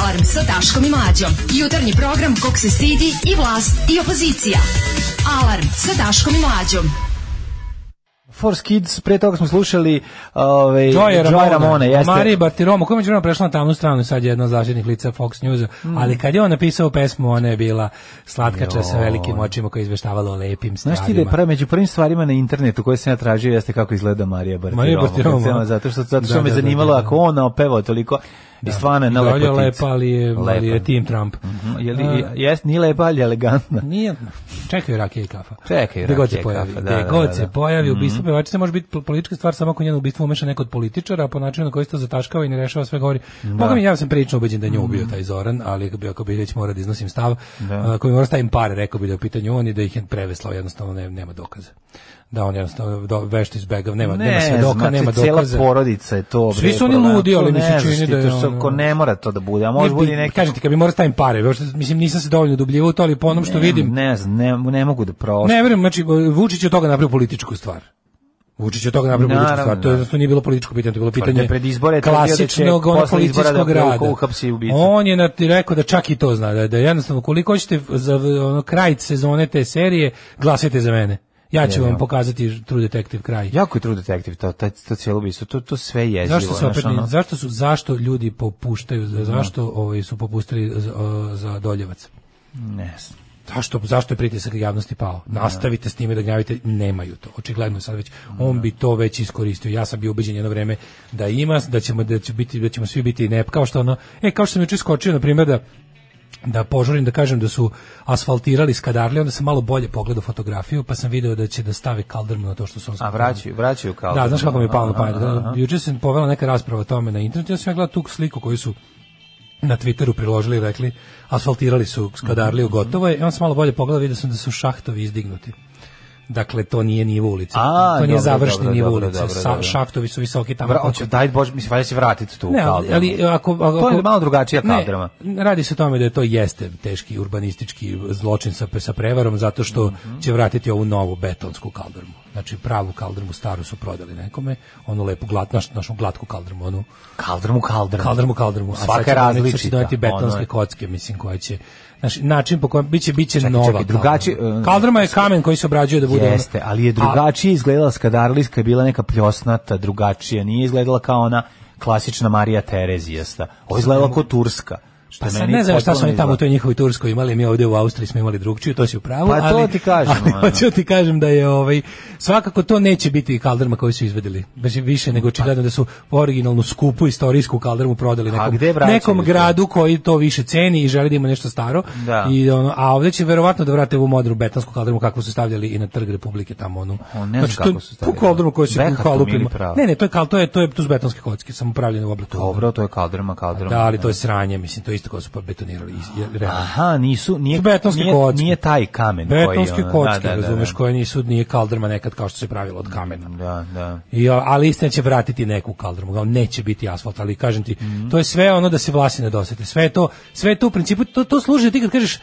Speaker 3: Alarm sa Daškom i Mlađom. Jutarnji program kog se stidi i vlast i opozicija. Alarm sa Daškom i Mlađom.
Speaker 5: Force Kids, pre toga smo slušali ovaj,
Speaker 6: Joy Ramona,
Speaker 5: Ramone, jeste.
Speaker 6: Marije Bartiromo, koja je međuvremenu prešla na tamnu stranu, sad je jedna od zaštitnih lica Fox News,
Speaker 5: Mhm.
Speaker 6: ali kad je on napisao pesmu, ona je bila slatkača sa
Speaker 5: Joj.
Speaker 6: velikim očima koja je izveštavala o lepim stvarima.
Speaker 5: Znaš ti da je prve, među prvim stvarima na internetu koje sam ja tražio jeste kako izgleda Marija Bartiromo.
Speaker 6: Marija Bartiromo.
Speaker 5: Kad sam- ono, Zato što, zato što
Speaker 6: Da,
Speaker 5: me
Speaker 6: da, da,
Speaker 5: zanimalo
Speaker 6: da, da.
Speaker 5: ako ona opeva toliko i stvarno je na Mhm.
Speaker 6: Dolje
Speaker 5: lepotica.
Speaker 6: lepa, ali je, ali je Tim Trump.
Speaker 5: Je li,
Speaker 6: A,
Speaker 5: jest, nije lepa, ali je elegantna.
Speaker 6: Nije, čekaju rakija i kafa.
Speaker 5: Čekaju
Speaker 6: Gde god se
Speaker 5: rakija i
Speaker 6: pojavi.
Speaker 5: kafa,
Speaker 6: Da,
Speaker 5: da, da,
Speaker 6: god
Speaker 5: da. Mhm.
Speaker 6: se pojavi, ubistvo pevačice može biti pol- politička stvar samo ako u njeno ubistvo umeša neko od političara, a po načinu na koji se to zataškava i ne rešava sve govori. Boga mi, ja sam prilično ubeđen da je nju
Speaker 5: Mhm.
Speaker 6: ubio taj Zoran, ali ako bi, ako bi već morao da iznosim stav, a, ako bi morao stavim pare, rekao bi da je u pitanju on i da ih je preveslao, jednostavno ne- nema dokaza. Da on jednostavno do, vešto izbegav, nema, nema svedoka,
Speaker 5: znači,
Speaker 6: nema
Speaker 5: cijela
Speaker 6: dokaza.
Speaker 5: porodica je to.
Speaker 6: Svi
Speaker 5: bre,
Speaker 6: su oni
Speaker 5: problem.
Speaker 6: ludi, ali
Speaker 5: To
Speaker 6: mi se
Speaker 5: ne znaš
Speaker 6: čini
Speaker 5: ti,
Speaker 6: da je
Speaker 5: to što
Speaker 6: ono-
Speaker 5: Ko ne mora to da bude, a
Speaker 6: Ne
Speaker 5: može
Speaker 6: bi-
Speaker 5: bude i neki...
Speaker 6: Kažem ti, kad bi morao stavim pare, pošto, mislim, nisam se dovoljno dubljivao u to, ali po onom što vidim,
Speaker 5: Ne znam, ne, ne mogu da prošli.
Speaker 6: Ne, verujem, znači Vučić je od toga napravio političku stvar. Vučić je od toga napravio političku
Speaker 5: Naravno,
Speaker 6: stvar. To je
Speaker 5: da.
Speaker 6: jednostavno nije bilo političko pitanje, to je bilo
Speaker 5: Tvrde,
Speaker 6: pitanje
Speaker 5: pred izbore je tvrdio da će
Speaker 6: klasičnog ono,
Speaker 5: posle izbora da
Speaker 6: policijskog rada.
Speaker 5: uhapsi ubicu.
Speaker 6: On je nat- rekao da čak i to zna, da, da jednostavno koliko hoćete za ono, kraj sezone te serije, glasajte za mene. Ja ću vam pokazati True Detective kraj.
Speaker 5: Jako je True Detective, to, to, to cijelo ubistvo, to, to sve je jezivo.
Speaker 6: Zašto se
Speaker 5: znaš,
Speaker 6: opet
Speaker 5: ono. Mhm.
Speaker 6: zašto su zašto ljudi popuštaju za- zašto ovaj su popustili za, o, za Doljevac?
Speaker 5: Ne znam.
Speaker 6: Zašto, zašto je pritisak javnosti pao? Nastavite s time da gnjavite, nemaju to. Očigledno je sad već, on bi to već iskoristio. Ja sam bio ubeđen jedno vreme da ima, da ćemo, da će biti, da ćemo svi biti nep, kao što ono, e, kao što sam juče skočio, na primjer, da da požurim da kažem da su asfaltirali skadarli, onda sam malo bolje pogledao fotografiju, pa sam video da će da stave kaldrmu na to što su
Speaker 5: A vraćaju, vraćaju kao...
Speaker 6: Mm. da, znaš kako mi je palo na pamet.
Speaker 5: Aha,
Speaker 6: Da,
Speaker 5: aha.
Speaker 6: Juče sam povela neka rasprava o tome na internetu, ja sam ja gledao tu sliku koju su na Twitteru priložili i rekli asfaltirali su Skadarliju,
Speaker 5: Mhm.
Speaker 6: gotovo je. I onda sam malo bolje pogledao, vidio sam da su šahtovi izdignuti. Dakle, to nije nivo ulice.
Speaker 5: A,
Speaker 6: to nije
Speaker 5: dobro,
Speaker 6: završni
Speaker 5: dobro,
Speaker 6: nivo
Speaker 5: dobro,
Speaker 6: ulice.
Speaker 5: dobro,
Speaker 6: Sa-
Speaker 5: dobro.
Speaker 6: Šahtovi su visoki tamo.
Speaker 5: Vra,
Speaker 6: koliko-
Speaker 5: hoće, daj Bože, mislim, valjda će vratiti tu
Speaker 6: pa- ne,
Speaker 5: kao
Speaker 6: ali, ali ako, ako,
Speaker 5: To je malo drugačija kaldrma.
Speaker 6: Ne, radi se o tome da je to jeste teški urbanistički zločin sa, sa prevarom zato što
Speaker 5: Mhm.
Speaker 6: će vratiti ovu novu betonsku kaldrmu. Znači pravu kaldrmu staru su prodali nekome, onu lepu glat, naš, našu glatku kaldrmu, onu
Speaker 5: Kaldrmu, kaldrmu.
Speaker 6: kaldrmu kaldrmu. A sad
Speaker 5: Svaka
Speaker 6: će
Speaker 5: je
Speaker 6: doneti- sad će
Speaker 5: različita,
Speaker 6: doneti betonske
Speaker 5: ono je.
Speaker 6: kocke, mislim, koje će znači, način po kojem biće biće
Speaker 5: Čekaj,
Speaker 6: nova.
Speaker 5: čekaj, drugačije,
Speaker 6: kaldrma.
Speaker 5: e,
Speaker 6: Kaldrma je kamen koji se obrađuje da bude ono-
Speaker 5: Jeste, ali je
Speaker 6: A-
Speaker 5: drugačije izgledala Skadarliska, je bila neka pljosnata, drugačija, nije izgledala kao ona klasična Marija Terezijasta. Ovo je izgledala kao Turska. Što
Speaker 6: Pa
Speaker 5: je
Speaker 6: sad
Speaker 5: meni
Speaker 6: ne znam šta
Speaker 5: potpuno
Speaker 6: su oni tamo u
Speaker 5: neizgledno.
Speaker 6: toj njihovoj Turskoj imali, mi ovdje u Austriji smo imali drugčiju, to si u pravu.
Speaker 5: Pa to
Speaker 6: ali-
Speaker 5: ti kažem,
Speaker 6: ali
Speaker 5: ono.
Speaker 6: hoću ti kažem da je ovaj, svakako to neće biti kaldrma koju su izvedeli. Bez više nego očigledno da su originalnu skupu istorijsku kaldrmu prodali
Speaker 5: A
Speaker 6: nekom,
Speaker 5: gde vraćaju
Speaker 6: nekom
Speaker 5: to?
Speaker 6: gradu koji to više ceni i želi da ima nešto staro.
Speaker 5: Da.
Speaker 6: I ono, a ovdje će verovatno da vrate ovu modru betansku kaldrmu kakvu su stavljali i na trg Republike tamo onu.
Speaker 5: O, ne znam
Speaker 6: to
Speaker 5: kako su stavljali.
Speaker 6: Tu kaldrmu koju se
Speaker 5: Behatom
Speaker 6: kalupima-
Speaker 5: ili pravo?
Speaker 6: Ne, ne, to je kal, to je to je tu su betonske kocke, samo pravljene u obliku.
Speaker 5: Dobro, to je kaldrma, kaldrma.
Speaker 6: Da, ali to je sranje, mislim, to je isto kao su betonirali. Realno.
Speaker 5: Aha, nisu, nije,
Speaker 6: Su betonske
Speaker 5: nije,
Speaker 6: kocke.
Speaker 5: nije taj kamen
Speaker 6: Betonske
Speaker 5: koji... ono,
Speaker 6: kocke, razumeš, koje nisu, nije kaldrma nekad kao što se pravilo od kamena.
Speaker 5: Da, da.
Speaker 6: I, o, ali istina će vratiti neku kaldrmu, kao neće biti asfalt, ali kažem ti,
Speaker 5: Mhm.
Speaker 6: to je sve ono da se vlasi ne dosete. Sve je to, sve je to u principu, to, to služi ti kad kažeš,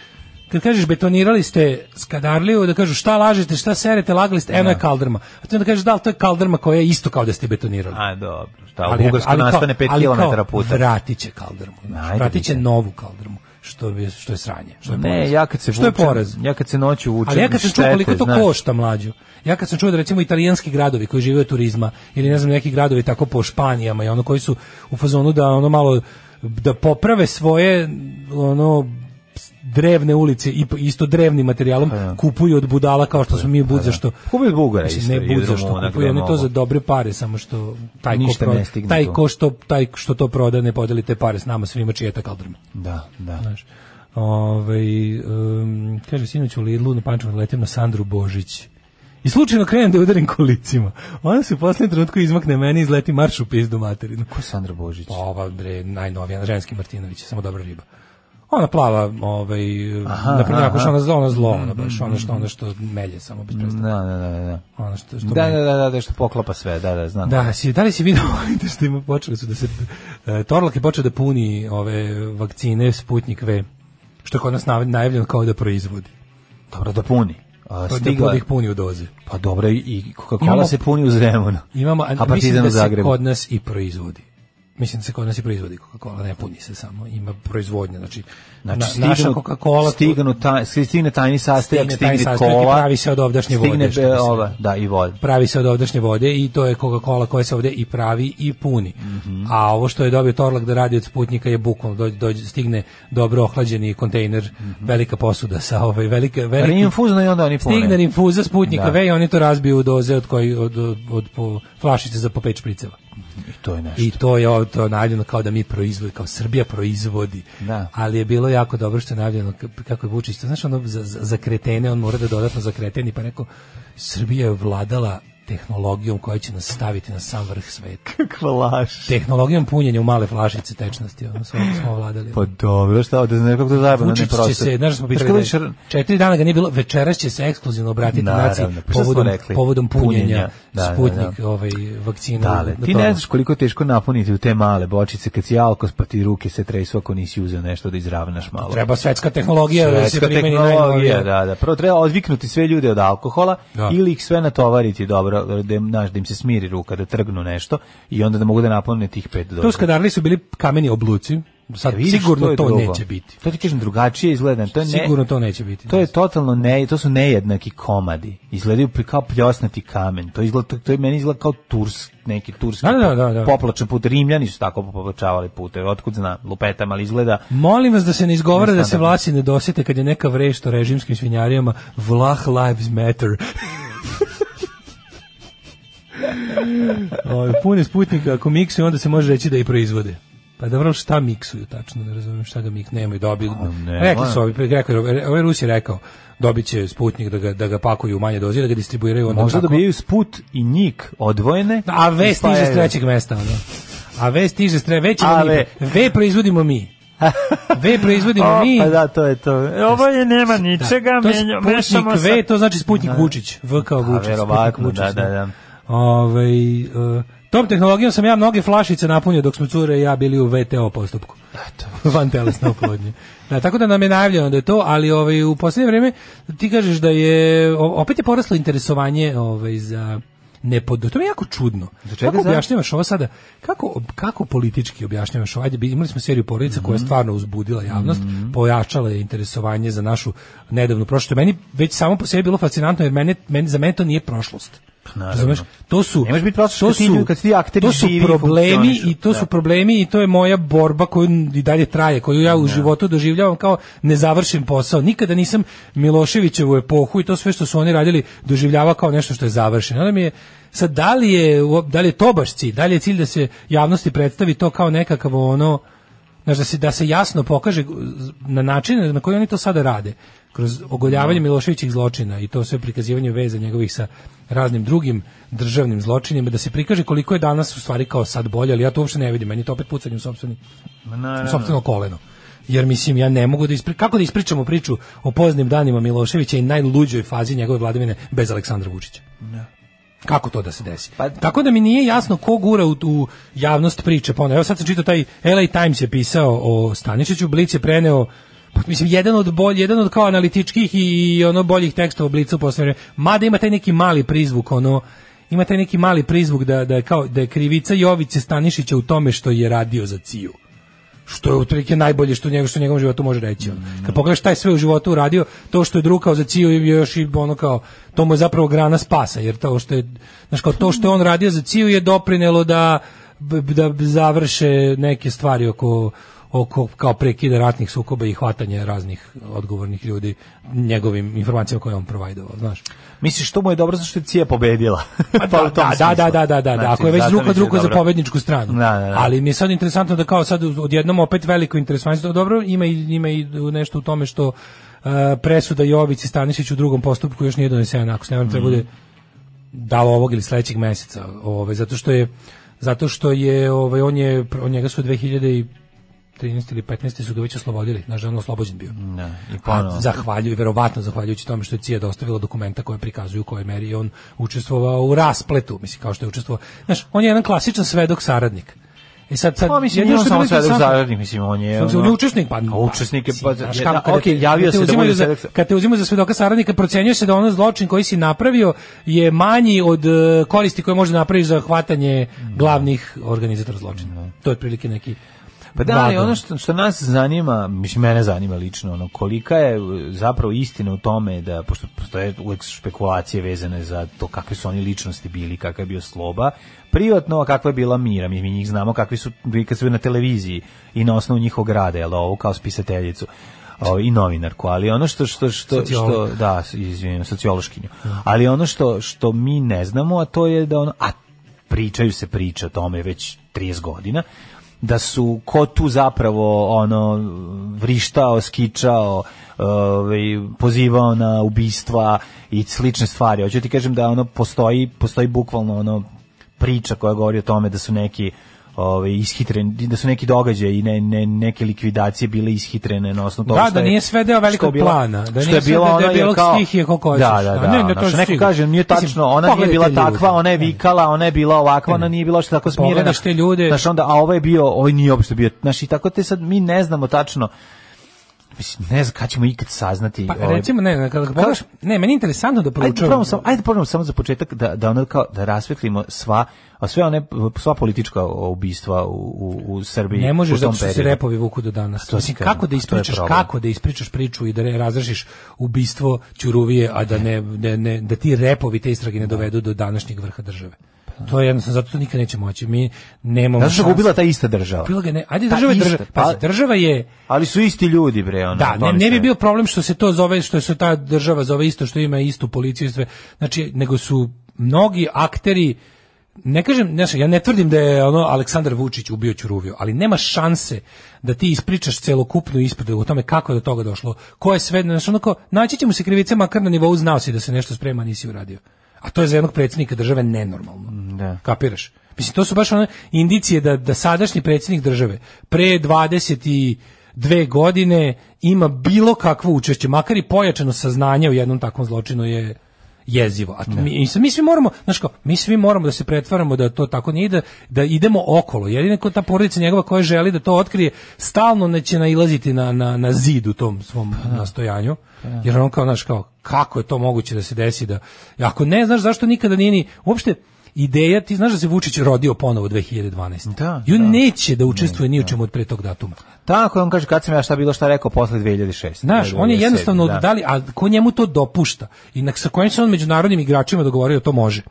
Speaker 6: kad kažeš betonirali ste skadarliju, da kažu šta lažete, šta serete, lagali ste, eno je kaldrma. A ti onda kažeš da li to je kaldrma koja je isto kao da ste betonirali.
Speaker 5: A, Pa, dobro. Šta, u Bugarsku nastane 5
Speaker 6: ali kao
Speaker 5: km puta.
Speaker 6: Vratit će kaldrmu, znaš,
Speaker 5: Ajde,
Speaker 6: vratit će
Speaker 5: vidite.
Speaker 6: novu kaldrmu, što, je- što je sranje. Što je
Speaker 5: Ne,
Speaker 6: poraz.
Speaker 5: ja kad se
Speaker 6: što je
Speaker 5: vučem-
Speaker 6: poraz.
Speaker 5: Ja kad se noću vučem,
Speaker 6: Ali ja kad sam čuo
Speaker 5: štete,
Speaker 6: koliko to
Speaker 5: znaš.
Speaker 6: košta mlađu. Ja kad sam čuo da recimo italijanski gradovi koji žive od turizma ili ne znam neki gradovi tako po Španijama i ono koji su u fazonu da ono malo da poprave svoje ono drevne ulice i po- isto drevnim
Speaker 5: Pa
Speaker 6: materijalom kupuju od budala kao što smo mi budza što
Speaker 5: Kupuju od Bugara isto
Speaker 6: ne
Speaker 5: i od
Speaker 6: budza što
Speaker 5: Rumuna,
Speaker 6: kupuju
Speaker 5: gde
Speaker 6: oni to
Speaker 5: mogu.
Speaker 6: za dobre pare samo što taj ko,
Speaker 5: Ništa ne
Speaker 6: proda-
Speaker 5: stigne
Speaker 6: taj
Speaker 5: tu.
Speaker 6: ko što taj što to proda ne podeli te pare s nama svima čije je ta kaldrma pa
Speaker 5: Da, da.
Speaker 6: znaš. Ovaj, em, kaže, sinoć u Lidlu na Pančevu letim na Sandru Božić. I slučajno krenem da je udarim kolicima. Ona se u posljednjem trenutku izmakne meni i izleti marš u pizdu materinu.
Speaker 5: Ko je Sandra Božić?
Speaker 6: Pa ova bre, najnovija, ženski Martinović, samo dobra riba. Ona plava, ovaj, naprimjer, ako što ona zlo, ona zlo,
Speaker 5: Mm,
Speaker 6: ona baš, ona što, ona što melje samo bez
Speaker 5: Da,
Speaker 6: prestanka.
Speaker 5: da, da, da.
Speaker 6: Ona što, što
Speaker 5: Mm. Da,
Speaker 6: melje.
Speaker 5: da, da, da, da, što poklapa sve, da, da, znam.
Speaker 6: Da, si, da li si vidio vidite što ima počeli su da se e, Torlak je počeo da puni ove vakcine Sputnik V što je kod nas nav- najavljeno kao da proizvodi.
Speaker 5: Dobro, da puni. A,
Speaker 6: To je
Speaker 5: stigla,
Speaker 6: Pa, da ih puni u doze.
Speaker 5: pa dobro, i- i Coca-Cola
Speaker 6: Imamo-
Speaker 5: se puni u Zemunu.
Speaker 6: Imamo, a,
Speaker 5: a
Speaker 6: mislim
Speaker 5: Partizan
Speaker 6: da
Speaker 5: u
Speaker 6: se
Speaker 5: Zagrebu.
Speaker 6: kod nas i proizvodi. Mislim da se kod nas i proizvodi Coca-Cola, ne puni se samo, ima proizvodnja. Znači,
Speaker 5: Znači,
Speaker 6: na-
Speaker 5: stignu,
Speaker 6: naša Coca-Cola...
Speaker 5: stignu ta, stigne tajni sastojak,
Speaker 6: Stigne tajni
Speaker 5: stigne,
Speaker 6: sastojak i
Speaker 5: kola,
Speaker 6: pravi se od ovdašnje vode,
Speaker 5: stigne,
Speaker 6: što
Speaker 5: be-
Speaker 6: bi se-
Speaker 5: ova, da, i voda.
Speaker 6: pravi se od ovdašnje vode i to je Coca-Cola koja se ovdje i pravi i puni. A ovo što je dobio Torlak da radi od Sputnika je bukvalno dođe, dođe- stigne dobro ohlađeni kontejner, velika posuda sa ovaj velika veliki
Speaker 5: Rinfuzno i onda oni pune.
Speaker 6: stigne infuza Sputnika
Speaker 5: Da.
Speaker 6: V i oni to razbiju u doze od koji od, od, od po flašice za po pet špriceva.
Speaker 5: I to je nešto.
Speaker 6: I to je ovo- to je najavljeno kao da mi proizvodi, kao Srbija proizvodi.
Speaker 5: Da.
Speaker 6: Ali je bilo jako dobro što je najavljeno k- kako je Vučić, to znaš ono za, za, za kretene, on mora da dodatno za kreteni, pa je rekao Srbija je vladala tehnologijom koja će nas staviti na sam vrh sveta.
Speaker 5: Kakva laž.
Speaker 6: Tehnologijom punjenja u male flašice tečnosti, ono smo, smo vladali.
Speaker 5: Pa dobro, šta, da znaš kako to zajebano, ne
Speaker 6: Vučić
Speaker 5: prosto.
Speaker 6: će se, znaš da smo pričali,
Speaker 5: Znaš
Speaker 6: da
Speaker 5: kako
Speaker 6: je
Speaker 5: više-
Speaker 6: četiri dana ga nije bilo, večeras će se ekskluzivno obratiti
Speaker 5: Naravno,
Speaker 6: naciji
Speaker 5: pa šta smo
Speaker 6: povodom,
Speaker 5: rekli?
Speaker 6: povodom punjenja,
Speaker 5: Punjenja, da, da, da.
Speaker 6: Sputnik ovaj, vakcina.
Speaker 5: Dale,
Speaker 6: na
Speaker 5: ti
Speaker 6: to- ono.
Speaker 5: ne znaš koliko je teško napuniti u te male bočice kad si alkos pa ti ruke se tresu ako nisi uzeo nešto da izravnaš malo.
Speaker 6: Treba svetska tehnologija da se
Speaker 5: Svetska
Speaker 6: primeni
Speaker 5: tehnologija,
Speaker 6: najnovija.
Speaker 5: da, da. Prvo treba odviknuti sve ljude od alkohola
Speaker 6: Da.
Speaker 5: ili ih sve natovariti dobro, da, im, znaš, da im se smiri ruka, da trgnu nešto i onda da mogu da napune tih pet doza.
Speaker 6: Tu skadarli su bili kameni obluci, sad
Speaker 5: Vidiš,
Speaker 6: sigurno
Speaker 5: je
Speaker 6: to
Speaker 5: drugo.
Speaker 6: neće biti.
Speaker 5: To ti kažem drugačije izgleda. To je ne,
Speaker 6: Sigurno to neće biti.
Speaker 5: To je totalno ne, to su nejednaki komadi. Izgledaju pri- kao pljosnati kamen. To izgleda to, to je meni izgleda kao turs, neki turski
Speaker 6: Da, da, da, da.
Speaker 5: poplačan put. Rimljani su tako poplačavali puteve. Otkud zna, lupetama, ali izgleda
Speaker 6: Molim vas da se ne izgovara da se
Speaker 5: Nestandardno.
Speaker 6: vlasi ne dosjete kad je neka vrešt o režimskim svinjarijama Vlah lives matter. Ovo, pune Ovaj, sputnika, ako miksuju, onda se može reći da i proizvode. Pa dobro, ali šta miksuju tačno, ne razumijem šta ga mik nemaju, dobili.
Speaker 5: ne,
Speaker 6: rekli
Speaker 5: ma.
Speaker 6: su ovi, pre- rekao, je- ovaj Rus je rekao, dobit će sputnik da ga, da ga pakuju u manje dozi, da ga distribuiraju onda
Speaker 5: možda
Speaker 6: tako.
Speaker 5: dobijaju sput i njik odvojene.
Speaker 6: A V stiže s
Speaker 5: Spajaju.
Speaker 6: trećeg mesta, ono. A V stiže s tre... V ćemo
Speaker 5: A,
Speaker 6: mi...
Speaker 5: V.
Speaker 6: V proizvodimo mi. V proizvodimo
Speaker 5: O,
Speaker 6: mi.
Speaker 5: pa da, to je to. Ovo je nema ničega,
Speaker 6: Tak. to je
Speaker 5: menja-
Speaker 6: Sputnik
Speaker 5: mešamo sa-
Speaker 6: V, to znači Sputnik Vučić. V kao Vučić. Sputnik
Speaker 5: verovatno,
Speaker 6: Vučić,
Speaker 5: da,
Speaker 6: no.
Speaker 5: da, da.
Speaker 6: Ovaj, e, tom tehnologijom sam ja mnoge flašice napunio dok smo cure i ja bili u VTO postupku. Van telesne oplodnje. Da, tako da nam je najavljeno da je to, ali ovaj, u posljednje vrijeme ti kažeš da je, o- opet je poraslo interesovanje ovaj, za nepod... To mi je jako čudno.
Speaker 5: čega
Speaker 6: kako
Speaker 5: za?
Speaker 6: objašnjavaš ovo sada? Kako, kako politički objašnjavaš ovo? Ajde, bi- imali smo seriju porodica koja je
Speaker 5: Mhm.
Speaker 6: stvarno uzbudila javnost, pojačala je interesovanje za našu nedavnu prošlost. Meni već samo po sebi bilo fascinantno jer mene, meni, za mene to nije prošlost.
Speaker 5: Pa naravno.
Speaker 6: Razumeš? To su
Speaker 5: Ne možeš biti prosto
Speaker 6: to
Speaker 5: kad ti ljudi- kad ti akteri
Speaker 6: to su
Speaker 5: živi i
Speaker 6: problemi
Speaker 5: funkcionišu.
Speaker 6: i to su
Speaker 5: Da.
Speaker 6: problemi i to je moja borba koju i dalje traje, koju ja u životu doživljavam kao nezavršen posao. Nikada nisam Miloševićevu epohu i to sve što su oni radili doživljava kao nešto što je završeno. Onda mi je sad da li je da li je to baš cilj? Da li je cilj da se javnosti predstavi to kao nekakav ono Znaš, da se, da se jasno pokaže na način na koji oni to sada rade. Kroz ogoljavanje Miloševićih zločina i to sve prikazivanje veze njegovih sa raznim drugim državnim zločinima, da se prikaže koliko je danas u stvari kao sad bolje, ali ja to uopšte ne vidim, meni je to opet pucanje u sopstveni, u sopstveno koleno. Jer mislim, ja ne mogu da ispričam, kako da ispričamo priču o poznim danima Miloševića i najluđoj fazi njegove vladavine bez Aleksandra Vučića. Kako to da se desi?
Speaker 5: Pa-
Speaker 6: Tako da mi nije jasno ko gura u, u javnost priče. Pa ono, evo sad sam čitao taj LA Times je pisao o Stanišiću, Blic je preneo pa, mislim, jedan od, bolj, jedan od kao analitičkih i ono boljih tekstova o Blicu u poslednje vreme. Mada ima taj neki mali prizvuk, ono, ima taj neki mali prizvuk da, da, je kao, da je krivica Jovice Stanišića u tome što je radio za Ciju što je utrike najbolje što njega što u njegovom životu može reći. ono. Kad pogledaš taj sve u životu uradio, to što je drukao za Ciju je još i ono kao to mu je zapravo grana spasa, jer to što je znaš, kao to što je on radio za Ciju je doprinelo da b- da završe neke stvari oko oko kao prekida ratnih sukoba i hvatanje raznih odgovornih ljudi njegovim informacijama koje je on provajdovao, znaš.
Speaker 5: Misliš što mu je dobro zato što je Cija pobedila? Pa u tom
Speaker 6: da, da,
Speaker 5: smislu.
Speaker 6: da, da, da, da,
Speaker 5: Znači,
Speaker 6: ako je već
Speaker 5: zato
Speaker 6: drugo
Speaker 5: mi se
Speaker 6: drugo za
Speaker 5: dobro.
Speaker 6: pobedničku stranu.
Speaker 5: Da, da, da.
Speaker 6: Ali mi je sad interesantno da kao sad odjednom opet veliko interesovanje, dobro, ima i, ima i nešto u tome što e, presuda Jovici Stanišić u drugom postupku još nije donesena, ako se ne varam,
Speaker 5: Mhm.
Speaker 6: treba bude da li ovog ili sledećeg meseca, ovaj zato što je zato što je ovaj on je on njega su 2013 ili 15 su ga već oslobodili, znaš da je on oslobođen bio.
Speaker 5: Da, i
Speaker 6: A
Speaker 5: ponovo.
Speaker 6: zahvaljuju, verovatno zahvaljujući tome što je CIA dostavila dokumenta koje prikazuju u kojoj meri je on učestvovao u raspletu, mislim kao što je učestvovao. Znaš, on je jedan klasičan svedok saradnik. I sad sad
Speaker 5: Pa mislim,
Speaker 6: jedino
Speaker 5: nije on
Speaker 6: što je
Speaker 5: samo
Speaker 6: bilo
Speaker 5: svedok
Speaker 6: interesantno-
Speaker 5: zaradnik, mislim, on je...
Speaker 6: Sad se
Speaker 5: ono-
Speaker 6: on je učesnik, pa...
Speaker 5: A učesnik je, pa...
Speaker 6: znaš,
Speaker 5: da,
Speaker 6: kako,
Speaker 5: ok,
Speaker 6: kad te-
Speaker 5: javio
Speaker 6: kad
Speaker 5: se
Speaker 6: te
Speaker 5: da
Speaker 6: uzimaju
Speaker 5: bude
Speaker 6: za,
Speaker 5: svedok...
Speaker 6: Kad te uzimaju za svedoka saradnika, procenjuje se da ono zločin koji si napravio je manji od e, koristi koje može napraviti za hvatanje glavnih organizatora zločina. To je otprilike neki...
Speaker 5: Pa da, ali
Speaker 6: vagon.
Speaker 5: ono što, što nas zanima, mislim, mene zanima lično, ono, kolika je e, zapravo istina u tome da, pošto postoje uvek špekulacije vezane za to kakve su oni ličnosti bili, kakav je bio sloba, privatno, a kakva je bila mira, mi, mi njih znamo kakvi su, vi kad su bili na televiziji i na osnovu njihovog rada, jel, ovo kao spisateljicu o, i novinarku, ali ono što što što što
Speaker 6: Sociolog.
Speaker 5: da, izvinim, sociološkinju. Ali ono što što mi ne znamo, a to je da ono a pričaju se priče o tome već 30 godina da su ko tu zapravo ono vrištao, skičao, ovaj pozivao na ubistva i slične stvari. Hoću ti kažem da ono postoji postoji bukvalno ono priča koja govori o tome da su neki ovaj ishitreni da su neki događaji i ne, ne, neke likvidacije bile ishitrene na osnovu toga
Speaker 6: Da,
Speaker 5: što
Speaker 6: da
Speaker 5: je-
Speaker 6: nije sve deo velikog
Speaker 5: što je bila-
Speaker 6: plana, da
Speaker 5: što
Speaker 6: nije
Speaker 5: je
Speaker 6: sve
Speaker 5: bila
Speaker 6: da je
Speaker 5: ono je
Speaker 6: debelog
Speaker 5: kao
Speaker 6: stihije ko hoćeš,
Speaker 5: da da
Speaker 6: a
Speaker 5: da
Speaker 6: ne, ne,
Speaker 5: ono
Speaker 6: to je
Speaker 5: što neko
Speaker 6: sigurno.
Speaker 5: kaže nije
Speaker 6: Mislim,
Speaker 5: tačno ona nije
Speaker 6: pogledajte
Speaker 5: bila
Speaker 6: ljude.
Speaker 5: takva ona je
Speaker 6: Ne.
Speaker 5: vikala ona je bila ovakva ona nije bila što tako smirena
Speaker 6: Pogledaš te ljude.
Speaker 5: znaš onda a ovo je bio ovo nije uopšte bio znaš i tako te sad mi ne znamo tačno mislim ne znam kad ćemo ikad saznati
Speaker 6: Pa
Speaker 5: ovaj,
Speaker 6: recimo, ne, ne, kada pogledaš, ne, meni je interesantno da
Speaker 5: Ajde
Speaker 6: proučavam.
Speaker 5: probamo samo ajde probamo samo za početak da da ono kao da rasvetlimo sva a sve one sva politička ubistva u u, u Srbiji
Speaker 6: Ne možeš
Speaker 5: u tom
Speaker 6: zato što se
Speaker 5: periodu.
Speaker 6: repovi vuku do danas.
Speaker 5: ti
Speaker 6: Mislim,
Speaker 5: kažem,
Speaker 6: kako da
Speaker 5: a to je
Speaker 6: ispričaš,
Speaker 5: problem.
Speaker 6: kako da ispričaš priču i da re- razrešiš ubistvo Ćuruvije, a da ne, ne, ne- da ti repovi te istrage ne dovedu do današnjeg vrha države. To je jednostavno, zato to nikad neće moći. Mi nemamo
Speaker 5: Zato što ga
Speaker 6: šanse.
Speaker 5: ubila ta ista država.
Speaker 6: Ubila ga ne. Ajde,
Speaker 5: Ta
Speaker 6: država je
Speaker 5: ista,
Speaker 6: država.
Speaker 5: pa-
Speaker 6: Pazi, država je...
Speaker 5: Ali su isti ljudi bre ono.
Speaker 6: Da,
Speaker 5: to
Speaker 6: ne,
Speaker 5: mi
Speaker 6: ne bi
Speaker 5: se-
Speaker 6: bio problem što se to zove, što se ta država zove isto, što ima istu policiju i sve. Znači, nego su mnogi akteri, ne kažem, znaš, ja ne tvrdim da je ono Aleksandar Vučić ubio Ćuruviju, ali nema šanse da ti ispričaš celokupnu ispredu o tome kako je do toga došlo, ko je sve, znaš, onako, naći ćemo se krivice makar na nivou znao si da se nešto sprema, a nisi uradio. A to je za jednog predsjednika države nenormalno.
Speaker 5: Da.
Speaker 6: Kapiraš? Mislim, to su baš one indicije da, da sadašnji predsjednik države pre 22 godine ima bilo kakvo učešće, makar i pojačano saznanje u jednom takvom zločinu je jezivo. A mi, i sad mi svi moramo, znaš kao, mi svi moramo da se pretvaramo da to tako nije, i da, da idemo okolo. Jedina ko ta porodica njegova koja želi da to otkrije, stalno neće nailaziti na, na, na zid u tom svom nastojanju. Jer on kao, znaš kao, kako je to moguće da se desi da, ako ne, znaš zašto nikada nije ni, uopšte, ideja, ti znaš da se Vučić rodio ponovo 2012.
Speaker 5: Da,
Speaker 6: I on
Speaker 5: da.
Speaker 6: neće da učestvuje ni u čemu od pre tog datuma.
Speaker 5: Tako on kaže kad sam ja šta bilo šta rekao posle 2006.
Speaker 6: Znaš, on je
Speaker 5: 2007,
Speaker 6: jednostavno
Speaker 5: da.
Speaker 6: da. li, a ko njemu to dopušta? I na, sa kojim se on međunarodnim igračima dogovorio, to može.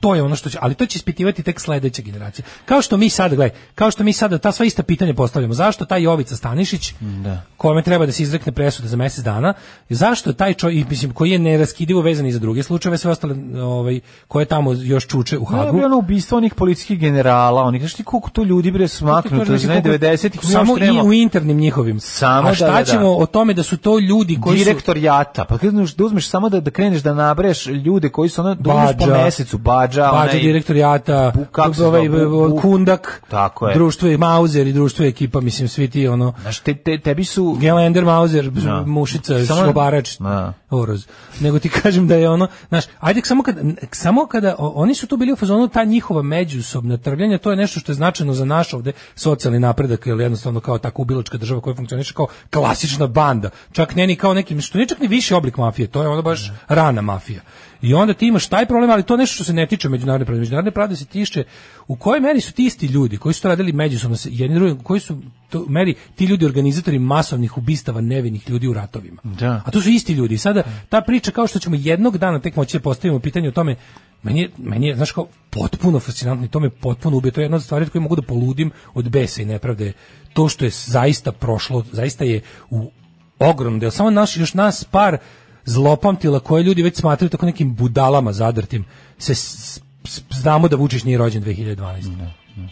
Speaker 6: To je ono što će, ali to će ispitivati tek sledeća generacija. Kao što mi sada, gledaj, kao što mi sada ta sva ista pitanja postavljamo. Zašto taj Jovica Stanišić, da. kome treba da se izrekne presuda za mjesec dana, zašto taj čovjek, mislim, koji je neraskidivo vezan i za druge slučajeve, sve ostale, ovaj, koje tamo još čuče u
Speaker 5: Da,
Speaker 6: Hagu.
Speaker 5: bi ono ubistvo onih policijskih generala, onih, znaš ti koliko to ljudi bre smaknuto,
Speaker 6: Mislim,
Speaker 5: znaš,
Speaker 6: znači, koliko-
Speaker 5: 90-ih, mi
Speaker 6: samo
Speaker 5: još trebamo-
Speaker 6: i u internim njihovim.
Speaker 5: Samo
Speaker 6: A šta
Speaker 5: da, da, da.
Speaker 6: ćemo o tome da su to ljudi koji su
Speaker 5: direktor jata. Pa kad znaš da uzmeš samo da da kreneš da nabreš ljude koji su ono da uzmeš po
Speaker 6: Badža.
Speaker 5: mesecu badža,
Speaker 6: Bađa,
Speaker 5: onaj
Speaker 6: direktor Jata,
Speaker 5: Bu- kako se
Speaker 6: ovaj,
Speaker 5: zove, Bu- Bu-
Speaker 6: Kundak,
Speaker 5: Tako je.
Speaker 6: društvo je Mauser i društvo je ekipa, mislim, svi ti, ono,
Speaker 5: Znaš, te, te, tebi su
Speaker 6: Gelender, Mauser,
Speaker 5: Da.
Speaker 6: Mušica,
Speaker 5: Samo-
Speaker 6: Šlobarač,
Speaker 5: Da.
Speaker 6: Oroz. Nego ti kažem da je ono, znaš, ajde samo kada, samo kada o- oni su tu bili u fazonu, ta njihova međusobna trvljenja, to je nešto što je značajno za naš ovde socijalni napredak, jer jednostavno kao tako ubilačka država koja funkcioniše kao klasična banda, čak ne ni kao neki, što nije čak ni viši oblik mafije, to je ono baš rana mafija. I onda ti imaš taj problem, ali to je nešto što se ne tiče međunarodne pravde. Međunarodne pravde se tiče u kojoj meri su ti isti ljudi koji su to radili međusobno se- jedni drugim, koji su to meri ti ljudi organizatori masovnih ubistava nevinih ljudi u ratovima.
Speaker 5: Da.
Speaker 6: A to su isti ljudi. I sada ta priča kao što ćemo jednog dana tek moći da postavimo pitanje o tome meni je, meni je znaš kao potpuno fascinantno i to me potpuno ubije. To je jedna od stvari od koje mogu da poludim od besa i nepravde. To što je zaista prošlo, zaista je u ogrom del. Samo naš, još nas par zlopamtila koje ljudi već smatraju tako nekim budalama zadrtim. Se s- s- znamo da Vučić nije rođen 2012.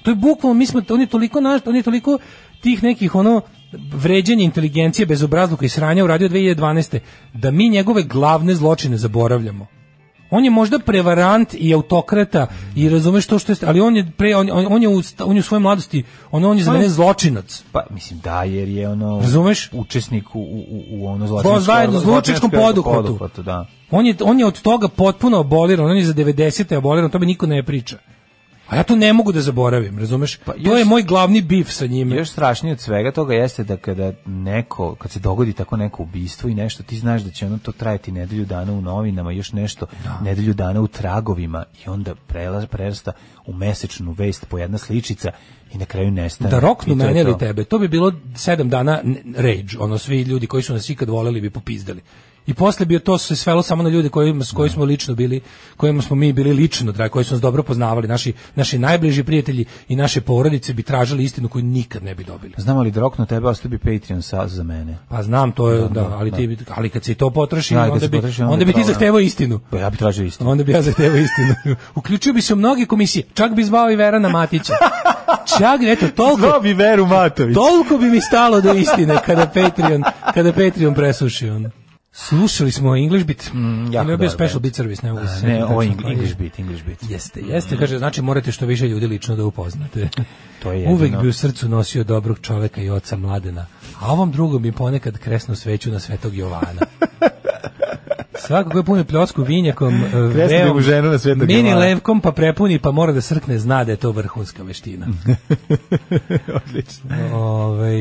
Speaker 6: To je bukvalno, mi smo, on je toliko naš, on je toliko tih nekih ono vređanje inteligencije, bezobrazluka i sranja uradio 2012. da mi njegove glavne zločine zaboravljamo. On je možda prevarant i autokrata i razumeš to što je, ali on je pre, on, on, on je u, sta- on je u svojoj mladosti, ono, on, on je za mene zločinac.
Speaker 5: pa mislim da jer je ono
Speaker 6: Razumeš?
Speaker 5: učesnik u u u, u ono
Speaker 6: Zlo- zajedno, zločinačkom poduhvatu.
Speaker 5: da.
Speaker 6: On je, on je od toga potpuno aboliran, on je za 90. aboliran, o tome niko ne priča. A ja to ne mogu da zaboravim, razumeš? to
Speaker 5: još-
Speaker 6: je moj glavni bif sa njime.
Speaker 5: Još strašnije od svega toga jeste da kada neko, kad se dogodi tako neko ubistvo i nešto, ti znaš da će ono to trajati nedelju dana u novinama, još nešto, nedelju dana u tragovima i onda prelaz, prerasta u mesečnu vest po jedna sličica i na kraju nestane.
Speaker 6: da roknu
Speaker 5: E, I to je
Speaker 6: mene ili
Speaker 5: to.
Speaker 6: tebe, to bi bilo sedam dana n- rage, ono svi ljudi koji su nas ikad voleli bi popizdali. I posle bi to se svelo samo na ljude kojima, s kojima smo lično bili, kojima smo mi bili lično, dragi, koji su nas dobro poznavali, naši, naši najbliži prijatelji i naše porodice bi tražili istinu koju nikad ne bi dobili.
Speaker 5: Znam li da roknu tebe, ostao bi Patreon sa, za mene.
Speaker 6: Pa znam, to je, da, ali, ti, bi- ali kad se i to potroši,
Speaker 5: Da, kad
Speaker 6: onda,
Speaker 5: se
Speaker 6: bi,
Speaker 5: potroši, onda
Speaker 6: onda
Speaker 5: je
Speaker 6: bi ti
Speaker 5: problem.
Speaker 6: zahtevao istinu.
Speaker 5: Pa ja bi tražio isto.
Speaker 6: Onda bi ja zahtevao istinu. Uključio bi se u mnoge komisije. Čak bi zvao i Verana Matića. Čak, eto, toliko,
Speaker 5: bi Veru Matović.
Speaker 6: toliko bi mi stalo do istine kada Patreon, kada Patreon presuši. Ono. Slušali smo English Beat. Mm,
Speaker 5: jako
Speaker 6: je bio
Speaker 5: dobar
Speaker 6: special
Speaker 5: band.
Speaker 6: beat service, ne mogu se sjetiti
Speaker 5: Ne, ovo je
Speaker 6: tačno koji je.
Speaker 5: English beat, English beat.
Speaker 6: Jeste, jeste, kaže, znači morate što više ljudi lično da upoznate.
Speaker 5: To je jedino.
Speaker 6: Uvek bi u srcu nosio dobrog čoveka i oca mladena, a ovom drugom bi ponekad kresnu sveću na svetog Jovana. Svako ko je puni pljosku vinjakom, eh,
Speaker 5: Kresne
Speaker 6: veom,
Speaker 5: drugu ženu na Svetog
Speaker 6: mini
Speaker 5: Jovana.
Speaker 6: levkom pa prepuni pa mora da srkne, zna da je to vrhunska veština.
Speaker 5: Odlično.
Speaker 6: Ove, Ovaj,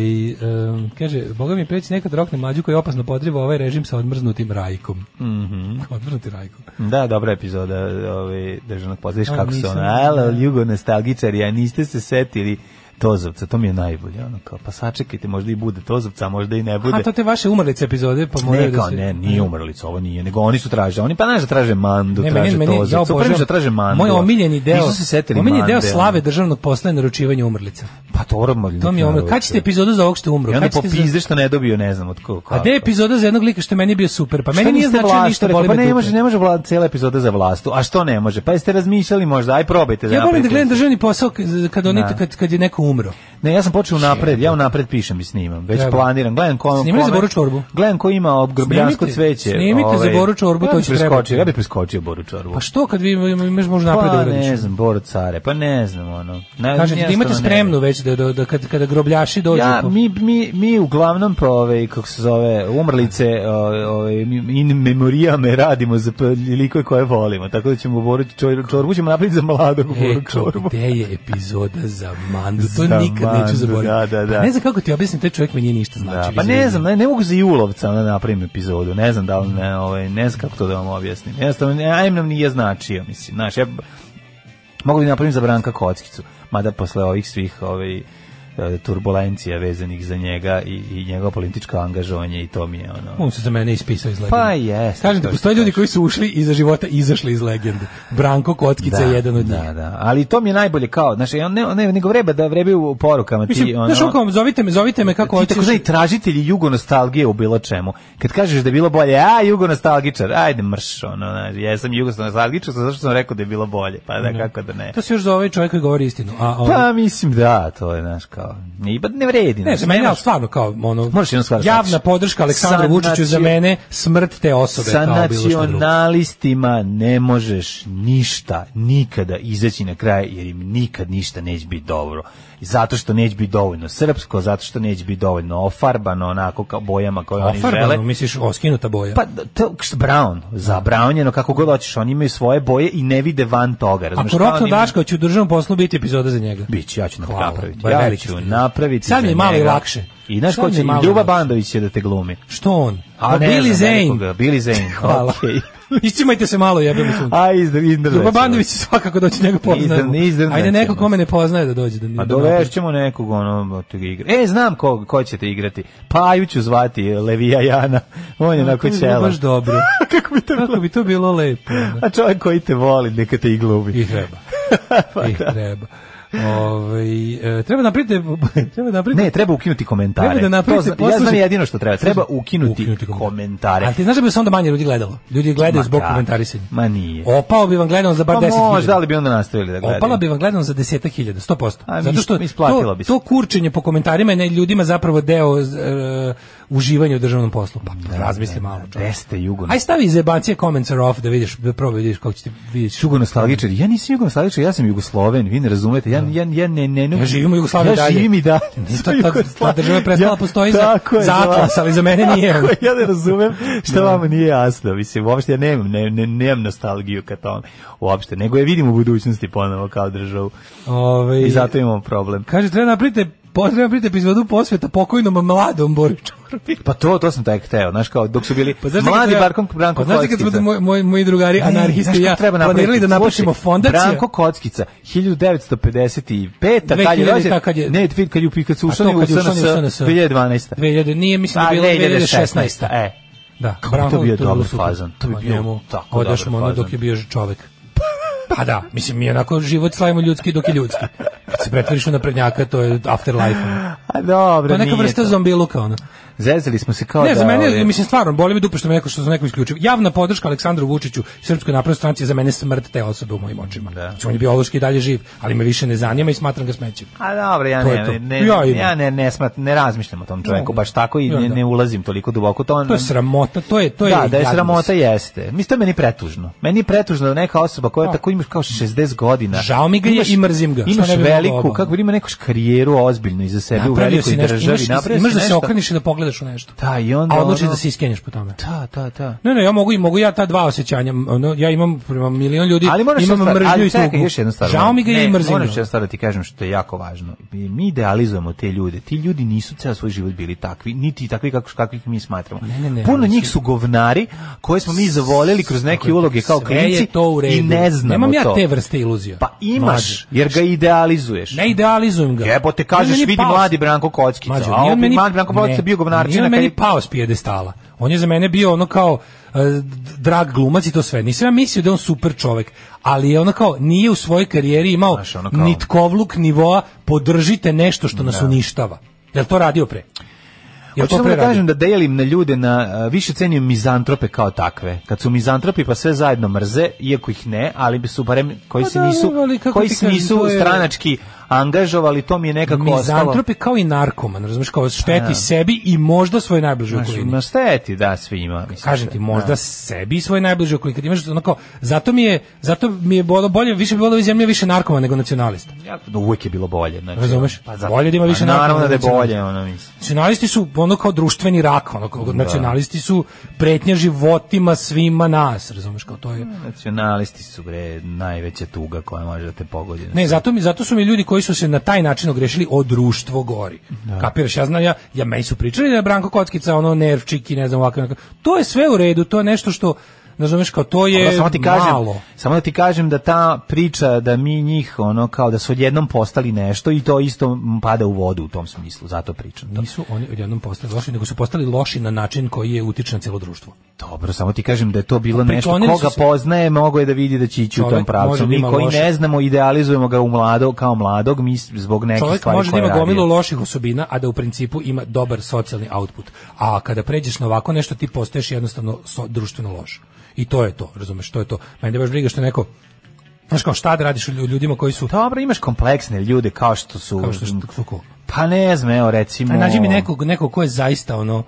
Speaker 6: kaže, boga mi preći nekad rokne mlađu koji opasno podriva ovaj režim sa odmrznutim rajkom.
Speaker 5: Mhm.
Speaker 6: Odmrznuti rajkom.
Speaker 5: Da, dobra epizoda ovaj, državnog pozdraviš
Speaker 6: A,
Speaker 5: kako se
Speaker 6: nisam.
Speaker 5: ono, ala, jugo nostalgičari, a niste se setili Tozovca, to mi je najbolje, ono kao, pa sačekajte, možda i bude Tozovca, a možda i ne bude.
Speaker 6: A to te vaše umrlice epizode, pa moraju
Speaker 5: Ne,
Speaker 6: da
Speaker 5: kao,
Speaker 6: se...
Speaker 5: ne, nije umrlica, ovo nije, nego oni su tražili, oni pa znaš da traže mandu,
Speaker 6: Ne,
Speaker 5: traže
Speaker 6: meni, meni, ja
Speaker 5: Tozovca,
Speaker 6: obožavam-
Speaker 5: prvi što traže mandu.
Speaker 6: Moj omiljeni deo,
Speaker 5: Nisu se setili
Speaker 6: omiljeni
Speaker 5: mande,
Speaker 6: deo
Speaker 5: ono.
Speaker 6: slave državnog posla je naručivanje umrlica.
Speaker 5: Pa to oramo
Speaker 6: To mi je umrlo. Kad ćete epizodu za ovog što je umro?
Speaker 5: I onda
Speaker 6: Kad ćete za-
Speaker 5: popizde što ne dobio, ne znam od ko.
Speaker 6: A gde je epizoda za jednog lika što je meni bio super? Pa
Speaker 5: Šta
Speaker 6: meni nije
Speaker 5: niste
Speaker 6: značio
Speaker 5: vlast,
Speaker 6: ništa,
Speaker 5: rekao,
Speaker 6: boli
Speaker 5: pa
Speaker 6: me
Speaker 5: ne
Speaker 6: dupe.
Speaker 5: može, ne može vlada cijela epizoda za vlastu. A što ne može? Pa jeste razmišljali možda, aj probajte. da
Speaker 6: Ja volim da
Speaker 5: napravite.
Speaker 6: gledam državni posao kad- kad, oni,
Speaker 5: Da.
Speaker 6: kad, kad je neko umro.
Speaker 5: Ne, ja sam počeo napred, ja napred pišem i snimam. Već
Speaker 6: Treba.
Speaker 5: planiram, gledam ko
Speaker 6: Snimali
Speaker 5: kome-
Speaker 6: za Boru Čorbu?
Speaker 5: Gledam ko ima obgrbljansko
Speaker 6: Snimite,
Speaker 5: cveće. ovaj.
Speaker 6: snimite za Boru Čorbu,
Speaker 5: ja
Speaker 6: to
Speaker 5: bih
Speaker 6: će
Speaker 5: preskočio,
Speaker 6: trebati.
Speaker 5: ja bih preskočio Boru Čorbu.
Speaker 6: Pa što kad vi imaš možda
Speaker 5: Pa
Speaker 6: napred da
Speaker 5: ne
Speaker 6: uradiš?
Speaker 5: znam, Boru Care, pa ne znam ono. Ne,
Speaker 6: Kažem ti da imate
Speaker 5: jednostavno ne
Speaker 6: spremnu
Speaker 5: znam.
Speaker 6: već da, da, da kad, kada grobljaši dođu.
Speaker 5: Ja,
Speaker 6: po-
Speaker 5: mi, mi, mi uglavnom pa ove, kako se zove, umrlice o- ove, mi- in memorijame radimo za p- likove koje volimo, tako da ćemo Boru Čor- Čorbu ćemo napraviti za
Speaker 6: E,
Speaker 5: mladog Boru
Speaker 6: Eko,
Speaker 5: Čorbu.
Speaker 6: gde je epizoda za Mandu? To
Speaker 5: Za
Speaker 6: nikad neću
Speaker 5: Mandu,
Speaker 6: zaboraviti.
Speaker 5: da, da, da.
Speaker 6: Pa Ne znam kako ti objasnim, taj čovjek mi nije ništa znači.
Speaker 5: Da, pa ne
Speaker 6: izvini.
Speaker 5: znam, ne, ne mogu za Julovca da napravim epizodu, ne znam da li ne, ovaj, ne znam kako to da vam objasnim. Jednostavno, ne, ajem nam nije značio, mislim, znaš, ja b- mogu bi napravim za Branka Kockicu, mada posle ovih svih ovaj, e, turbulencija vezanih za njega i, i njegovo političko angažovanje i to mi je ono...
Speaker 6: On se za mene ispisao iz legende.
Speaker 5: Pa jeste,
Speaker 6: Kažem
Speaker 5: to
Speaker 6: ti,
Speaker 5: što
Speaker 6: postoje ljudi koji su ušli i za života izašli iz legende. Branko Kockica je jedan od njih.
Speaker 5: da, da, ali to mi je najbolje kao, znači on ne, ne nego vreba da vrebe u porukama ti
Speaker 6: Mislim,
Speaker 5: ono.
Speaker 6: znaš ono, zovite me, zovite me kako
Speaker 5: ti tako
Speaker 6: hoćeš.
Speaker 5: znaju tražitelji jugo nostalgije u bilo čemu. Kad kažeš da je bilo bolje, a jugo nostalgičar, ajde mrš, ono, znaš, ja sam jugo nostalgičar, zato što sam rekao da je bilo bolje, pa da, kako da ne.
Speaker 6: To se još zove čovjek koji govori istinu. A, on,
Speaker 5: Pa mislim da, to je, znaš, kao, i ba ne vredi.
Speaker 6: ne,
Speaker 5: znaš,
Speaker 6: za mene,
Speaker 5: nemaš-
Speaker 6: ali stvarno kao, ono,
Speaker 5: Moraš jednu stvar da
Speaker 6: javna
Speaker 5: shvatiš.
Speaker 6: podrška Aleksandru
Speaker 5: Sa
Speaker 6: Vučiću za
Speaker 5: nacio-
Speaker 6: mene smrt te osobe.
Speaker 5: Sa
Speaker 6: kao bilo šta drugo.
Speaker 5: nacionalistima ne možeš ništa, nikada izaći na kraj, jer im nikad ništa neće biti dobro. Zato što neće biti dovoljno srpsko, zato što neće biti dovoljno ofarbano, onako kao bojama koje oni žele.
Speaker 6: Ofarbano, Pa misliš, oskinuta boja.
Speaker 5: Pa to kš- brown, zabranjeno kako god hoćeš, oni imaju svoje boje i ne vide van toga, razumeš?
Speaker 6: Ako
Speaker 5: Kao
Speaker 6: Rotno
Speaker 5: oni-
Speaker 6: Daško će u državnom poslu biti epizoda za njega.
Speaker 5: Bić, ja ću na-
Speaker 6: Hvala,
Speaker 5: napraviti.
Speaker 6: ba,
Speaker 5: Ja
Speaker 6: veliki
Speaker 5: ću
Speaker 6: ste.
Speaker 5: napraviti.
Speaker 6: Sad mi je
Speaker 5: za
Speaker 6: malo i
Speaker 5: njega.
Speaker 6: lakše.
Speaker 5: I znaš
Speaker 6: Sad
Speaker 5: ko
Speaker 6: mi
Speaker 5: će?
Speaker 6: je malo
Speaker 5: Ljuba
Speaker 6: lakše.
Speaker 5: Bandović će da te glumi.
Speaker 6: Što on?
Speaker 5: A
Speaker 6: Pa
Speaker 5: ne
Speaker 6: Billy
Speaker 5: znam
Speaker 6: Zane.
Speaker 5: nekoga, Billy Zane,
Speaker 6: Hvala.
Speaker 5: okej.
Speaker 6: Iscimajte se malo, jebem sunce.
Speaker 5: A iz Indrleća.
Speaker 6: Ljuba Bandović će svakako doći njega poznaje.
Speaker 5: Izdrn- izdrnaće
Speaker 6: Ajde neko
Speaker 5: nas.
Speaker 6: kome ne poznaje da dođe. Da, mi-
Speaker 5: A
Speaker 6: da
Speaker 5: dovešćemo Pa nekog ono od toga igra. E, znam ko, ko ćete igrati. Paju ću zvati Levija Jana. On je
Speaker 6: napravi.
Speaker 5: onako
Speaker 6: To bi bilo
Speaker 5: čela.
Speaker 6: Baš dobro.
Speaker 5: Kako bi to bilo?
Speaker 6: Kako bi to bilo lepo. da.
Speaker 5: A čovjek koji te voli, neka te i Pa
Speaker 6: I
Speaker 5: glubi.
Speaker 6: treba. I Eh, treba. Ovaj, e, treba napriti treba napriti
Speaker 5: Ne, treba ukinuti komentare.
Speaker 6: Treba da napravite,
Speaker 5: To zna- ja znam
Speaker 6: poslušaj-
Speaker 5: jedino što treba. Treba ukinuti,
Speaker 6: Ukinuti komentare.
Speaker 5: komentare.
Speaker 6: Ali ti znaš da bi se onda manje ljudi gledalo? Ljudi gledaju
Speaker 5: Ma
Speaker 6: zbog
Speaker 5: da.
Speaker 6: komentarisanja.
Speaker 5: Ma nije.
Speaker 6: Opao bi vam gledano za bar
Speaker 5: Pa
Speaker 6: 10.000.
Speaker 5: možda, ali bi onda nastavili da gledaju.
Speaker 6: Opala bi vam gledano za 10.000, 100%.
Speaker 5: A,
Speaker 6: Zato što
Speaker 5: mi- isplatilo
Speaker 6: to,
Speaker 5: bi se.
Speaker 6: to kurčenje po komentarima je ne, ljudima zapravo deo e, uživanja u državnom poslu. Pa razmisli malo. čovječe.
Speaker 5: Jeste jugo.
Speaker 6: Aj stavi zebancije comments are off da vidiš, da probaj vidiš kako će ti vidjeti.
Speaker 5: Jugo nostalgičar. Ja nisam jugo nostalgičar, ja sam jugosloven, vi ne razumete. Ja, ja, ja ne, ne, ne.
Speaker 6: Ja živim u Jugoslaviji
Speaker 5: Ja
Speaker 6: dalje.
Speaker 5: živim i dalje.
Speaker 6: Ta, ta, ta država je prestala
Speaker 5: Ja-
Speaker 6: postoji za,
Speaker 5: tako je,
Speaker 6: za Atlas, ali za mene nije.
Speaker 5: Tako je, ja ne razumem šta vama nije jasno. Mislim, uopšte ja nemam, ne, ne, nemam nostalgiju ka tome. Uopšte, nego je vidim u budućnosti ponovo kao državu.
Speaker 6: Ove,
Speaker 5: I zato imamo problem.
Speaker 6: Kaže, treba naprite, potrebno naprite epizodu posveta pokojnom mladom Boru Čorbi.
Speaker 5: Pa to, to sam tako hteo, znaš kao, dok su bili
Speaker 6: Pa znaš da kad
Speaker 5: mladi
Speaker 6: treba-
Speaker 5: Barkom Branko
Speaker 6: pa znaš da kad
Speaker 5: Kockica.
Speaker 6: smo moj, moj, moji drugari
Speaker 5: Ne,
Speaker 6: anarhisti
Speaker 5: znaš
Speaker 6: i
Speaker 5: šta
Speaker 6: ja
Speaker 5: treba napraviti?
Speaker 6: planirali da napravimo
Speaker 5: Slušaj,
Speaker 6: fondaciju.
Speaker 5: Branko Kockica, 1955. Kad
Speaker 6: 2000
Speaker 5: je rođen,
Speaker 6: kad je-
Speaker 5: ne, vid, kad je, u- kad su
Speaker 6: A
Speaker 5: ušli
Speaker 6: to
Speaker 5: u
Speaker 6: kad je
Speaker 5: SNS,
Speaker 6: učlanio u SNS?
Speaker 5: 2012.
Speaker 6: 2000, nije mislim da
Speaker 5: A,
Speaker 6: bilo 2016.
Speaker 5: E,
Speaker 6: Da,
Speaker 5: Kako bi to bio
Speaker 6: bilo
Speaker 5: dobar
Speaker 6: super.
Speaker 5: fazon, to bi
Speaker 6: Pa
Speaker 5: bio
Speaker 6: njemu
Speaker 5: tako
Speaker 6: odeš
Speaker 5: dobar
Speaker 6: mu ono
Speaker 5: fazon.
Speaker 6: dok je bio čovek. Pa da, mislim, mi onako život slavimo ljudski dok je ljudski. Kad se pretvoriš u naprednjaka, to je afterlife. ono.
Speaker 5: E. a dobro,
Speaker 6: To je neka
Speaker 5: nije
Speaker 6: vrsta
Speaker 5: to.
Speaker 6: zombiluka, ono.
Speaker 5: Zezali smo se kao
Speaker 6: Ne,
Speaker 5: da...
Speaker 6: za mene,
Speaker 5: ovaj,
Speaker 6: mislim, stvarno, boli me dupe što me neko, što su neko isključio. Javna podrška Aleksandru Vučiću i Srpskoj naprednoj stranci je za mene smrt te osobe u mojim očima. Znači, on je biološki i dalje živ, ali me više ne zanima i smatram ga smećem.
Speaker 5: A dobro, ja
Speaker 6: To je
Speaker 5: ne,
Speaker 6: to.
Speaker 5: ne,
Speaker 6: Ja
Speaker 5: ja,
Speaker 6: imam.
Speaker 5: ne, ne, smat, ne razmišljam o tom čovjeku,
Speaker 6: Ja.
Speaker 5: baš tako i
Speaker 6: Ja,
Speaker 5: ne,
Speaker 6: da.
Speaker 5: ne ulazim toliko duboko. To,
Speaker 6: To je sramota, to je, to je
Speaker 5: da, da je
Speaker 6: jadnost.
Speaker 5: sramota jeste. Mislim, to je meni pretužno. Meni je pretužno da neka osoba koja tako imaš kao 60 godina.
Speaker 6: Žao mi ga je i mrzim ga, što
Speaker 5: Imaš
Speaker 6: ne bi mogao
Speaker 5: veliku,
Speaker 6: oba.
Speaker 5: kako bi ima neku karijeru ozbiljnu iza sebe u
Speaker 6: Napravio
Speaker 5: velikoj
Speaker 6: si nešto,
Speaker 5: državi.
Speaker 6: imaš,
Speaker 5: napravio
Speaker 6: imaš
Speaker 5: si
Speaker 6: da se
Speaker 5: nešto.
Speaker 6: okreneš i da pogledaš u nešto.
Speaker 5: Da, i onda
Speaker 6: A odlučiš
Speaker 5: ono-
Speaker 6: da se iskenjaš po tome.
Speaker 5: Da, da, da.
Speaker 6: Ne, ne, ja mogu i mogu ja ta dva osjećanja, ono, ja imam prema milion ljudi,
Speaker 5: Ali moraš
Speaker 6: imam
Speaker 5: jednu stvar-
Speaker 6: mržnju
Speaker 5: ali
Speaker 6: i
Speaker 5: čekaj,
Speaker 6: tugu.
Speaker 5: još jednu stvar.
Speaker 6: Žao mi ga je
Speaker 5: Ne,
Speaker 6: i mrzim
Speaker 5: Moram još
Speaker 6: ga.
Speaker 5: jednu stvar da ti kažem što je jako važno. Mi- Mi idealizujemo te ljude. Ti ljudi nisu ceo svoj život bili takvi, niti takvi kako kakvih mi smatramo.
Speaker 6: Ne, ne, ne,
Speaker 5: Puno
Speaker 6: ali
Speaker 5: njih
Speaker 6: si-
Speaker 5: su govnari koje smo mi zavoljeli kroz
Speaker 6: Tako je,
Speaker 5: neke uloge kao
Speaker 6: sve je
Speaker 5: klinci
Speaker 6: to u redu.
Speaker 5: i ne znamo
Speaker 6: Nemam ja
Speaker 5: to.
Speaker 6: te vrste iluzija.
Speaker 5: Pa
Speaker 6: Mlađe.
Speaker 5: imaš, jer ga idealizuješ.
Speaker 6: Ne idealizujem ga.
Speaker 5: Jebote,
Speaker 6: Nije
Speaker 5: kažeš,
Speaker 6: meni
Speaker 5: vidi
Speaker 6: pao
Speaker 5: mladi
Speaker 6: s-
Speaker 5: Branko Kockica,
Speaker 6: Mlađe,
Speaker 5: a
Speaker 6: nije
Speaker 5: opet
Speaker 6: meni-
Speaker 5: mladi Branko Kockica
Speaker 6: ne,
Speaker 5: bio govnarčina
Speaker 6: Nije on
Speaker 5: kad
Speaker 6: meni
Speaker 5: je-
Speaker 6: pao s pijedestala. On je za mene bio ono kao e, drag glumac i to sve. Nisam ja mislio da je on super čovek, ali je ono kao nije u svojoj karijeri imao
Speaker 5: Znaš, ono kao-
Speaker 6: nitkovluk nivoa podržite nešto što nas uništava. Jel to radio pre? Jel
Speaker 5: Hoću
Speaker 6: to
Speaker 5: samo da
Speaker 6: pre radio?
Speaker 5: kažem da delim na ljude na a, više cenim mizantrope kao takve. Kad su mizantropi pa sve zajedno mrze, iako ih ne, ali bi su barem koji
Speaker 6: Pa
Speaker 5: se
Speaker 6: da,
Speaker 5: nisu
Speaker 6: ali kako
Speaker 5: koji
Speaker 6: ti
Speaker 5: se
Speaker 6: kažem,
Speaker 5: nisu
Speaker 6: to je-
Speaker 5: stranački angažovali, to mi je nekako ostalo.
Speaker 6: Mizantrop je kao i narkoman, razumiješ, kao šteti sebi i možda svoj najbliži
Speaker 5: Znaš,
Speaker 6: okolini.
Speaker 5: ma šteti, da, svima. mislim.
Speaker 6: kažem ti možda sebi i svoj najbliži okolini kad imaš onako zato mi je zato mi je bolo bolje više bi bilo da je zemlja više narkoma nego nacionalista
Speaker 5: Jako, da uvek je bilo bolje. Znači,
Speaker 6: Razumeš?
Speaker 5: zato-
Speaker 6: Bolje da ima više
Speaker 5: Pa Naravno
Speaker 6: naknada
Speaker 5: da je
Speaker 6: nego
Speaker 5: bolje,
Speaker 6: nacionalista.
Speaker 5: ono mislim.
Speaker 6: nacionalisti su ono kao društveni rak ono kao nacionalisti su pretnja životima svima nas razumeš kao to je
Speaker 5: Nacionalisti su bre najveća tuga koja može da te pogodi.
Speaker 6: Ne, zato mi zato su mi ljudi koji su se na taj način ogrešili o društvo gori. Kapiraš, ja znam ja, ja meni su pričali da je Branko Kockica ono nervčik i ne znam ovako. onako. To je sve u redu, to je nešto što Znaš, kao to je
Speaker 5: Ono, samo ti kažem,
Speaker 6: malo.
Speaker 5: Samo da ti kažem da ta priča da mi njih ono kao da su odjednom postali nešto i to isto pada u vodu u tom smislu, zato pričam. To.
Speaker 6: Nisu oni odjednom postali loši, nego su postali loši na način koji je utiče na cijelo društvo.
Speaker 5: Dobro, samo ti kažem da je to bilo nešto
Speaker 6: priklonili
Speaker 5: koga
Speaker 6: su se-
Speaker 5: poznaje, mogo je da vidi da će ići u
Speaker 6: Čovek
Speaker 5: tom pravcu.
Speaker 6: može da
Speaker 5: Mi
Speaker 6: ima
Speaker 5: koji
Speaker 6: loše-
Speaker 5: ne znamo, idealizujemo ga u mlado, kao mladog, mi s- zbog nekih
Speaker 6: Čovjek
Speaker 5: stvari
Speaker 6: može da
Speaker 5: koje
Speaker 6: ima
Speaker 5: radi.
Speaker 6: gomilu loših osobina, a da u principu ima dobar socijalni output. A kada pređeš na ovako nešto, ti postaješ jednostavno so, društveno loš. I to je to, razumeš, to je to. Mene baš briga što je neko Znaš kao šta da radiš lju- ljudima koji su
Speaker 5: Dobro, imaš kompleksne ljude kao što su...
Speaker 6: kao što što su ko?
Speaker 5: Pa ne znam, evo recimo...
Speaker 6: Aj, nađi mi nekog, nekog ko je zaista ono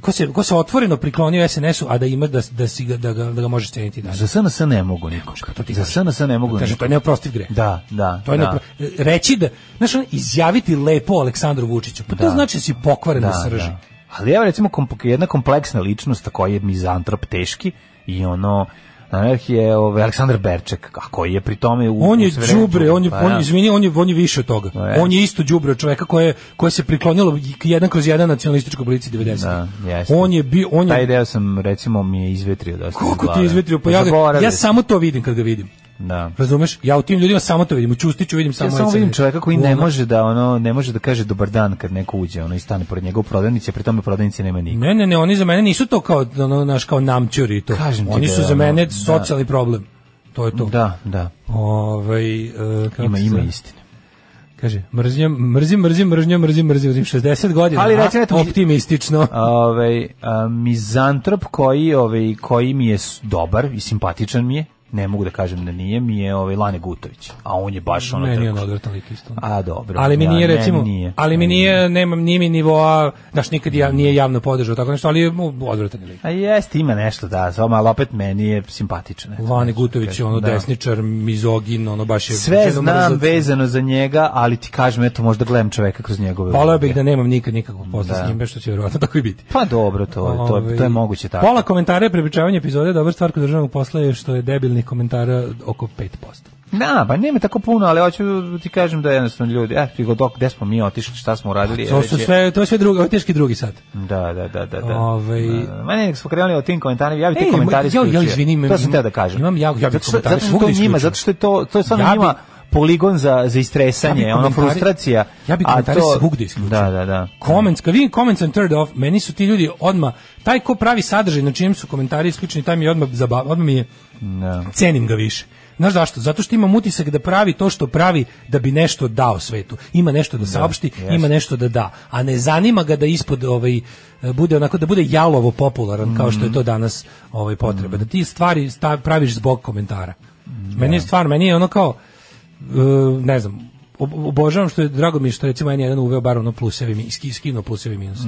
Speaker 6: ko se, ko se otvoreno priklonio SNS-u, a da ima da, da, si ga, da, ga, da ga možeš ceniti dalje.
Speaker 5: Za SNS ne mogu nikog.
Speaker 6: to ti
Speaker 5: Za
Speaker 6: kažem.
Speaker 5: SNS ne mogu
Speaker 6: Kaže,
Speaker 5: nikog.
Speaker 6: to je neoprostiv greh.
Speaker 5: Da, da.
Speaker 6: To je
Speaker 5: da.
Speaker 6: nepro- reći da, znaš, ono, izjaviti lepo Aleksandru Vučiću, pa to
Speaker 5: Da.
Speaker 6: znači da si pokvaren
Speaker 5: da,
Speaker 6: u srži.
Speaker 5: da. Ali evo recimo komp- jedna kompleksna ličnost koja je mizantrop teški i ono Znaš je ovaj, Aleksandar Berček, a koji je pri tome... U,
Speaker 6: On
Speaker 5: u
Speaker 6: je
Speaker 5: sve vreme
Speaker 6: đubre, on je
Speaker 5: Pa
Speaker 6: on je
Speaker 5: da.
Speaker 6: izvini, on je on je više od toga.
Speaker 5: Pa ja.
Speaker 6: On je isto đubre od čoveka koje koje se priklonilo jedan kroz jedan nacionalističkoj policiji 90.
Speaker 5: Da, jeste.
Speaker 6: on je bio on
Speaker 5: Taj
Speaker 6: je
Speaker 5: deo sam, recimo, mi je izvetrio dosta. iz
Speaker 6: kako ti
Speaker 5: glave.
Speaker 6: je izvetrio pa ja, ga-
Speaker 5: Zaboravio
Speaker 6: ja
Speaker 5: sam.
Speaker 6: samo to vidim kad ga vidim.
Speaker 5: Da.
Speaker 6: Razumeš? Ja u tim ljudima samo to vidim, u Čustiću vidim samo
Speaker 5: Ja samo
Speaker 6: SNS.
Speaker 5: vidim čovjeka koji
Speaker 6: U
Speaker 5: ne
Speaker 6: ono-
Speaker 5: može da ono ne može da kaže dobar dan kad neko uđe, ono i stane pored njega u prodavnici, a pri tome u prodavnici nema nikog.
Speaker 6: Ne, ne, ne, oni za mene nisu to kao ono naš kao namćuri i to.
Speaker 5: Kažem ti
Speaker 6: oni
Speaker 5: da
Speaker 6: su
Speaker 5: je
Speaker 6: za
Speaker 5: ono-
Speaker 6: mene
Speaker 5: da.
Speaker 6: socijalni problem. To je to.
Speaker 5: Da, da.
Speaker 6: Ovaj e, kako
Speaker 5: Ima
Speaker 6: se
Speaker 5: ima
Speaker 6: zove?
Speaker 5: istine.
Speaker 6: Kaže, mrzim, mrzim, mrzim, mrzim, mrzim, mrzim, mrzim, 60 godina.
Speaker 5: Ali
Speaker 6: a?
Speaker 5: recimo, eto, mi-
Speaker 6: optimistično.
Speaker 5: Ovaj a, mizantrop koji ovaj koji mi je s- dobar i simpatičan mi je, ne mogu da kažem da nije, mi je ovaj Lane Gutović, a on je baš ono
Speaker 6: Meni je
Speaker 5: tako-
Speaker 6: on odvratan lik isto. ono.
Speaker 5: A dobro.
Speaker 6: ali mi
Speaker 5: ja,
Speaker 6: nije
Speaker 5: meni
Speaker 6: recimo,
Speaker 5: nije.
Speaker 6: ali mi nije, nemam nije mi nivoa, znaš, nikad ja, nije javno podržao tako nešto, ali je mu odvratan je lik.
Speaker 5: A jeste, ima nešto da, samo ali opet meni je simpatičan. eto,
Speaker 6: Lane
Speaker 5: nešto
Speaker 6: Gutović je
Speaker 5: Znači, kažem,
Speaker 6: ono
Speaker 5: da.
Speaker 6: desničar, mizogin, ono baš je...
Speaker 5: Sve
Speaker 6: ženo
Speaker 5: znam
Speaker 6: mrzac.
Speaker 5: vezano za njega, ali ti kažem, eto, možda gledam čoveka kroz njegove
Speaker 6: Voleo
Speaker 5: uloge.
Speaker 6: bih da nemam nikad nikakvog posla
Speaker 5: Da.
Speaker 6: s njim, što će vjerovatno tako i biti.
Speaker 5: Pa dobro, to je, to je, to je
Speaker 6: Ovaj,
Speaker 5: moguće tako.
Speaker 6: Pola komentara je prepričavanje epizode, dobra stvar kod državnog posla je što je debilnih komentara oko 5%.
Speaker 5: Na, pa nema tako puno, ali hoću ti kažem da jednostavno ljudi, eh, figo dok, gde smo mi otišli, šta smo uradili.
Speaker 6: Pa To
Speaker 5: već
Speaker 6: su
Speaker 5: je-
Speaker 6: sve, to je sve drugi, ovo je teški drugi sad.
Speaker 5: Da, da, da, da. da.
Speaker 6: Ovaj- E,
Speaker 5: Da, Ma ne, nek smo krenuli o tim komentarima, ja bih
Speaker 6: Ej,
Speaker 5: te komentari
Speaker 6: moj- ja- ja
Speaker 5: isključio.
Speaker 6: izvini, imam-
Speaker 5: to sam teo da
Speaker 6: imam-
Speaker 5: kažem.
Speaker 6: imam ja- ja bih
Speaker 5: zato što,
Speaker 6: komentare
Speaker 5: zato što to
Speaker 6: svugde
Speaker 5: njima,
Speaker 6: isključio.
Speaker 5: zato što je to, to je stvarno
Speaker 6: Ja bi-
Speaker 5: njima poligon za, za istresanje,
Speaker 6: Ja bi
Speaker 5: ono
Speaker 6: komentare-
Speaker 5: frustracija.
Speaker 6: ja bi
Speaker 5: a
Speaker 6: komentare
Speaker 5: to-
Speaker 6: svugde isključio.
Speaker 5: Da, da, da.
Speaker 6: Comments, kad vidim comments and third off, meni su ti ljudi odma, taj ko pravi sadržaj na čijem su komentari isključeni, taj mi je odma, zaba, odma mi je,
Speaker 5: Da.
Speaker 6: cenim ga više. Znaš zašto? Zato što imam utisak da pravi to što pravi da bi nešto dao svetu. Ima nešto da saopšti,
Speaker 5: jeste.
Speaker 6: ima nešto da da. A ne zanima ga da ispod ovaj e, bude onako da bude jalovo popularan kao
Speaker 5: Mhm.
Speaker 6: što je to danas ovaj potreba. Da ti stvari stav, praviš zbog komentara. Meni je stvar, meni je ono kao e, ne znam, ob- obožavam što je drago mi je što je recimo N1 uveo bar ono plusevi mi- ski- skinuo plusevi i minuse.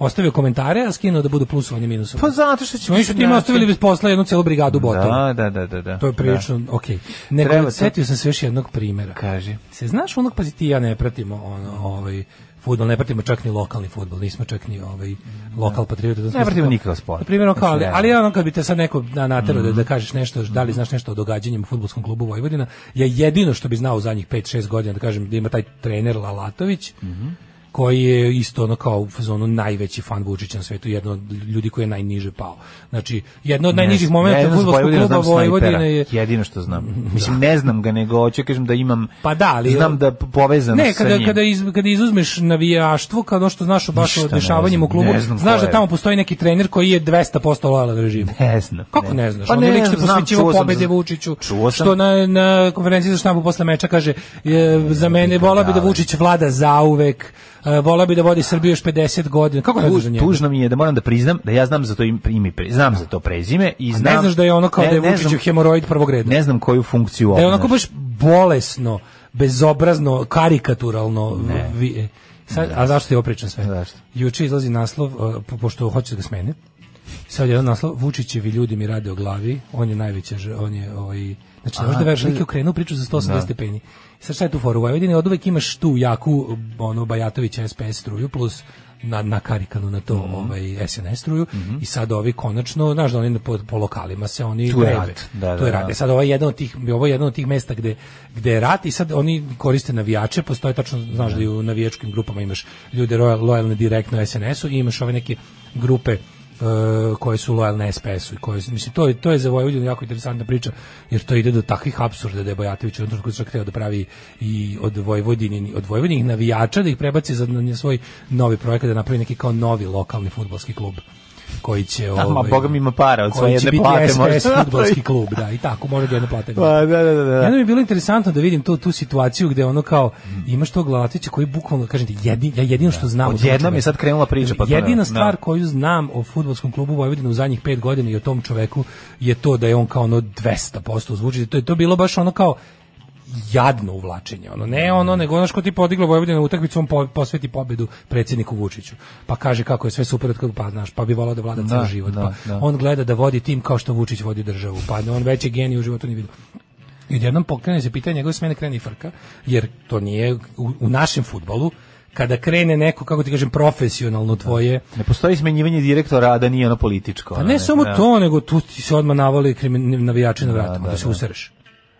Speaker 6: Ostavio komentare, a skinuo da budu plusovanje minusovi.
Speaker 5: Mhm. Pa zato što će...
Speaker 6: Oni su time ostavili bez posla jednu celu brigadu botova.
Speaker 5: Da, da, da, da, da.
Speaker 6: To je prilično, okej. Nego,
Speaker 5: Treba to.
Speaker 6: setio sam se još jednog primjera.
Speaker 5: Da. Kaži.
Speaker 6: Se znaš onog, pazi ti i ja ne pratimo ono, ovaj, futbol, ne pratimo čak ni lokalni futbol, nismo čak ni ovaj, lokal patriota.
Speaker 5: Ne pratimo nikakav sport. Znači, Mhm.
Speaker 6: Na primjer, ono kao, ali,
Speaker 5: Mislim,
Speaker 6: ali
Speaker 5: realno.
Speaker 6: ono kad bi te sad neko na, naterao da, da kažeš nešto, da li znaš nešto o događanjima u futbolskom klubu Vojvodina, ja jedino što bi znao u zadnjih 5-6 godina, da kažem, da ima taj trener Lalatović,
Speaker 5: Mhm.
Speaker 6: koji je isto ono kao u fazonu najveći fan Vučića na svetu, jedno od ljudi koji je najniže pao. Znači, jedno od najnižih
Speaker 5: Ne,
Speaker 6: momenta
Speaker 5: jedino za
Speaker 6: futbolskog
Speaker 5: Vojvodinu znam
Speaker 6: kluba
Speaker 5: snajpera.
Speaker 6: Vojvodine je...
Speaker 5: Jedino što znam. Mislim, ne znam ga, nego hoću kažem da imam...
Speaker 6: Pa da, ali-
Speaker 5: Znam da povezan
Speaker 6: Ne,
Speaker 5: sa
Speaker 6: kada,
Speaker 5: njim.
Speaker 6: kada, iz, kada izuzmeš navijaštvo, kao ono što znaš baš
Speaker 5: Ništa
Speaker 6: o
Speaker 5: ne
Speaker 6: dešavanjima u
Speaker 5: znam,
Speaker 6: klubu,
Speaker 5: ne znam
Speaker 6: znaš
Speaker 5: ko
Speaker 6: da
Speaker 5: je.
Speaker 6: tamo postoji neki trener koji je 200% lojalan režimu.
Speaker 5: Ne znam.
Speaker 6: Kako ne znaš?
Speaker 5: Pa
Speaker 6: On je lik što je
Speaker 5: znam,
Speaker 6: posvećivo
Speaker 5: čuo sam
Speaker 6: pobede
Speaker 5: za-
Speaker 6: Vučiću.
Speaker 5: Čuo sam.
Speaker 6: Što na, na konferenciji za štampu posle meča kaže, e, za mene vola bi da Vučić vlada zauvek, e, vola bi da vodi Srbiju još 50 godina. Kako ne znaš za
Speaker 5: Tuž,
Speaker 6: njega?
Speaker 5: tužno mi je da moram da priznam da ja znam za to im- ime, i pre- znam za to prezime i znam
Speaker 6: ne znaš da je ono kao
Speaker 5: ne-
Speaker 6: da je
Speaker 5: ne znam-
Speaker 6: Vučiću hemoroid prvog reda.
Speaker 5: Ne znam koju funkciju
Speaker 6: Da je
Speaker 5: obnaša.
Speaker 6: onako baš bolesno, bezobrazno, karikaturalno. Vi, e, sad, a zašto ti ovo pričam sve?
Speaker 5: Zašto?
Speaker 6: Juče izlazi naslov, uh, po- pošto hoćete da ga smene, sad je jedan naslov, Vučićevi ljudi mi rade o glavi, on je najveća, žr- on je ovaj, znači ne možeš da veruješ, lik je okrenuo priču za 180 stepeni. Sad šta je tu foru? U Vojvodini od uvek imaš tu jaku, ono, Bajatović SPS struju, plus na, na karikanu na to
Speaker 5: Mhm.
Speaker 6: ovaj SNS struju i sad ovi konačno znaš da oni po, po lokalima se oni
Speaker 5: Tu je
Speaker 6: grebe.
Speaker 5: rat. Da,
Speaker 6: tu je
Speaker 5: da,
Speaker 6: rat.
Speaker 5: da.
Speaker 6: E sad ovo je jedno od tih ovo je jedno od tih mesta gde gde je rat i sad oni koriste navijače, postoje tačno znaš da i u navijačkim grupama imaš ljude roja- lojalne direktno SNS-u i imaš ove neke grupe uh, koje su lojalne SPS-u i koje su- mislim to je to je za Vojvodinu jako interesantna priča jer to ide do takvih apsurda da je Bojatović u jednom trenutku čak hteo da pravi i od Vojvodine od Vojvodinih navijača da ih prebaci za na svoj novi projekat da napravi neki kao novi lokalni fudbalski klub koji će
Speaker 5: ma,
Speaker 6: ovaj
Speaker 5: Boga mi ima para, od
Speaker 6: koji
Speaker 5: svoje
Speaker 6: će
Speaker 5: jedne
Speaker 6: biti
Speaker 5: plate
Speaker 6: SPS
Speaker 5: može da napravi.
Speaker 6: fudbalski klub da i tako može da jedne plate
Speaker 5: Pa, da, da, da, da.
Speaker 6: Jedno mi je bilo interesantno da vidim tu, tu situaciju gde ono kao
Speaker 5: Mm.
Speaker 6: imaš tog Glavatića koji bukvalno kažem ti jedin, ja jedino što znam o tom
Speaker 5: Pa Odjednom
Speaker 6: čoveku-
Speaker 5: je sad krenula priča, pa to ne-
Speaker 6: jedina
Speaker 5: da.
Speaker 6: stvar koju znam o fudbalskom klubu Vojvodina u zadnjih 5 godina i o tom čoveku je to da je on kao ono 200% zvuči to je to bilo baš ono kao jadno uvlačenje. Ono ne ono nego ono što ti podiglo Vojvodina na utakmicu on po, posveti pobedu predsjedniku Vučiću. Pa kaže kako je sve super od pa znaš, pa bi volao da vlada ceo
Speaker 5: Da,
Speaker 6: život.
Speaker 5: da,
Speaker 6: pa
Speaker 5: da.
Speaker 6: on gleda da vodi tim kao što Vučić vodi državu. Pa on veći genij u životu nije vidio. I odjednom pokrene se pitanje njegove smene krene i frka, jer to nije u, u našem futbolu, kada krene neko, kako ti kažem, profesionalno tvoje,
Speaker 5: Ne postoji smenjivanje direktora, a da nije ono političko.
Speaker 6: pa
Speaker 5: ono,
Speaker 6: ne samo
Speaker 5: Da.
Speaker 6: to, nego tu ti se odmah navali krimin- navijači na vratima, da, se usereš.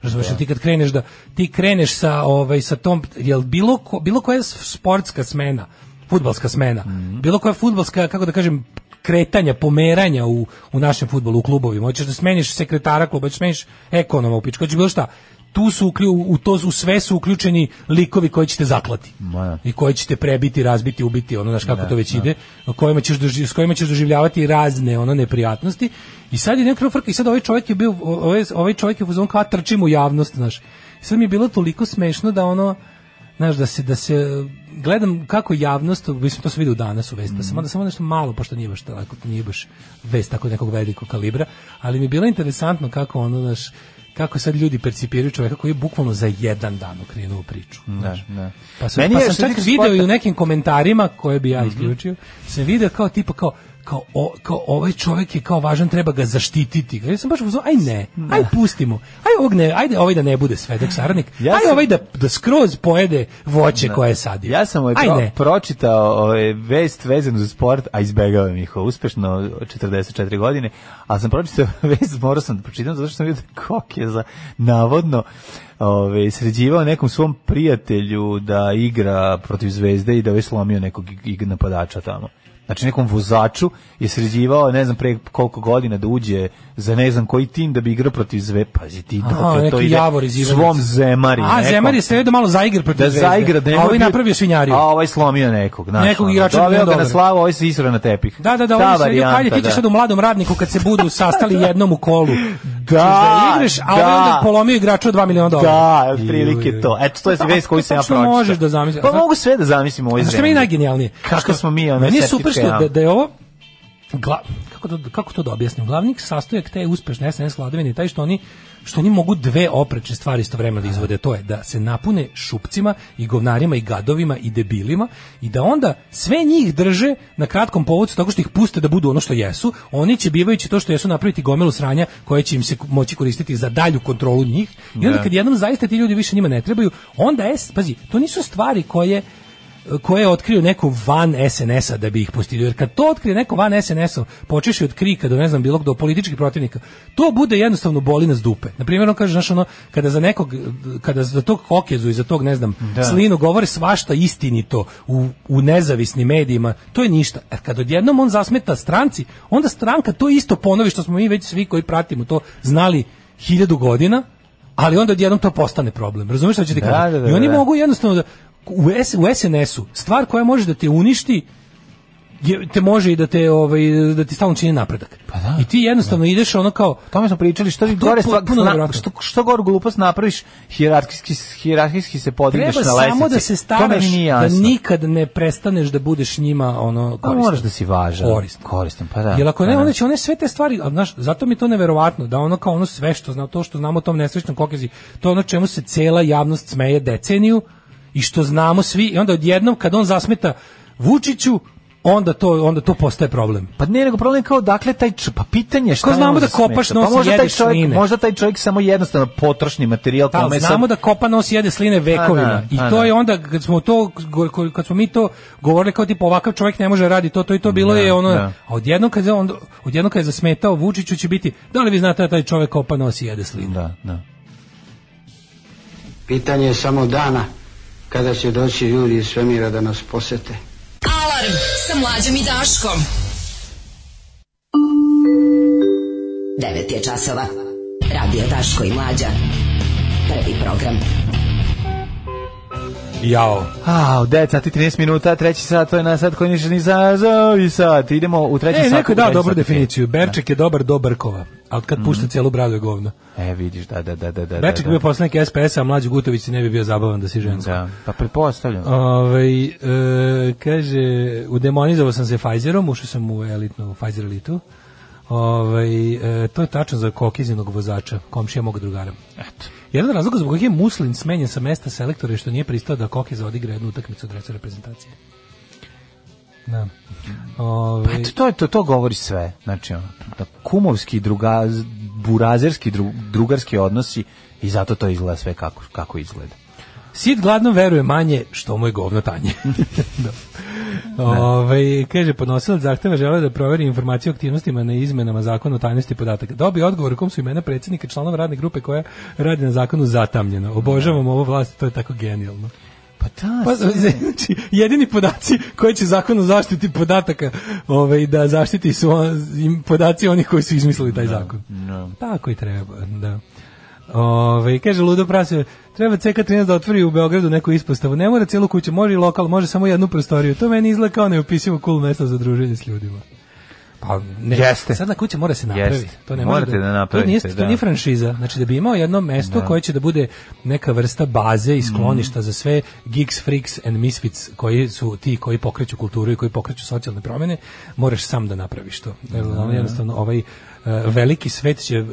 Speaker 6: Razumeš, ti kad kreneš da ti kreneš sa ovaj sa tom jel bilo ko, bilo koja s- sportska smena, fudbalska smena, bilo koja fudbalska kako da kažem kretanja, pomeranja u, u našem fudbalu u klubovima. Hoćeš da smeniš sekretara kluba, hoćeš da smeniš ekonoma u pičku, hoćeš bilo šta. Tu su uklju, u to u sve su uključeni likovi koji će te zaklati.
Speaker 5: Ma.
Speaker 6: I koji će te prebiti, razbiti, ubiti, ono znaš kako to već ide, kojima ćeš doživ, s kojima ćeš doživljavati razne ono neprijatnosti. I sad je neka frka i sad ovaj čovjek je bio ovaj, ovaj čovjek je uzon kao trčim u javnost, znaš. I sad mi je bilo toliko smešno da ono znaš da se da se gledam kako javnost, mislim to se vidi danas u vesti, da
Speaker 5: Mm.
Speaker 6: samo da samo nešto malo pošto nije baš tako, nije baš vest tako nekog velikog kalibra, ali mi je bilo interesantno kako ono znaš kako sad ljudi percipiraju čovjeka koji je bukvalno za jedan dan okrenuo priču.
Speaker 5: Da,
Speaker 6: znaš.
Speaker 5: da.
Speaker 6: Pa sam,
Speaker 5: Meni
Speaker 6: pa
Speaker 5: je,
Speaker 6: sam
Speaker 5: što se
Speaker 6: čak
Speaker 5: tiče
Speaker 6: video i
Speaker 5: sporta-
Speaker 6: u nekim komentarima koje bi ja
Speaker 5: Mhm.
Speaker 6: isključio, sam video kao tipa kao kao, o, kao ovaj čovjek je kao važan, treba ga zaštititi. Ja sam baš uzao, aj ne, aj pustimo, aj ovog ne, ajde ovaj da ne bude svedok saradnik,
Speaker 5: Ja
Speaker 6: aj
Speaker 5: sam-
Speaker 6: ovaj da, da skroz pojede voće koje je sadio.
Speaker 5: Ja sam ovaj
Speaker 6: aj
Speaker 5: pro,
Speaker 6: ne.
Speaker 5: pročitao ovaj vest vezanu za sport, a izbegavam ih ovaj, uspešno 44 godine, ali sam pročitao vest, morao sam da pročitam, zato što sam vidio da Kok je za, navodno ovaj sređivao nekom svom prijatelju da igra protiv zvezde i da je slomio nekog ig- ig- napadača tamo. Znači nekom vozaču je sređivao, ne znam pre koliko godina da uđe za ne znam koji tim da bi igrao protiv zve, pazi ti,
Speaker 6: Aha,
Speaker 5: dokle to
Speaker 6: neki
Speaker 5: ide
Speaker 6: Javor iz Ivanjice.
Speaker 5: svom zemari.
Speaker 6: A,
Speaker 5: nekom
Speaker 6: Zemar je sve da malo zaigra protiv
Speaker 5: da
Speaker 6: Zvezde,
Speaker 5: zaigra da
Speaker 6: a
Speaker 5: nema
Speaker 6: ovaj
Speaker 5: bio-
Speaker 6: napravio svinjariju.
Speaker 5: A ovaj slomio nekog, znači.
Speaker 6: Nekog igrača da
Speaker 5: doveo
Speaker 6: nije
Speaker 5: ga na
Speaker 6: dobar.
Speaker 5: slavu, ovaj se isro na tepih.
Speaker 6: Da, da, da,
Speaker 5: Ta
Speaker 6: oni se
Speaker 5: varijanta,
Speaker 6: ajde, ti ćeš
Speaker 5: da.
Speaker 6: sad u mladom radniku kad se budu sastali jednom u kolu.
Speaker 5: Da,
Speaker 6: Ćeš da igraš, a ovaj
Speaker 5: da.
Speaker 6: onda polomio igraču od 2 miliona dolara.
Speaker 5: Da,
Speaker 6: Juj,
Speaker 5: otprilike
Speaker 6: juj.
Speaker 5: to. Eto, to je
Speaker 6: Pa
Speaker 5: vest
Speaker 6: kako
Speaker 5: koju sam ja
Speaker 6: tačno
Speaker 5: pročitao.
Speaker 6: možeš da zamisliš?
Speaker 5: Pa
Speaker 6: Znaš-
Speaker 5: mogu sve da zamislim u ovoj
Speaker 6: Znaš
Speaker 5: zemlji.
Speaker 6: što mi je najgenijalnije?
Speaker 5: Kako
Speaker 6: Što-
Speaker 5: smo mi, ono,
Speaker 6: Meni je
Speaker 5: septičke
Speaker 6: super što da,
Speaker 5: jame.
Speaker 6: da je ovo gla- kako, to, kako to da objasnim? Glavni sastojak te uspešne SNS vladavine je taj što oni što oni mogu dve oprečne stvari istovremeno da izvode, to je da se napune šupcima i govnarima i gadovima i debilima i da onda sve njih drže na kratkom povodcu tako što ih puste da budu ono što jesu, oni će bivajući to što jesu napraviti gomilu sranja koje će im se moći koristiti za dalju kontrolu njih i onda kad jednom zaista ti ljudi više njima ne trebaju, onda es, pazi, to nisu stvari koje koje je otkrio neko van SNS-a da bi ih postigao. Jer kad to otkrije neko van SNS-a, počeši od krika do ne znam bilo do političkih protivnika, to bude jednostavno boli nas dupe. Na primjer, on kaže, znaš, ono, kada za nekog, kada za tog Hokezu i za tog, ne znam, Slinu govore svašta istinito u, u nezavisnim medijima, to je ništa. E, kad odjednom on zasmeta stranci, onda stranka to isto ponovi što smo mi već svi koji pratimo to znali hiljadu godina, ali onda odjednom to postane problem. Razumeš šta ću ti
Speaker 5: Da,
Speaker 6: kažem?
Speaker 5: da, da,
Speaker 6: I oni
Speaker 5: da.
Speaker 6: mogu jednostavno da, u, S, u SNS-u stvar koja može da te uništi je, te može i da te ovaj da ti stalno čini napredak.
Speaker 5: Pa
Speaker 6: I ti jednostavno ideš ono kao
Speaker 5: O tome smo pričali, što bi
Speaker 6: to je
Speaker 5: gore stvar,
Speaker 6: potpuno
Speaker 5: zna-
Speaker 6: nevjerojatno.
Speaker 5: što, što gore glupost napraviš, hijerarhijski, hijerarhijski se podigneš
Speaker 6: treba
Speaker 5: na lestvici.
Speaker 6: samo da se
Speaker 5: To
Speaker 6: staraš
Speaker 5: meni nije
Speaker 6: da
Speaker 5: jasno.
Speaker 6: nikad ne prestaneš da budeš njima ono
Speaker 5: Pa
Speaker 6: koristan.
Speaker 5: moraš da si važan.
Speaker 6: Koristan.
Speaker 5: Koristan, pa da.
Speaker 6: Jer ako ne,
Speaker 5: Pa
Speaker 6: onda će one sve te stvari, a znaš, zato mi je to neverovatno, da ono kao ono sve što zna, to što znamo o tom nesrećnom kokezi, to je ono čemu se cela javnost smeje deceniju i što znamo svi i onda odjednom kad on zasmeta Vučiću, onda to, onda to postaje problem.
Speaker 5: Pa ne, nego problem je kao dakle taj č... pa pitanje je šta
Speaker 6: Ko
Speaker 5: je
Speaker 6: znamo
Speaker 5: ono
Speaker 6: da
Speaker 5: za smeta?
Speaker 6: kopaš nosom,
Speaker 5: pa možda taj
Speaker 6: jedeš
Speaker 5: čovjek,
Speaker 6: sline.
Speaker 5: možda taj čovjek samo jednostavno potrošni materijal
Speaker 6: Da,
Speaker 5: kome je
Speaker 6: Pa znamo
Speaker 5: sad-
Speaker 6: da kopa nos jede sline vekovima.
Speaker 5: A da, a
Speaker 6: I to
Speaker 5: da.
Speaker 6: je onda kad smo to go- ko- kad smo mi to govorili kao tipa ovakav čovjek ne može raditi to to i to bilo je ono
Speaker 5: da.
Speaker 6: a odjednom kad je on odjednom kad je zasmetao Vučiću će biti da li vi znate da taj čovjek kopa nos i jede sline.
Speaker 5: da, da.
Speaker 9: Pitanje je samo dana kada će doći ljudi iz svemira da nas posete.
Speaker 3: Alarm sa mlađom i Daškom. 9 je časova. Radio Daško i Mlađa. Prvi program.
Speaker 6: Jao.
Speaker 5: A, u 9 sati 13 minuta, treći sat, to je na sat koji ništa ni zazao i sat. Idemo u treći
Speaker 6: E,
Speaker 5: sat.
Speaker 6: neko je
Speaker 5: u
Speaker 6: dao
Speaker 5: treći
Speaker 6: dobru
Speaker 5: sat.
Speaker 6: definiciju. Berček je dobar do Brkova, ali kad pušta cijelu bradu je govno.
Speaker 5: Mhm. E, vidiš, da, da, da, da. da
Speaker 6: Berček
Speaker 5: da,
Speaker 6: bio poslanik SPS-a, a mlađi Gutović ti ne bi bio zabavan da si žensko.
Speaker 5: Da, pa pretpostavljam.
Speaker 6: Ovaj, e, kaže, udemonizovao sam se Pfizerom, ušao sam u elitnu Pfizer elitu. Ovaj, e, to je tačno za kokizinog vozača, komšija mog drugara. Eto. Jedan od razloga zbog kojeg je Muslin smenjen sa mesta selektora je što nije pristao da Kokiza odigra jednu utakmicu u dresu reprezentacije. Da. Ovaj,
Speaker 5: Pa Eto, to, je to, to govori sve. Znači, ono, da kumovski, druga, burazerski, dru, drugarski odnosi i zato to izgleda sve kako, kako izgleda.
Speaker 6: Sid gladno veruje manje što mu je govno tanje. Da. Ovaj, kaže, podnosilac zahteva žele da proveri informaciju o aktivnostima na izmenama zakona o tajnosti podataka. Dobio odgovor u kom su imena predsjednika i članova radne grupe koja radi na zakonu zatamljena. Obožavam ovo vlast, to je tako genijalno.
Speaker 5: Pa da,
Speaker 6: Pa, znači, jedini podaci koje će zakon o zaštiti podataka ovaj, da zaštiti su on- im- podaci onih koji su izmislili taj zakon. Tako i treba, da. Ove, kaže Ludo Prasio, treba CK13 da otvori u Beogradu neku ispostavu. Ne mora cijelu kuću, može i lokal, može samo jednu prostoriju. To meni izgleda kao neopisivo cool mesto za druženje s ljudima. Pa, ne,
Speaker 5: Jeste.
Speaker 6: Sad na kuće mora se napraviti.
Speaker 5: Jeste.
Speaker 6: To ne može
Speaker 5: Morate da
Speaker 6: to nije,
Speaker 5: napravite,
Speaker 6: to
Speaker 5: da.
Speaker 6: nije franšiza. Znači da bi imao jedno mesto koje će da Mhm. bude neka vrsta baze i skloništa za sve geeks, freaks and misfits koji su ti koji pokreću kulturu i koji pokreću socijalne promjene, moraš sam da napraviš to. Jer, ono, jednostavno ovaj e, veliki svet će e,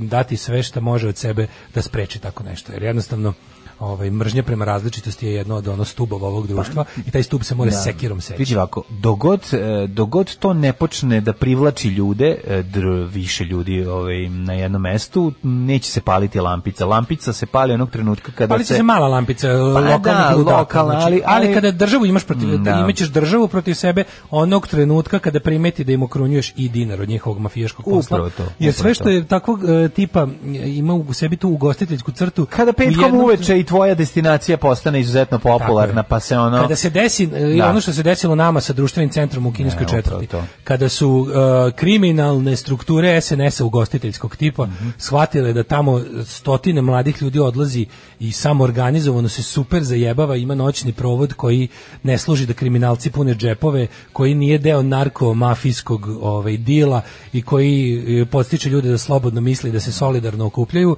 Speaker 6: dati sve što može od sebe da spreči tako nešto. Jer jednostavno ovaj mržnja prema različitosti je jedno od ono stubova ovog društva i taj stup se mora sekirom seći.
Speaker 5: Vidi ovako, dogod, e, dogod to ne počne da privlači ljude, e, dr- više ljudi ovaj, na jednom mestu, neće se paliti lampica. Lampica se pali onog trenutka kada Pa
Speaker 6: Palit će se mala lampica eh, lokalnih
Speaker 5: da,
Speaker 6: ludaka,
Speaker 5: lokalna,
Speaker 6: znači,
Speaker 5: ali- ali-
Speaker 6: kada državu imaš protiv
Speaker 5: Mm, da.
Speaker 6: imaćeš državu protiv sebe onog trenutka kada primeti da im okrunjuješ i dinar od njihovog mafijaškog posla.
Speaker 5: Upravo to,
Speaker 6: Jer
Speaker 5: upravo
Speaker 6: sve što je takvog e, tipa e, ima u sebi tu ugostiteljsku crtu.
Speaker 5: Kada
Speaker 6: u
Speaker 5: petkom
Speaker 6: jednom-
Speaker 5: uveče i tvoja destinacija postane izuzetno popularna,
Speaker 6: Tako je.
Speaker 5: pa se ono...
Speaker 6: Kada se desi e, i
Speaker 5: Da.
Speaker 6: ono što se desilo nama sa društvenim centrom u kineskoj
Speaker 5: Ne, upravo
Speaker 6: četvrti.
Speaker 5: to.
Speaker 6: Kada su e, kriminalne strukture SNS-a ugostiteljskog tipa
Speaker 5: Mhm.
Speaker 6: shvatile da tamo stotine mladih ljudi odlazi i samoorganizovano se super zajebava, ima noćni provod koji ne služi da kriminalci pune džepove, koji nije deo narkomafijskog ovaj dila i koji e, podstiče ljude da slobodno misle i da se solidarno okupljaju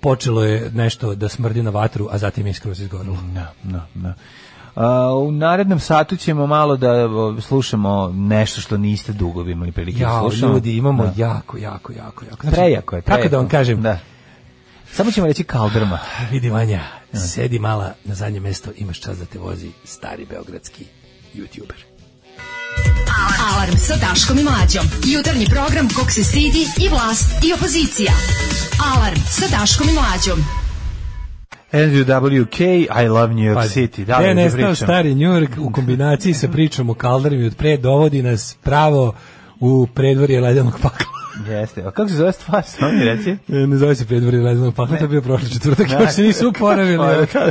Speaker 6: počelo je nešto da smrdi na vatru, a zatim je skroz izgorilo.
Speaker 5: Da, da, da. A, u narednom satu ćemo malo da o, slušamo nešto što niste dugo imali prilike da
Speaker 6: Ja,
Speaker 5: slušamo.
Speaker 6: ljudi, imamo
Speaker 5: Da.
Speaker 6: jako, jako, jako, jako. Znači,
Speaker 5: Prejako je, prejako.
Speaker 6: Kako da vam kažem?
Speaker 5: Da. Samo ćemo reći kaldrma.
Speaker 6: Vidi, Vanja, sedi mala na zadnje mesto, imaš čas da te vozi stari beogradski youtuber.
Speaker 3: Alarm sa Daškom i Mlađom. Jutarnji program kog se stidi i vlast i opozicija. Alarm sa Daškom i Mlađom.
Speaker 5: Andrew WK, I love New York
Speaker 6: Pa,
Speaker 5: City. Da,
Speaker 6: gde
Speaker 5: da
Speaker 6: je nestao
Speaker 5: pričam.
Speaker 6: stari Njurk u kombinaciji sa pričom o kaldarima od pre dovodi nas pravo u predvorje ledenog pakla.
Speaker 5: Jeste. A kako se zove stvar? Samo mi reci.
Speaker 6: E, Ne zove se predvorje ledenog pakla, to je bio prošli četvrtak, još se nisu
Speaker 5: Pa
Speaker 6: uporavili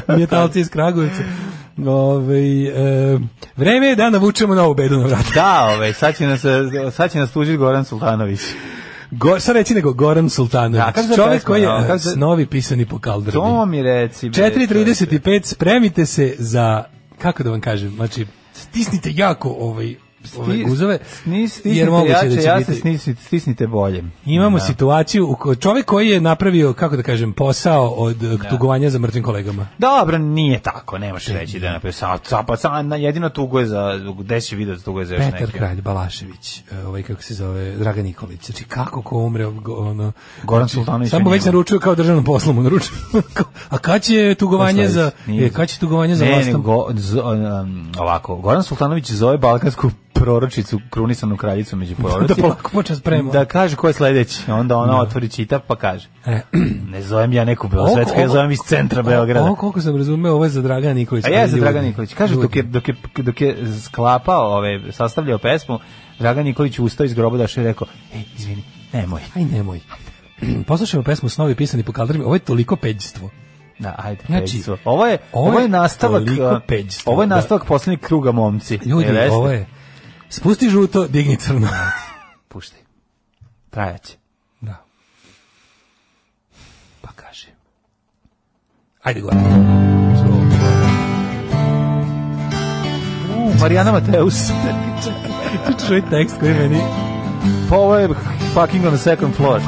Speaker 6: mjetalci iz Kragujevca. Ovaj, e, vreme je da navučemo novu bedu na vrata.
Speaker 5: Da, ovaj, sad će nas, eh, sad će nas tužiti Goran Sultanović.
Speaker 6: Go, sad reći nego Goran
Speaker 5: Da,
Speaker 6: Sultanović,
Speaker 5: kako se
Speaker 6: čovjek
Speaker 5: pesma,
Speaker 6: koji je
Speaker 5: da,
Speaker 6: e,
Speaker 5: kako se-
Speaker 6: snovi pisani po kaldrbi.
Speaker 5: To mi reci. bre,
Speaker 6: 4.35, spremite se za, kako da vam kažem, znači, stisnite jako ovaj, ove
Speaker 5: Sti-
Speaker 6: guzove,
Speaker 5: sni- stisnite
Speaker 6: jer moguće
Speaker 5: jače,
Speaker 6: da će
Speaker 5: ja se
Speaker 6: biti...
Speaker 5: stisnite, stisnite bolje.
Speaker 6: Imamo situaciju, u ko- čovjek koji je napravio, kako da kažem, posao od e, tugovanja za mrtvim kolegama.
Speaker 5: Dobro, nije tako, ne možeš reći da je napravio sa, sa, pa sa, na, jedino tuguje za, gde si video da tuguje za još
Speaker 6: Petar
Speaker 5: neke.
Speaker 6: Kralj Balašević, e, ovaj kako se zove, Dragan Nikolić. Znači kako ko umre, go- ono...
Speaker 5: Goran
Speaker 6: znači,
Speaker 5: Sultanović
Speaker 6: Samo
Speaker 5: je
Speaker 6: već
Speaker 5: njegov.
Speaker 6: naručio kao državnom poslu, mu naručio. A kad će tugovanje
Speaker 5: Sledeći.
Speaker 6: za...
Speaker 5: Nije.
Speaker 6: E, kad će tugovanje za
Speaker 5: Ne, ne,
Speaker 6: vlastom?
Speaker 5: go, z, um, ovako, Goran Sultanović zove balkansku proročicu, krunisanu kraljicu među prorocima.
Speaker 6: Da polako počne sprema.
Speaker 5: Da kaže ko je sledeći, onda ona otvori čita pa kaže.
Speaker 6: E.
Speaker 5: Ne zovem ja neku Beosvetsku, ja zovem iz centra Beograda.
Speaker 6: Ovo koliko sam razumeo, ovo je za Dragana Nikolića.
Speaker 5: A ja za
Speaker 6: Ljudi.
Speaker 5: Dragan Nikolić. Kaže,
Speaker 6: Ljudi.
Speaker 5: dok je, dok je, dok je sklapao, ove, sastavljao pesmu, Dragan Nikolić ustao iz groba dašao i rekao, ej, izvini, nemoj.
Speaker 6: Aj nemoj. Poslušajmo pesmu Snovi pisani po kaldrmi. Ovo je toliko peđstvo.
Speaker 5: Da, ajde,
Speaker 6: Znači,
Speaker 5: znači, Ovo je, ovo je, nastavak,
Speaker 6: toliko
Speaker 5: a,
Speaker 6: peđstvo,
Speaker 5: ovo je
Speaker 6: da.
Speaker 5: nastavak poslednjeg kruga momci.
Speaker 6: Ljudi,
Speaker 5: Jel E, jeste?
Speaker 6: ovo je... Spusti žuto, digni crno.
Speaker 5: Puštaj. Trajaće.
Speaker 6: Da. Ajde, gore.
Speaker 5: Marijana Mateus.
Speaker 6: Čuj tekst koji meni...
Speaker 5: Pa ovo je fucking on the second floor.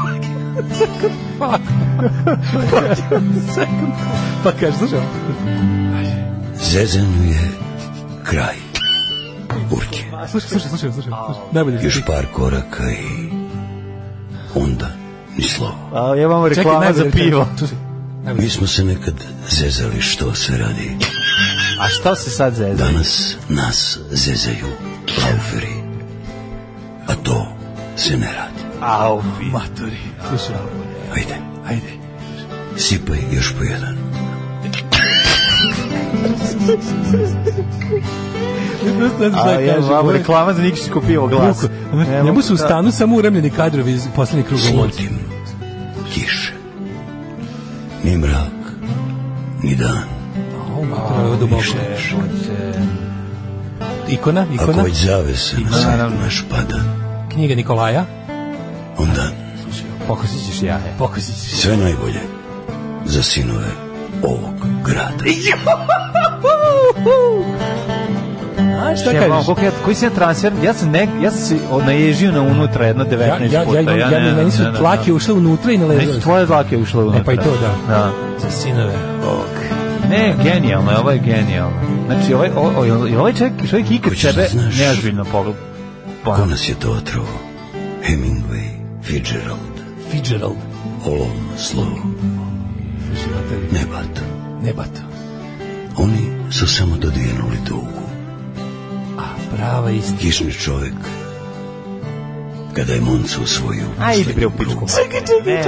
Speaker 6: Pa kaže, slušaj,
Speaker 2: Zezanu je kraj. Urke.
Speaker 6: slušaj, slušaj, slušaj, slušaj. Najbolje
Speaker 2: Još par koraka i onda ni slovo.
Speaker 5: A je vam reklama za pivo.
Speaker 2: Mi smo se nekad zezali što se radi.
Speaker 5: A šta se sad zezda?
Speaker 2: Danas nas zezaju lauferi. A to se ne radi.
Speaker 5: Au, ma,
Speaker 2: Ajde. Ajde. Sipaj još po jedan.
Speaker 5: a je vam reklama pa, za nikšićko pivo glas. Ne
Speaker 6: Njemu
Speaker 5: mogu
Speaker 6: su u
Speaker 5: da-
Speaker 6: stanu samo uremljeni kadrovi iz poslednjeg kruga moći.
Speaker 2: Slutim kiše. Ni mrak, ni dan.
Speaker 6: Ovo je duboko. Ikona,
Speaker 2: Ako
Speaker 6: ikona,
Speaker 2: već zavese na svet naš pada,
Speaker 6: knjiga Nikolaja.
Speaker 2: onda
Speaker 5: Pokosit ćeš jaje.
Speaker 6: Pokazi
Speaker 2: sve najbolje za sinove ovog grada.
Speaker 6: A šta
Speaker 5: Ja,
Speaker 6: kažeš?
Speaker 5: koliko ja, koji se ja transfer, ja sam, ne, ja sam se odnaježio na unutra jedno 19
Speaker 6: Ja, ja,
Speaker 5: puta.
Speaker 6: ja, imam- ja,
Speaker 5: ne-
Speaker 6: meni su
Speaker 5: ne- ne-
Speaker 6: tlake ušle unutra i
Speaker 5: Meni su
Speaker 6: nalezali.
Speaker 5: tvoje dlake ušle unutra.
Speaker 6: E pa i to, da.
Speaker 5: Da.
Speaker 6: Za sinove.
Speaker 5: Ne, genijalno, je, ovo je genijalno. Znači, ovaj, o, o, jel- jel ovaj čovjek, čovjek ikad
Speaker 2: Hoćeš da
Speaker 5: sebe
Speaker 2: znaš?
Speaker 5: neozbiljno pogled. Pa,
Speaker 2: Ko nas je to otrovo? Hemingway, Fitzgerald,
Speaker 6: Fitzgerald.
Speaker 2: olovno slovo,
Speaker 6: Životari.
Speaker 2: ne bata.
Speaker 6: Ne bato.
Speaker 2: Oni su samo dodijenuli dugu.
Speaker 6: A prava istina.
Speaker 2: Kišni čovek, kada je Moncu usvojio
Speaker 5: ajde bre u pičku.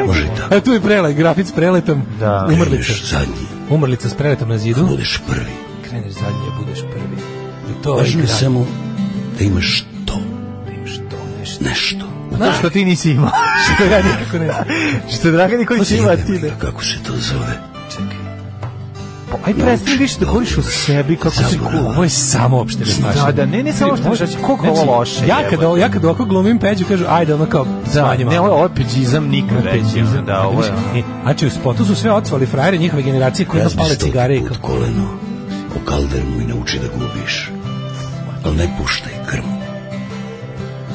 Speaker 2: može tako.
Speaker 6: A tu je prelaj, grafit s preletom.
Speaker 5: Da.
Speaker 6: Umrlica.
Speaker 2: Kreneš zadnji,
Speaker 6: Umrlica s preletom na zidu.
Speaker 2: budeš prvi.
Speaker 6: Kreneš zadnje, budeš prvi. I to je
Speaker 2: Važno je
Speaker 6: grafit.
Speaker 2: samo da imaš to,
Speaker 6: Što nešto.
Speaker 2: nešto.
Speaker 5: Znaš što ti nisi imao?
Speaker 6: Što ja nikako ne znam.
Speaker 5: što Dragan Nikolić ima, a ti ne.
Speaker 2: Kako se to zove?
Speaker 5: Pa, Aj, prestani više da govoriš o sebi kako si cool.
Speaker 6: Ovo je samo opšte rešmašenje.
Speaker 5: Da, da, ne, ne samo što znači, koliko je ovo loše.
Speaker 6: Ja
Speaker 5: jebote.
Speaker 6: kad, ovo- ja kad ovako glumim peđu, kažu, ajde, ono kao,
Speaker 5: Da,
Speaker 6: smanjimo.
Speaker 5: ne, ovo je ovo je peđizam nikad reći. ono, Da, ovo je...
Speaker 6: E, Znači, u spotu su sve odsvali frajere njihove generacije koji nas
Speaker 2: Razbi
Speaker 6: pale
Speaker 2: stoti
Speaker 6: cigare i
Speaker 2: put
Speaker 6: kao...
Speaker 2: koleno o kaldernu i nauči da gubiš. Ali ne puštaj krmu.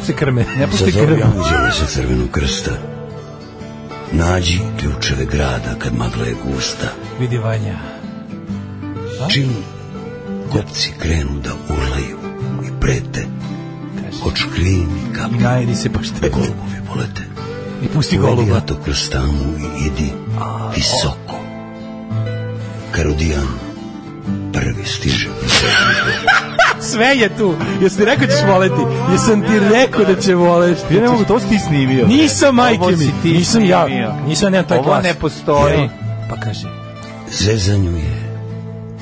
Speaker 6: se krme. Ne pusti
Speaker 2: Zazovi anđele sa crvenog krsta. Nađi ključeve grada kad magla je gusta.
Speaker 6: Vidi Vanja.
Speaker 2: Čim kopci krenu da urlaju i prete, očkrini kapi.
Speaker 5: Najedi se pa
Speaker 2: Da golubovi polete.
Speaker 6: I pusti
Speaker 2: Uvedi
Speaker 6: goluba.
Speaker 2: jato kroz tamu i idi visoko. Karudijan prvi stiže.
Speaker 6: Sve je tu. Jesi ti rekao ćeš voleti? Jesam ti rekao da će voleš?
Speaker 5: Ja ne mogu, to si ti snimio.
Speaker 6: Nisam, majke
Speaker 5: Ovo si
Speaker 6: mi.
Speaker 5: ti
Speaker 6: Nisam ja.
Speaker 5: snimio.
Speaker 6: Nisam, ja nemam taj
Speaker 5: Ovo
Speaker 6: glas.
Speaker 5: ne postoji.
Speaker 6: Evo, Pa kaže,
Speaker 2: Zezanju je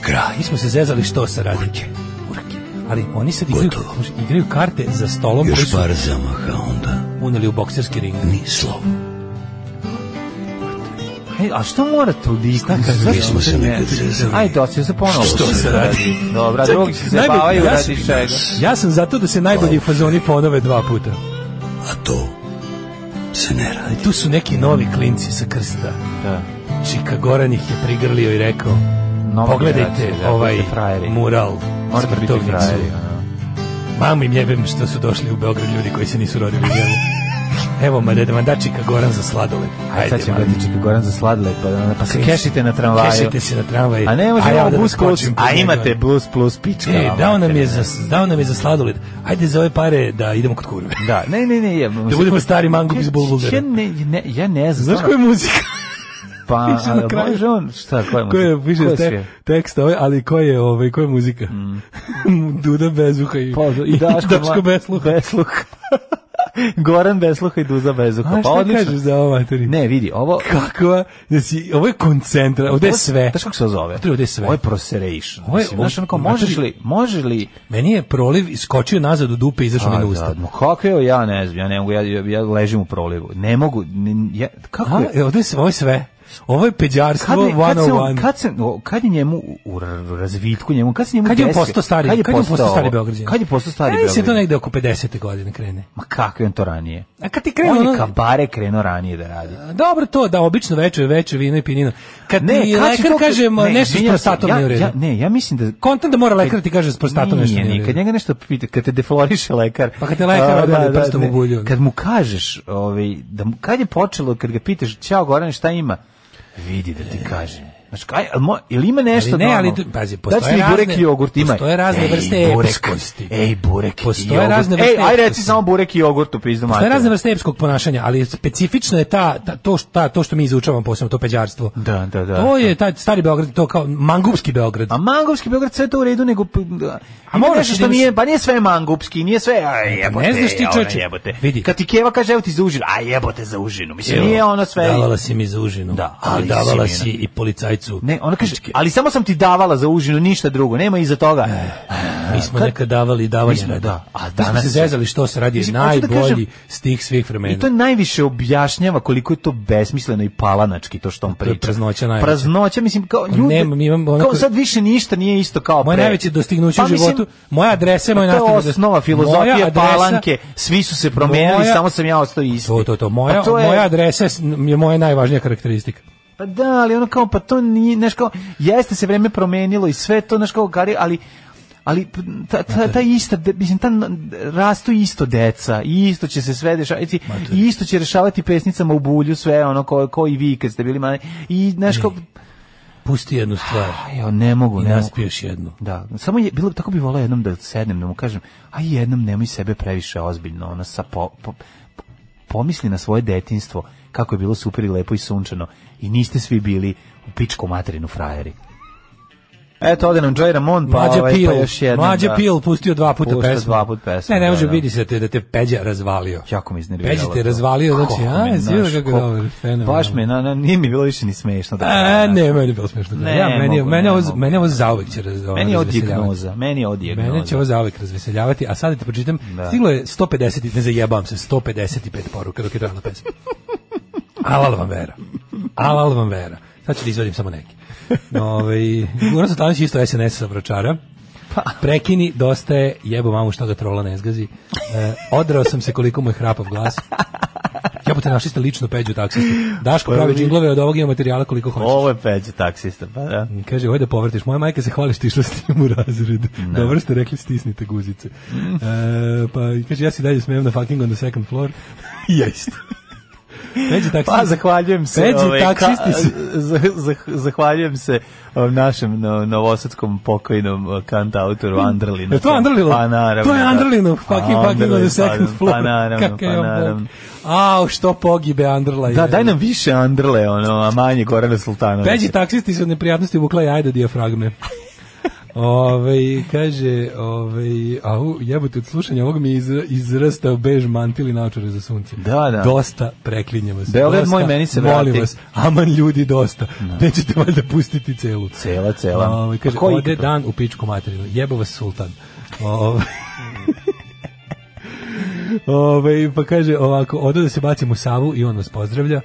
Speaker 2: kraj.
Speaker 6: mi smo se zezali što se radi.
Speaker 2: Urke.
Speaker 6: Urke. Ali oni sad igraju,
Speaker 2: Gotovo.
Speaker 6: slušaj, igraju karte za stolom koji
Speaker 2: Još
Speaker 6: su
Speaker 2: par zamaha onda
Speaker 6: uneli u bokserski ring.
Speaker 2: ni slovo.
Speaker 5: Ej, a što mora toliko?
Speaker 2: Mi smo se nekad zezali.
Speaker 5: Ajde, osim se ponovo.
Speaker 2: Što
Speaker 5: Što
Speaker 2: se
Speaker 5: se radi? Dobra,
Speaker 6: Čekaj,
Speaker 5: drugi se
Speaker 6: najbolje,
Speaker 5: zabavaju,
Speaker 6: ja sam-
Speaker 5: radi čega.
Speaker 6: Ja sam zato da se najbolji fazoni ponove dva puta.
Speaker 2: A to se ne radi.
Speaker 6: Tu su neki novi klinci sa krsta.
Speaker 5: Da.
Speaker 6: Čika Goran ih je prigrlio i rekao
Speaker 5: Nova
Speaker 6: Pogledajte
Speaker 5: generacija, da,
Speaker 6: ovaj
Speaker 5: budite frajeri."
Speaker 6: mural
Speaker 5: Mora
Speaker 6: s
Speaker 5: biti
Speaker 6: vrtovnicom.
Speaker 5: frajeri. ono.
Speaker 6: Mamu im jebem što su došli u Beograd ljudi koji se nisu rodili u njemu. Evo, ma da vam da Čika Goran za sladoled.
Speaker 5: Ajde, sad ćemo
Speaker 6: mami.
Speaker 5: gledati Čika Goran za sladoled, pa, ono, pa se kešite na tramvaju.
Speaker 6: Kešite se na tramvaju.
Speaker 5: A ne
Speaker 6: ja
Speaker 5: možemo
Speaker 6: onda da
Speaker 5: bus plus,
Speaker 6: skočim po
Speaker 5: a
Speaker 6: njega.
Speaker 5: imate bus plus pička.
Speaker 6: E,
Speaker 5: vam,
Speaker 6: dao nam,
Speaker 5: mater.
Speaker 6: je za, dao nam je za sladoled. Ajde za ove pare da idemo kod kurve.
Speaker 5: Da, ne, ne, ne, jebamo
Speaker 6: Da
Speaker 5: se.
Speaker 6: budemo stari mangup iz Bulbulgara.
Speaker 5: Ja ne, ne, ja ne znam.
Speaker 6: Znaš koja je muzika?
Speaker 5: Pa,
Speaker 6: piše na
Speaker 5: a,
Speaker 6: kraju?
Speaker 5: može on, šta, koja je
Speaker 6: Ko je
Speaker 5: muzika?
Speaker 6: više
Speaker 5: Ko je
Speaker 6: te,
Speaker 5: sve?
Speaker 6: tekst ovaj, ali ko je ovaj, ko je muzika? Duda Bezuha i,
Speaker 5: Mm. Pa, i Daško, Ma-
Speaker 6: Besluha.
Speaker 5: Besluh. Goran Besluha i Duza Bezuha.
Speaker 6: A
Speaker 5: Pa
Speaker 6: šta
Speaker 5: odlično.
Speaker 6: kažeš za ovaj ovo, materi?
Speaker 5: Ne, vidi, ovo...
Speaker 6: Kakva, znači, ovo je koncentra, ovde je
Speaker 5: Ovo-
Speaker 6: sve.
Speaker 5: Znaš kako se ovo zove?
Speaker 6: Materi, ovde je sve.
Speaker 5: Ovo je proseration.
Speaker 6: Ovo je- Pa
Speaker 5: Mislim, znaš,
Speaker 6: ovo-
Speaker 5: ono kao, možeš
Speaker 6: materi-
Speaker 5: li, možeš li...
Speaker 6: Meni je proliv iskočio nazad u dupe i izašao mi
Speaker 5: A,
Speaker 6: na
Speaker 5: da,
Speaker 6: usta.
Speaker 5: ma kako je, ovo, ja ne znam, ja ne mogu, ja, ja, ja ležim u prolivu. Ne mogu, ne, ja, kako
Speaker 6: A,
Speaker 5: je?
Speaker 6: e, ovde je sve, ovo je sve. Ovo je peđarstvo
Speaker 5: Kad, ne, kad, se on,
Speaker 6: 101.
Speaker 5: kad, se, o, kad je njemu u- u ra- razvitku njemu, kad se njemu
Speaker 6: Kad je on
Speaker 5: desio-
Speaker 6: postao stari, kad je postao, stari
Speaker 5: ovo?
Speaker 6: Beograđan?
Speaker 5: Kad je postao stari
Speaker 6: Beograđan? se to
Speaker 5: Beograđan?
Speaker 6: negde oko 50. godine krene.
Speaker 5: Ma kako je on to ranije?
Speaker 6: A kad ti krene
Speaker 5: On je
Speaker 6: ono,
Speaker 5: kabare krenuo ranije da radi.
Speaker 6: dobro to da obično veče veče vino i pinino. Kad
Speaker 5: Ne,
Speaker 6: ti
Speaker 5: kad si
Speaker 6: lekar
Speaker 5: to-
Speaker 6: kaže ma,
Speaker 5: ne,
Speaker 6: nešto s
Speaker 5: izvinjavam se,
Speaker 6: prostatom
Speaker 5: ja-
Speaker 6: nije u redu.
Speaker 5: ja- ne, ja mislim da-
Speaker 6: Kontam da mora lekar da ti kaže s prostatom nešto
Speaker 5: Nije,
Speaker 6: nije u
Speaker 5: nije. Kad
Speaker 6: redu.
Speaker 5: njega nešto pita, kad te defloriše lekar.
Speaker 6: Pa kad te lekar
Speaker 5: a,
Speaker 6: odvadi prstom
Speaker 5: ne.
Speaker 6: u bulju. ono.
Speaker 5: Kad mu kažeš, ovaj, da mu, kad je počelo, kad ga pitaš, ćao Goran, šta ima? Vidi da ti kažem. Znaš, kaj, ali mo, ili ima nešto
Speaker 6: Ali ne, ali
Speaker 5: normalno?
Speaker 6: tu- pazi,
Speaker 5: Dacni
Speaker 6: postoje
Speaker 5: burek i
Speaker 6: razne-
Speaker 5: jogurt, ima.
Speaker 6: postoje razne
Speaker 5: Ej,
Speaker 6: vrste
Speaker 5: burek,
Speaker 6: epskosti.
Speaker 5: Ej, burek i
Speaker 6: Postoje
Speaker 5: jogurt.
Speaker 6: razne
Speaker 5: Ej,
Speaker 6: vrste
Speaker 5: aj reci
Speaker 6: epskosti.
Speaker 5: samo burek i jogurt u pizdu
Speaker 6: To je
Speaker 5: materinu.
Speaker 6: razne vrste epskog ponašanja, ali specifično je ta, ta- to, što, ta- to što mi izučavamo posebno, to peđarstvo.
Speaker 5: Da, da, da.
Speaker 6: To je taj stari Beograd, to kao mangupski Beograd.
Speaker 5: A mangupski Beograd sve to u redu, nego... A
Speaker 6: moraš
Speaker 5: nešto
Speaker 6: da
Speaker 5: što
Speaker 6: imaš-
Speaker 5: nije, pa nije sve mangupski, nije sve, aj jebote,
Speaker 6: ne znaš ti,
Speaker 5: ja, ono,
Speaker 6: čoveče,
Speaker 5: jebote.
Speaker 6: vidi.
Speaker 5: Kad ti Keva kaže, evo ti za užinu, aj jebote za užinu, mislim,
Speaker 6: Evo,
Speaker 5: nije ono sve...
Speaker 6: Davala si mi za užinu.
Speaker 5: Da,
Speaker 6: ali,
Speaker 5: ali
Speaker 6: davala
Speaker 5: si
Speaker 6: si,
Speaker 5: mi,
Speaker 6: i policajcu.
Speaker 5: Ne, ona kaže,
Speaker 6: pičke.
Speaker 5: ali samo sam ti davala za užinu, ništa drugo, nema iza toga.
Speaker 6: mi smo
Speaker 5: kad-
Speaker 6: nekad davali i davali.
Speaker 5: Mi smo,
Speaker 6: radi.
Speaker 5: da, a
Speaker 6: Mi smo
Speaker 5: danas-
Speaker 6: se zezali što se radi,
Speaker 5: Mislim, hoću da
Speaker 6: najbolji
Speaker 5: kažem-
Speaker 6: stih svih vremena.
Speaker 5: I to najviše objašnjava koliko je to besmisleno i palanački to što on
Speaker 6: To je
Speaker 5: priča.
Speaker 6: praznoća najveća. Pa
Speaker 5: Praznoća, mislim, kao ljudi,
Speaker 6: Nema, mi imamo onako-
Speaker 5: kao sad više ništa nije isto kao
Speaker 6: Moje
Speaker 5: pre.
Speaker 6: najveće dostignuće
Speaker 5: Pa
Speaker 6: u
Speaker 5: mislim,
Speaker 6: životu, moja adresa je
Speaker 5: Pa
Speaker 6: moja
Speaker 5: to je
Speaker 6: nastavna adresa.
Speaker 5: osnova filozofije
Speaker 6: Moja adresa-
Speaker 5: palanke, svi su se promijenili,
Speaker 6: Moja-
Speaker 5: samo sam ja ostao isti.
Speaker 6: To, to, to. Moja,
Speaker 5: Pa to je-
Speaker 6: moja adresa je s- je moja najvažnija karakteristika.
Speaker 5: Pa da, ali ono kao, pa to nije, znaš kao, jeste se vreme promenilo i sve to, znaš kao, gari, ali ali ta, ta, ta ista, de- mislim, ta n- rastu isto deca, i isto će se sve dešavati, i isto će rešavati pesnicama u bulju sve ono ko, ko i vi kad ste bili mali, i znaš kao,
Speaker 6: Pusti jednu stvar
Speaker 5: ajo, ne mogu,
Speaker 6: E. i
Speaker 5: ne mogu.
Speaker 6: naspiješ jednu.
Speaker 5: Da, samo je, bilo, tako bi volao jednom da sednem, da mu kažem, a jednom nemoj sebe previše ozbiljno, ono, sa po, po- po- pomisli na svoje detinstvo, kako je bilo super i lepo i sunčano, i niste svi bili u pičku materinu frajeri. Eto, ode nam Joy Ramon, pa,
Speaker 6: Mlađa
Speaker 5: ovaj,
Speaker 6: Pil,
Speaker 5: pa još jednom.
Speaker 6: Mlađa
Speaker 5: da.
Speaker 6: Pil pustio dva puta
Speaker 5: Pušta
Speaker 6: pesmu.
Speaker 5: dva puta pesmu,
Speaker 6: Ne, ne
Speaker 5: da,
Speaker 6: može,
Speaker 5: da.
Speaker 6: vidi se te, da te Peđa razvalio.
Speaker 5: Jako mi iznerviralo.
Speaker 6: Peđa te
Speaker 5: to.
Speaker 6: razvalio, znači,
Speaker 5: Kako
Speaker 6: a,
Speaker 5: me,
Speaker 6: jesi
Speaker 5: znaš,
Speaker 6: vidio kako je
Speaker 5: kako-
Speaker 6: dobar, fenomenalno.
Speaker 5: Baš me, na, na, nije mi bilo više ni smešno. Da,
Speaker 6: A, E, ne, meni je bilo smešno.
Speaker 5: Ne,
Speaker 6: ja, meni,
Speaker 5: mogu,
Speaker 6: mene,
Speaker 5: ne
Speaker 6: ovo,
Speaker 5: mogu.
Speaker 6: mene ovo zauvek će raz, ono,
Speaker 5: Meni je od
Speaker 6: razveseljavati.
Speaker 5: dijagnoza, meni je od dijagnoza.
Speaker 6: Mene će ovo zauvek razveseljavati, a sad da te pročitam, stiglo je 150, i- ne zajebam se, 155 poruka dok je trajala pesma. Alal vam vera. Alal vam vera. Sad ću da izvadim samo neke. Ove, Goran Satanović je isto SNS sa vračara. Prekini, dosta je, jebo mamu što ga trola ne zgazi. E, odrao sam se koliko mu je hrapav glas. Jebote, našli ste lično peđu taksistu. Daško pravi džinglove, od ovog ima materijala koliko hoćeš.
Speaker 5: Ovo je peđa taksista, pa da.
Speaker 6: Mm, Kaže, oj da povrtiš, moja majka se hvali što je išla s tim u razred. Dobro ste rekli, stisnite guzice. E,
Speaker 5: Mm.
Speaker 6: pa kaže, ja se i dalje smijem na fucking on the second floor. Jeste. Peđi taksist.
Speaker 5: Pa zahvaljujem se.
Speaker 6: Peđi
Speaker 5: ovaj, ka-
Speaker 6: taksisti su.
Speaker 5: za- za- zahvaljujem se um, našem no, novosadskom pokojnom uh, kantautoru Andrlinu.
Speaker 6: Hmm. Je to Andrlino?
Speaker 5: Pa naravno.
Speaker 6: To je
Speaker 5: da.
Speaker 6: Andrlino, fucking
Speaker 5: Pa,
Speaker 6: fucking on the
Speaker 5: Andrlin,
Speaker 6: second
Speaker 5: pa-
Speaker 6: floor.
Speaker 5: Pa naravno,
Speaker 6: Kakav
Speaker 5: pa
Speaker 6: je on bog.
Speaker 5: naravno.
Speaker 6: Au, što pogibe Andrla.
Speaker 5: Da,
Speaker 6: je.
Speaker 5: daj nam više Andrle, ono, a manje Gorana Sultanovića.
Speaker 6: Peđi taksisti su od neprijatnosti vukla jajda dijafragme. Ove, kaže, ove, au, jebote, od slušanja ovog mi je izra, izrastao bež mantil i naočare za sunce.
Speaker 5: Da, da.
Speaker 6: Dosta, preklinjem vas.
Speaker 5: Beograd
Speaker 6: Dosta,
Speaker 5: moj, meni se
Speaker 6: Molim
Speaker 5: vrati.
Speaker 6: vas, aman ljudi, dosta. Nećete valjda pustiti celu.
Speaker 5: Cela, cela.
Speaker 6: Ovaj, kaže,
Speaker 5: A ko
Speaker 6: ode
Speaker 5: ikad?
Speaker 6: dan u pičku materinu. Jebo vas sultan. Ovaj. Ove, Ove, pa kaže ovako, odo da se bacim u Savu i on vas pozdravlja.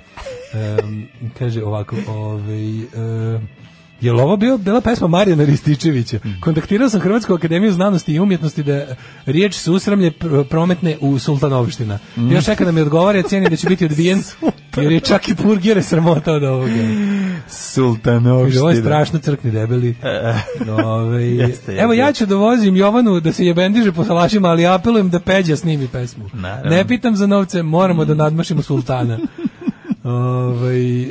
Speaker 6: Em, kaže ovako, ove, je li ovo bio, bila pesma Marijana Rističevića?
Speaker 5: Mm.
Speaker 6: Kontaktirao sam Hrvatsku akademiju znanosti i umjetnosti da riječ susramlje pr- prometne u Sultanovština.
Speaker 5: Mm.
Speaker 6: Još čeka da mi odgovore, cijenim da će biti odbijen, jer je čak i purgire sramota od ovoga. Kaže,
Speaker 5: Sultanovština.
Speaker 6: ovo je strašno crkni debeli. Ove,
Speaker 5: E, Jeste,
Speaker 6: Evo,
Speaker 5: jeste.
Speaker 6: ja ću dovozim Jovanu da se jebendiže po salašima, ali apelujem da Peđa snimi pesmu.
Speaker 5: Naravno.
Speaker 6: Ne pitam za novce, moramo da nadmašimo sultana. Ove, e,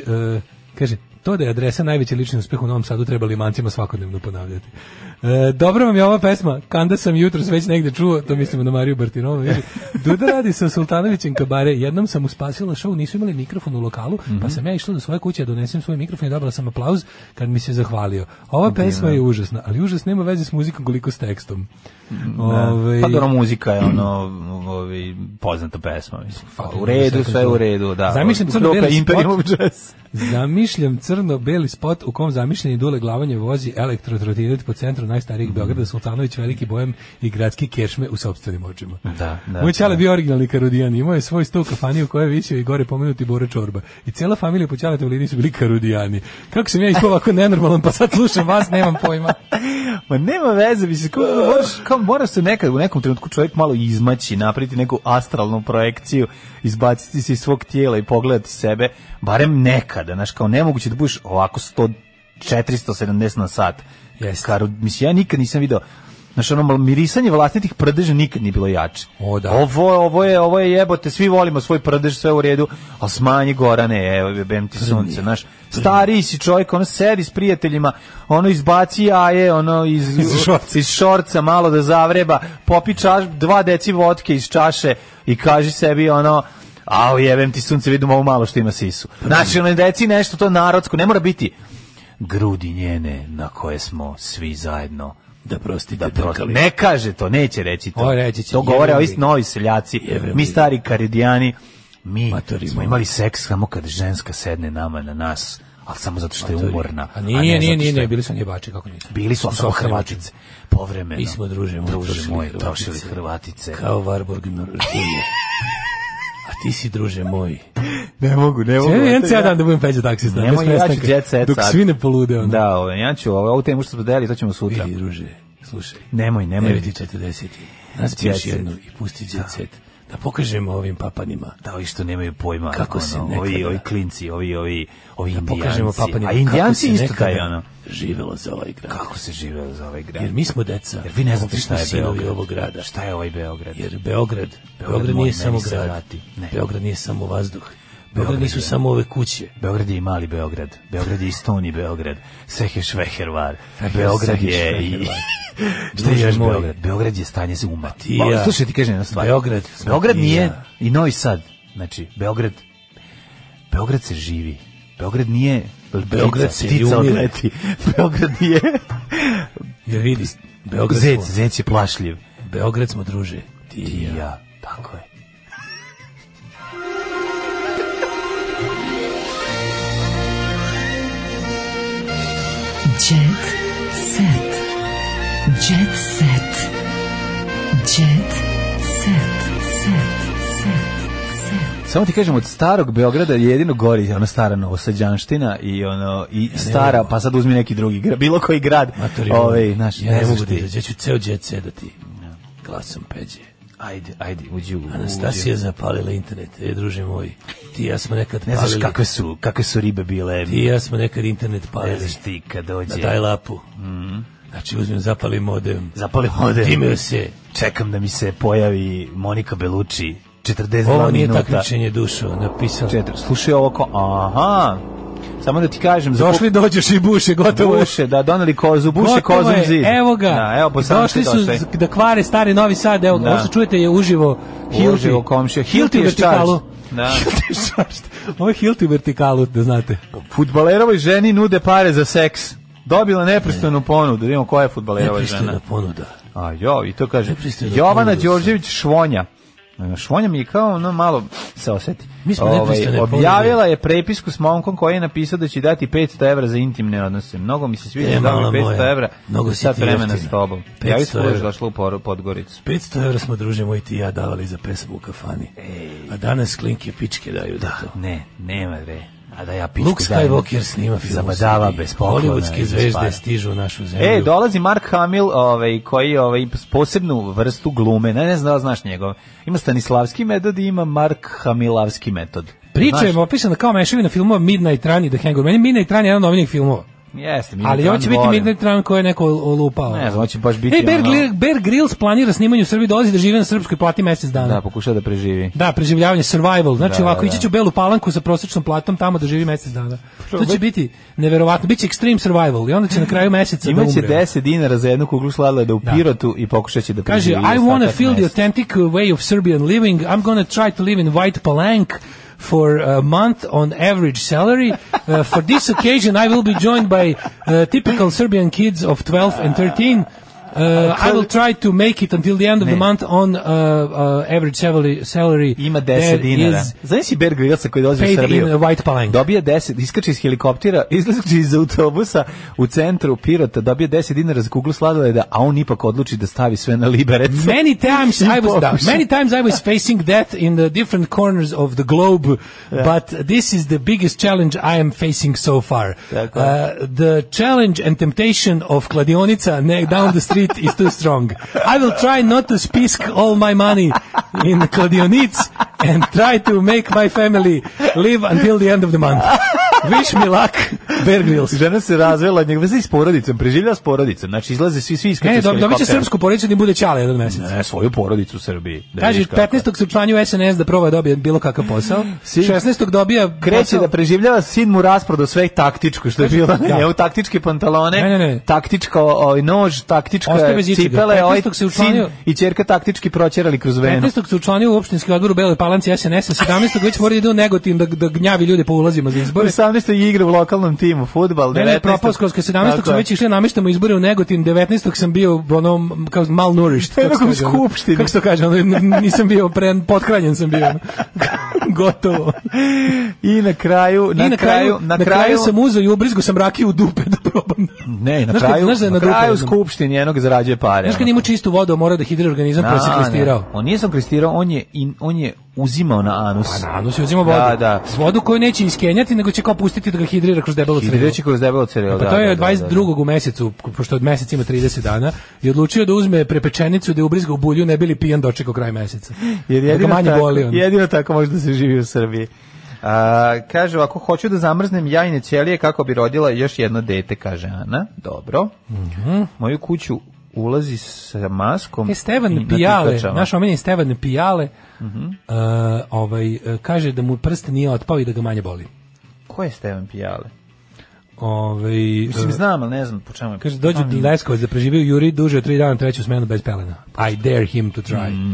Speaker 6: kaže, to da je adresa najveći lični uspeh u Novom Sadu treba limancima svakodnevno ponavljati. E, dobro vam je ova pesma, kanda sam jutro već negde čuo, to mislimo na Mariju Bartinovu. vidi. Duda radi sa Sultanovićem kabare, jednom sam mu spasila šou, nisu imali mikrofon u lokalu,
Speaker 5: Mhm.
Speaker 6: pa sam ja išla do svoje kuće, donesem svoj mikrofon i dobila sam aplauz kad mi se zahvalio. Ova pesma je užasna, ali užas nema veze s muzikom koliko s tekstom. Ovaj,
Speaker 5: Pa dobro, muzika je ono ovaj, poznata pesma, mislim. Pa,
Speaker 6: Fucking
Speaker 5: u redu, sve u redu, da.
Speaker 6: Zamišljam
Speaker 5: Od
Speaker 6: crno-beli
Speaker 5: Kroka
Speaker 6: spot.
Speaker 5: Imperium of Jazz.
Speaker 6: Zamišljam crno-beli spot u kom zamišljeni dule glavanje vozi elektrotrotinet po centru
Speaker 5: Mhm.
Speaker 6: najstarijih Beograda, Sultanović, Veliki Bojem i gradski kešme u sobstvenim očima.
Speaker 5: Da, da,
Speaker 6: Moj čale
Speaker 5: da.
Speaker 6: bio originalni karudijan, imao je svoj sto u kafani u kojoj je visio i gore pomenuti Bora Čorba. I cela familija po čale liniji su bili karudijani. Kako sam ja ispao ovako nenormalan, pa sad slušam vas, nemam pojma.
Speaker 5: Ma nema veze, mislim, kao, moraš, kao, mora se nekad u nekom trenutku čovjek malo izmaći, napraviti neku astralnu projekciju, izbaciti se iz svog tijela i pogledati sebe, barem nekada, znaš, kao nemoguće da budeš ovako 100, 470 na sat.
Speaker 6: Jeste.
Speaker 5: Karu, mislim, ja nikad nisam video Znaš, ono, malo mirisanje vlastitih prdeža nikad nije bilo jače.
Speaker 6: O, da.
Speaker 5: Ovo, ovo, je, ovo je jebote, svi volimo svoj prdež, sve u redu, ali smanji Gorane, evo, jebem ti sunce, znaš. Stariji si čovjek, ono, sedi s prijateljima, ono, izbaci jaje, ono, iz,
Speaker 6: Iz šorca.
Speaker 5: iz šorca malo da zavreba, popi čaš, dva deci vodke iz čaše i kaži sebi, ono, Au, jebem ti sunce, vidim ovo malo što ima sisu. Znači, ono, deci nešto to narodsko, ne mora biti grudi njene na koje smo svi zajedno
Speaker 2: Da prostite,
Speaker 5: da
Speaker 2: da
Speaker 5: prosto. Ne kaže to, neće reći to.
Speaker 6: O, reći će,
Speaker 5: to govore
Speaker 6: jebem
Speaker 5: ovi
Speaker 6: li.
Speaker 5: novi seljaci,
Speaker 2: Jebem li.
Speaker 5: mi stari karidijani, mi
Speaker 2: Matori
Speaker 5: smo
Speaker 2: moji.
Speaker 5: imali seks samo kad ženska sedne nama na nas, ali samo zato što Pa je umorna.
Speaker 6: A
Speaker 5: ne
Speaker 6: nije,
Speaker 5: zato
Speaker 6: nije,
Speaker 5: što
Speaker 6: nije,
Speaker 5: je-
Speaker 6: nije, bili su njebači, kako nisu.
Speaker 5: Bili su ali samo
Speaker 6: Softvani
Speaker 5: Hrvatice, povremeno.
Speaker 6: Mi smo, druže moj,
Speaker 5: druže
Speaker 6: trošili
Speaker 5: moj,
Speaker 6: Hrvatice.
Speaker 5: trošili Hrvatice.
Speaker 2: Kao Varborg Norvežije. A ti si, druže moj,
Speaker 5: Ne mogu, ne
Speaker 6: Sve jedan cijel dan da budem peđa taksista.
Speaker 5: Nemoj,
Speaker 6: bez
Speaker 5: ja ću
Speaker 6: prestanka,
Speaker 5: jet set
Speaker 6: Dok
Speaker 5: sad.
Speaker 6: svi ne polude. ono.
Speaker 5: Da, ovo, ja ću ovo, ovu temu što smo delili, to ćemo sutra.
Speaker 2: vidi, druže, slušaj.
Speaker 5: Nemoj, nemoj.
Speaker 2: 9.40. Nas
Speaker 5: Jet
Speaker 2: još
Speaker 5: set.
Speaker 2: jednu i pusti jet set. Da pokažemo ovim papanima.
Speaker 5: Da, ovi što nemaju pojma.
Speaker 2: Kako se
Speaker 5: ono, ovi,
Speaker 2: nekada-
Speaker 5: ovi klinci, ovi, ovi, ovi
Speaker 2: Da
Speaker 5: indijanci.
Speaker 2: pokažemo papanima
Speaker 5: A
Speaker 2: kako
Speaker 5: indijanci
Speaker 2: se
Speaker 5: isto
Speaker 2: nekada
Speaker 5: taj, ono.
Speaker 2: Živelo za ovaj grad.
Speaker 5: Kako se žive za ovaj grad?
Speaker 2: Jer mi smo deca.
Speaker 5: Jer vi ne znate
Speaker 2: mi
Speaker 5: šta
Speaker 2: smo
Speaker 5: je
Speaker 2: sinovi
Speaker 5: Beograd.
Speaker 2: ovog grada.
Speaker 5: Šta je ovaj Beograd?
Speaker 2: Jer Beograd, Beograd,
Speaker 5: moj,
Speaker 2: nije
Speaker 5: meni
Speaker 2: samo
Speaker 5: se
Speaker 2: grad.
Speaker 5: vrati. Ne.
Speaker 2: Beograd nije samo vazduh. Beograd,
Speaker 5: Beograd
Speaker 2: nisu
Speaker 5: je-
Speaker 2: samo ove kuće.
Speaker 5: Beograd je i mali Beograd. Beograd je i stoni Beograd. Sve je švehervar.
Speaker 6: Feher-
Speaker 5: Beograd
Speaker 6: Feher-
Speaker 5: je i...
Speaker 6: Fehervar.
Speaker 5: Šta je
Speaker 2: Druže
Speaker 5: još
Speaker 2: moj.
Speaker 5: Beograd? Beograd je stanje se uma.
Speaker 2: ti i
Speaker 5: Ma,
Speaker 2: ja.
Speaker 5: Slušaj, ti kažem jedna stvar.
Speaker 2: Beograd smo
Speaker 5: Beograd
Speaker 2: ti i
Speaker 5: nije
Speaker 2: ja.
Speaker 5: i Novi Sad. Znači, Beograd... Beograd se živi. Beograd nije...
Speaker 2: Beograd se i
Speaker 5: ptica
Speaker 2: umire.
Speaker 5: odleti. Beograd nije...
Speaker 2: Jer vidi, Beograd
Speaker 5: Zec,
Speaker 2: smo,
Speaker 5: zec je plašljiv.
Speaker 2: Beograd smo druže. Ti i
Speaker 5: I
Speaker 2: ja.
Speaker 5: ja, tako je.
Speaker 3: Jet set. Jet set. Jet set. Set. Set.
Speaker 5: Samo ti kažem, od starog Beograda je jedino gori ona stara novosađanština i ono i stara, pa sad uzmi neki drugi grad, bilo koji grad.
Speaker 2: Matori moj,
Speaker 5: Ovaj, znaš,
Speaker 2: ja
Speaker 5: ne
Speaker 2: ne
Speaker 5: znaš
Speaker 2: mogu da
Speaker 5: ti.
Speaker 2: izađem, ja ću ceo džet sedati. Glasom peđe.
Speaker 5: Ajde, ajde, uđi u.
Speaker 2: Anastasija je zapalila internet, e, druže moj. Ti i ja smo nekad
Speaker 5: Ne
Speaker 2: palili.
Speaker 5: znaš kakve su, kakve su ribe bile.
Speaker 2: Ti i ja smo nekad internet
Speaker 5: Ne
Speaker 2: palili.
Speaker 5: Pa znaš ti kad
Speaker 2: Na
Speaker 5: dođe.
Speaker 2: daj lapu. Znači, uzmem, zapalim modem.
Speaker 5: Zapalim ovde.
Speaker 2: Dimio se.
Speaker 5: Čekam da mi se pojavi Monika Belucci. 42
Speaker 2: Ovo nije
Speaker 5: minuta.
Speaker 2: takmičenje dušo, napisala.
Speaker 5: Četiri. Slušaj ovo ko, aha. Samo da ti kažem, za
Speaker 6: Došli dođeš i buše, gotovo je.
Speaker 5: buše, da doneli kozu, buše
Speaker 6: Gotovo
Speaker 5: kozom
Speaker 6: je,
Speaker 5: zid.
Speaker 6: Evo ga.
Speaker 5: Da, evo, po sam
Speaker 6: Došli su
Speaker 5: došli.
Speaker 6: da kvare stari Novi Sad, evo ga.
Speaker 5: Da.
Speaker 6: Ovo što čujete je uživo Hilti.
Speaker 5: Uživo komšija. Hilti
Speaker 6: Hilti u
Speaker 5: je
Speaker 6: vertikalu.
Speaker 5: charged. Da.
Speaker 6: Hilti je charged. Ovo je Hilti u vertikalu, da znate.
Speaker 5: Futbalerovoj ženi nude pare za seks. Dobila nepristojnu ponudu, da vidimo koja je futbalerova žena.
Speaker 2: Nepristojna ponuda.
Speaker 5: A jo, i to kaže
Speaker 2: Nepristojna
Speaker 5: Jovana
Speaker 2: ponuda.
Speaker 5: Đorđević Švonja. E, Švonja mi je kao ono malo se oseti.
Speaker 2: Mi smo
Speaker 5: Ovaj,
Speaker 2: nepristojne
Speaker 5: objavila je prepisku s momkom koji je napisao da će dati 500 evra za intimne odnose. Mnogo mi se sviđa
Speaker 2: E,
Speaker 5: da
Speaker 2: mala
Speaker 5: mi 500
Speaker 2: moja,
Speaker 5: evra
Speaker 2: mnogo
Speaker 5: za
Speaker 2: si
Speaker 5: sat
Speaker 2: ti
Speaker 5: vremena
Speaker 2: jeftina.
Speaker 5: s tobom.
Speaker 2: 500
Speaker 5: Ja sam uvijek
Speaker 2: evra.
Speaker 5: došla u Poru- Podgoricu.
Speaker 2: 500 evra smo, druže moj, ti i ja davali za pesmu u kafani. A danas klinke pičke daju da to.
Speaker 5: Ne, nema bre. A da ja pičku
Speaker 2: Luke Skywalker snima film. u
Speaker 5: Zabadava
Speaker 2: Srbiji.
Speaker 5: bez poklona i
Speaker 2: Hollywoodske
Speaker 5: bez para.
Speaker 2: zvezde stižu u našu zemlju.
Speaker 5: E, dolazi Mark Hamill, ovaj, koji ovaj, s posebnu vrstu glume, ne, ne znam da li znaš njegov. Ima stanislavski metod i ima Mark Hamilavski metod.
Speaker 6: Priča je
Speaker 5: Znaš,
Speaker 6: opisana kao mešavina filmova Midnight Run i The Hangover. Meni Midnight Run je jedan od omiljenih filmova.
Speaker 5: Jeste, mi
Speaker 6: Ali
Speaker 5: to
Speaker 6: ovo će
Speaker 5: ne
Speaker 6: biti
Speaker 5: volim.
Speaker 6: Midnight Run koji je neko olupao.
Speaker 5: Ne znam, hoće baš biti
Speaker 6: Ej, Bear,
Speaker 5: ono-
Speaker 6: Gri- Bear Grylls planira snimanje u Srbiji, dolazi da žive na srpskoj plati mesec dana.
Speaker 5: Da, pokuša da preživi.
Speaker 6: Da, preživljavanje, survival. Znači
Speaker 5: Da,
Speaker 6: ovako,
Speaker 5: da,
Speaker 6: ići
Speaker 5: da.
Speaker 6: će u Belu Palanku sa prosječnom platom tamo da živi mjesec dana. To će biti neverovatno. Biće extreme survival i onda će na kraju mjeseca da
Speaker 5: Imaće
Speaker 6: umre.
Speaker 5: 10 dinara za jednu kuglu sladoleda u
Speaker 6: Da.
Speaker 5: Pirotu i pokušaće da
Speaker 6: Kaže,
Speaker 5: preživi.
Speaker 6: I wanna
Speaker 5: ostatak
Speaker 6: feel the
Speaker 5: mjeseca.
Speaker 6: authentic way of Serbian living. I'm gonna try to live in White Palanque for a month on average salary. Uh, for this occasion, I will be joined by uh, typical Serbian kids of 12 and 13. Uh, I will try to make it until the end of
Speaker 5: Ne.
Speaker 6: the month on uh, uh, average salary. salary
Speaker 5: Ima 10
Speaker 6: There
Speaker 5: dinara.
Speaker 6: is
Speaker 5: Znaš si Bear Grylsa koji dolazi u
Speaker 6: Paid in
Speaker 5: Srbiju?
Speaker 6: White Palank.
Speaker 5: Dobija 10, iskače iz helikoptera, iskače iz autobusa u centru Pirota, dobija 10 dinara za kuglu sladoleda, a on ipak odluči da stavi sve na liberec.
Speaker 6: Many times I was da,
Speaker 5: pokušaj.
Speaker 6: many times I was facing that in the different corners of the globe, but this is the biggest challenge I am facing so far.
Speaker 5: Tako.
Speaker 6: Uh, the challenge and temptation of kladionica ne- down the street is too strong. I will try not to spisk all my money in kladionic and try to make my family live until the end of the month. Wish me luck, Bear Grylls.
Speaker 5: Žena se razvela od njega, vezi s porodicom, preživljava s porodicom. Znači izlaze svi svi iskače
Speaker 6: E,
Speaker 5: iz
Speaker 6: dob- dobit će
Speaker 5: helikoptera.
Speaker 6: srpsku porodicu, ni bude ćale jedan mesec.
Speaker 5: Ne, svoju porodicu u Srbiji. Da
Speaker 6: Kaže,
Speaker 5: vidiš kako je.
Speaker 6: 15. se učlanjuje u SNS da proba da dobije bilo kakav posao.
Speaker 5: Sin-
Speaker 6: 16. dobija
Speaker 5: kreće
Speaker 6: posao-
Speaker 5: da preživljava sin mu rasprodo sve taktičko što je bilo na
Speaker 6: da.
Speaker 5: njemu taktičke pantalone
Speaker 6: Ne, ne, ne.
Speaker 5: taktička ovaj nož taktička
Speaker 6: Ostaje bez ičega.
Speaker 5: cipele ovaj
Speaker 6: 15. se
Speaker 5: sin
Speaker 6: učlanio.
Speaker 5: i ćerka taktički proćerali kroz venu
Speaker 6: 15. se učlanio u opštinski odbor u Beloj Palanci SNS-a, 17. već mora da ide u Negotin da, da gnjavi ljude po ulazima za izbore.
Speaker 5: 18. je igra u lokalnom timu fudbal 19.
Speaker 6: Ne, ne, propao skroz, kad 17.
Speaker 5: Tako
Speaker 6: sam
Speaker 5: je.
Speaker 6: već išli, namištamo izbore u Negotin, 19. sam bio ono, kao malnourished. kako se
Speaker 5: Nekom
Speaker 6: kaže, ono.
Speaker 5: Pa skupštini.
Speaker 6: Kako se to kaže, ono, n- nisam bio, pre, potkranjen sam bio. ono. Gotovo.
Speaker 5: i na kraju na,
Speaker 6: I na kraju, na kraju sam uzeo i ubrizgo sam rakiju u dupe da probam.
Speaker 5: ne na
Speaker 6: Znaš kad-
Speaker 5: kraju
Speaker 6: znaš da je
Speaker 5: na
Speaker 6: dupe
Speaker 5: kraju
Speaker 6: jednom?
Speaker 5: skupštini jednog zarađuje pare
Speaker 6: Znaš kad
Speaker 5: ono.
Speaker 6: ima čistu vodu, a mora da hidri organizam,
Speaker 5: Na,
Speaker 6: pa se klestirao.
Speaker 5: ne, on nije sam kristirao on je in, on je uzimao na anus
Speaker 6: A, no Pa si uzima vodu.
Speaker 5: Da, da.
Speaker 6: Vodu koju neće iskenjati, nego će kao pustiti da ga hidrira kroz debelo
Speaker 5: i
Speaker 6: crevo.
Speaker 5: reći kroz debelo cereal
Speaker 6: Pa to je 22. u mesecu, pošto od meseca ima 30 dana, i odlučio da uzme prepečenicu da je ubrizga u bulju, ne bili pijan dočekao kraj meseca.
Speaker 5: Jer
Speaker 6: Da ga
Speaker 5: jedino,
Speaker 6: manje
Speaker 5: tako,
Speaker 6: boli on.
Speaker 5: jedino tako može da se živi u Srbiji. A, kaže, ako hoću da zamrznem jajne ćelije kako bi rodila još jedno dete, kaže Ana. Dobro. Moju kuću ulazi sa maskom.
Speaker 6: Mhm.
Speaker 5: i
Speaker 6: E,
Speaker 5: na
Speaker 6: Stevan Pijale,
Speaker 5: trkačama.
Speaker 6: naš omenjen Stevan Pijale,
Speaker 5: Mhm.
Speaker 6: e, ovaj, e, kaže da mu prst nije otpao i da ga manje boli.
Speaker 5: Ko je Stevan Pijale?
Speaker 6: Ovaj,
Speaker 5: Mislim,
Speaker 6: e,
Speaker 5: znam, ali ne znam po čemu. je-
Speaker 6: Kaže, dođe do Leskovac da preživio Juri duže od tri dana treću smenu bez pelena. I dare him to try.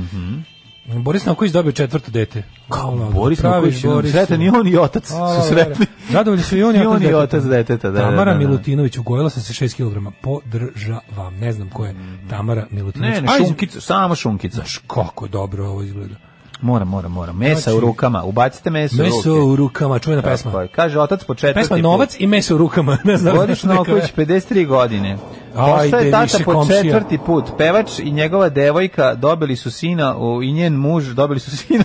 Speaker 6: Boris Novković dobio četvrto dete. Ono, Kao
Speaker 5: Mhm. Boris Novković, ono, sretan i on i otac su sretni.
Speaker 6: Zadovoljni su i on
Speaker 5: I on i
Speaker 6: i
Speaker 5: otac deteta, da, da,
Speaker 6: Tamara
Speaker 5: da, da.
Speaker 6: Milutinović, ugojila sam se 6 kg. Podržavam. Ne znam ko je Tamara Milutinović.
Speaker 5: Mhm. Ne, ne,
Speaker 6: Aj,
Speaker 5: šunkica, samo šunkica.
Speaker 6: Znaš kako dobro ovo izgleda.
Speaker 5: Mora, mora, mora. Mesa u rukama, ubacite meso,
Speaker 6: Znači, Meso
Speaker 5: u ruke.
Speaker 6: u rukama, čuvena
Speaker 5: Tako
Speaker 6: pesma.
Speaker 5: je. Kaže, otac pa- po četvrti
Speaker 6: Pesma
Speaker 5: put.
Speaker 6: Novac i meso u rukama. Ne znam,
Speaker 5: Boris
Speaker 6: znaš, neka-
Speaker 5: Novković, 53 godine. Postao je
Speaker 6: Ajde,
Speaker 5: tata
Speaker 6: više
Speaker 5: po
Speaker 6: komšija.
Speaker 5: četvrti put. Pevač i njegova devojka dobili su sina u, i njen muž dobili su sina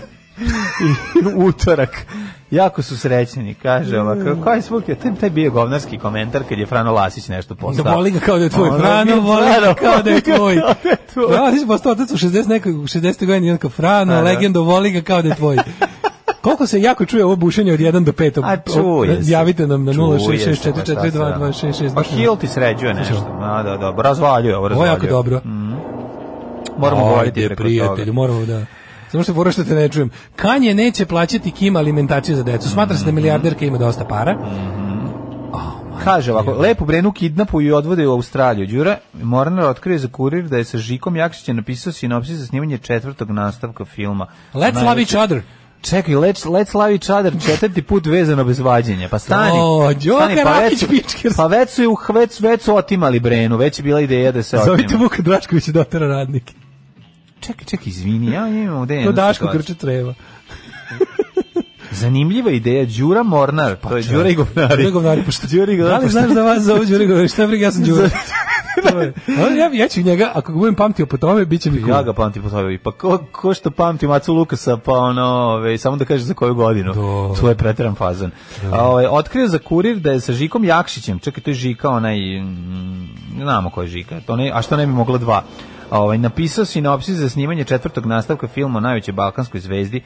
Speaker 5: i u utorak. Jako su srećni, kaže ovako. Koji svuk je? Taj, taj bio govnarski komentar kad je Frano Lasić nešto
Speaker 6: Da
Speaker 5: postao.
Speaker 6: boli ga kao da je tvoj.
Speaker 5: Pa Ono,
Speaker 6: Frano,
Speaker 5: bio
Speaker 6: boli
Speaker 5: Frano,
Speaker 6: ga kao da je tvoj.
Speaker 5: kao da je tvoj.
Speaker 6: Frano, ti si postao otac u 60 nekog, u 60. godini, jednako
Speaker 5: A,
Speaker 6: Frano,
Speaker 5: da.
Speaker 6: legendo, voli ga kao da je tvoj. Koliko se jako čuje ovo bušenje od 1 do 5?
Speaker 5: A čuje se.
Speaker 6: Javite nam na
Speaker 5: Čuje se, šta
Speaker 6: 066442266.
Speaker 5: se- Pa Hill ti sređuje nešto. A, da, dobro, razvaljuje ovo,
Speaker 6: Znači, Ovo je
Speaker 5: razvaljuje.
Speaker 6: jako dobro.
Speaker 5: Mm, Moramo govoriti
Speaker 6: Ajde,
Speaker 5: preko
Speaker 6: prijatelju,
Speaker 5: toga.
Speaker 6: moramo da... Samo što je fora što te ne čujem. Kanje neće plaćati Kim alimentaciju za decu. Smatra
Speaker 5: Mm.
Speaker 6: se da milijarderka ima dosta para.
Speaker 5: Kaže ovako, lepo Brenu kidnapuju i odvode u Australiju. Đura Mornar otkrije za kurir da je sa Žikom Jakšićem napisao sinopsis za snimanje četvrtog nastavka filma.
Speaker 6: Let's love each other.
Speaker 5: Čekaj, let's, let's love each other četvrti put vezano bez vađenja. Pa stani.
Speaker 6: O, Đoka
Speaker 5: stani, pa
Speaker 6: Rakić
Speaker 5: već-
Speaker 6: Pičkers.
Speaker 5: Pa već su, ju- već, već su otimali Brenu, već je bila ideja da se otima.
Speaker 6: Zovite Vuka Draškovića da otera radnike.
Speaker 5: Čekaj, čekaj, izvini, ja imam ovde
Speaker 6: To
Speaker 5: jednu
Speaker 6: Daško
Speaker 5: situaciju.
Speaker 6: krče treva.
Speaker 5: Zanimljiva ideja, Đura Mornar, to je Đura i govnari.
Speaker 6: Đure Pa govnari, pošto
Speaker 5: Đure i govnari,
Speaker 6: Da li
Speaker 5: pošto-
Speaker 6: znaš da vas zove Đure govnari? Šta briga, ja sam Đure. To je. Ali Ja, ja ću njega, ako ga budem pamtio po tome, bit će mi cool.
Speaker 5: Ja ga pamtim po tome. Pa ko, ko što pamti Macu Lukasa, pa ono, ove, samo da kaže za koju godinu.
Speaker 6: Do.
Speaker 5: To je preteran fazan. A, ove, otkrio za kurir da je sa Žikom Jakšićem, čekaj, to je Žika, onaj, mm, znamo ko je Žika, to ne, a što ne bi mogla dva. A, ovaj, napisao sinopsis za snimanje četvrtog nastavka filma o najvećoj balkanskoj zvezdi,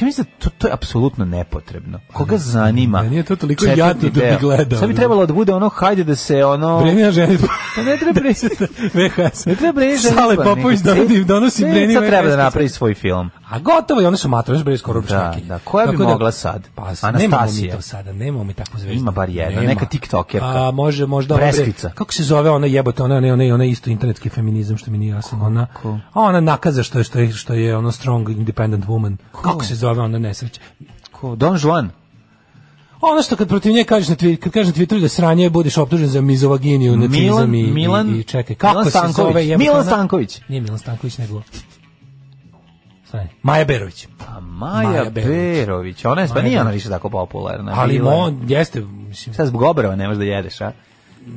Speaker 5: Ja mislim da to, to je apsolutno nepotrebno. Koga zanima?
Speaker 6: Meni je to toliko
Speaker 5: četvrti
Speaker 6: jadno da bi
Speaker 5: deo?
Speaker 6: gledao.
Speaker 5: Sad bi trebalo da bude ono, hajde da se ono...
Speaker 6: Brenija ženi.
Speaker 5: Pa ne treba
Speaker 6: Presjeta VHS.
Speaker 5: Ne treba bre,
Speaker 6: Sale
Speaker 5: nego
Speaker 6: Popović
Speaker 5: ce-
Speaker 6: donosi, donosi
Speaker 5: ce-
Speaker 6: Brenija
Speaker 5: Sad
Speaker 6: VHS.
Speaker 5: treba da napravi svoj film.
Speaker 6: A gotovo i one su matraš bre skoro
Speaker 5: Da,
Speaker 6: ručnjakinje.
Speaker 5: da. Koja bi
Speaker 6: Tako da-
Speaker 5: mogla sad?
Speaker 6: Pa, nemamo mi
Speaker 5: Anastasija.
Speaker 6: to sada, nemamo mi takvu zvezdu.
Speaker 5: Ima bar jedna,
Speaker 6: Nema.
Speaker 5: neka tiktokerka.
Speaker 6: A može možda bre-
Speaker 5: Breskvica.
Speaker 6: Kako se zove ona jebote, ona ne, ona, ona isto internetski feminizam što mi nije jasno, ona. A ona nakaza što je što je što je ono strong independent woman. Kako se zove ona nesreća?
Speaker 5: Ko? Don Juan.
Speaker 6: Ono što kad protiv nje kažeš na Twitteru, kad kažeš na Twitteru da sranje, budeš optužen za mizovaginiju, nacizam
Speaker 5: Milan,
Speaker 6: i, i-
Speaker 5: Milan,
Speaker 6: i, čekaj. Kako
Speaker 5: Milan
Speaker 6: se
Speaker 5: Stanković.
Speaker 6: zove? jebote,
Speaker 5: Milan
Speaker 6: ona-
Speaker 5: Stanković.
Speaker 6: Nije Milan Stanković, nego... Stani. Maja Berović.
Speaker 5: A Maja,
Speaker 6: Pa Maja Berović.
Speaker 5: Berović. Ona je, pa
Speaker 6: Maja
Speaker 5: nije ona
Speaker 6: Berović.
Speaker 5: više tako popularna.
Speaker 6: Ali
Speaker 5: Bila je.
Speaker 6: on jeste, mislim,
Speaker 5: Sad zbog obrava ne možeš da jedeš, a?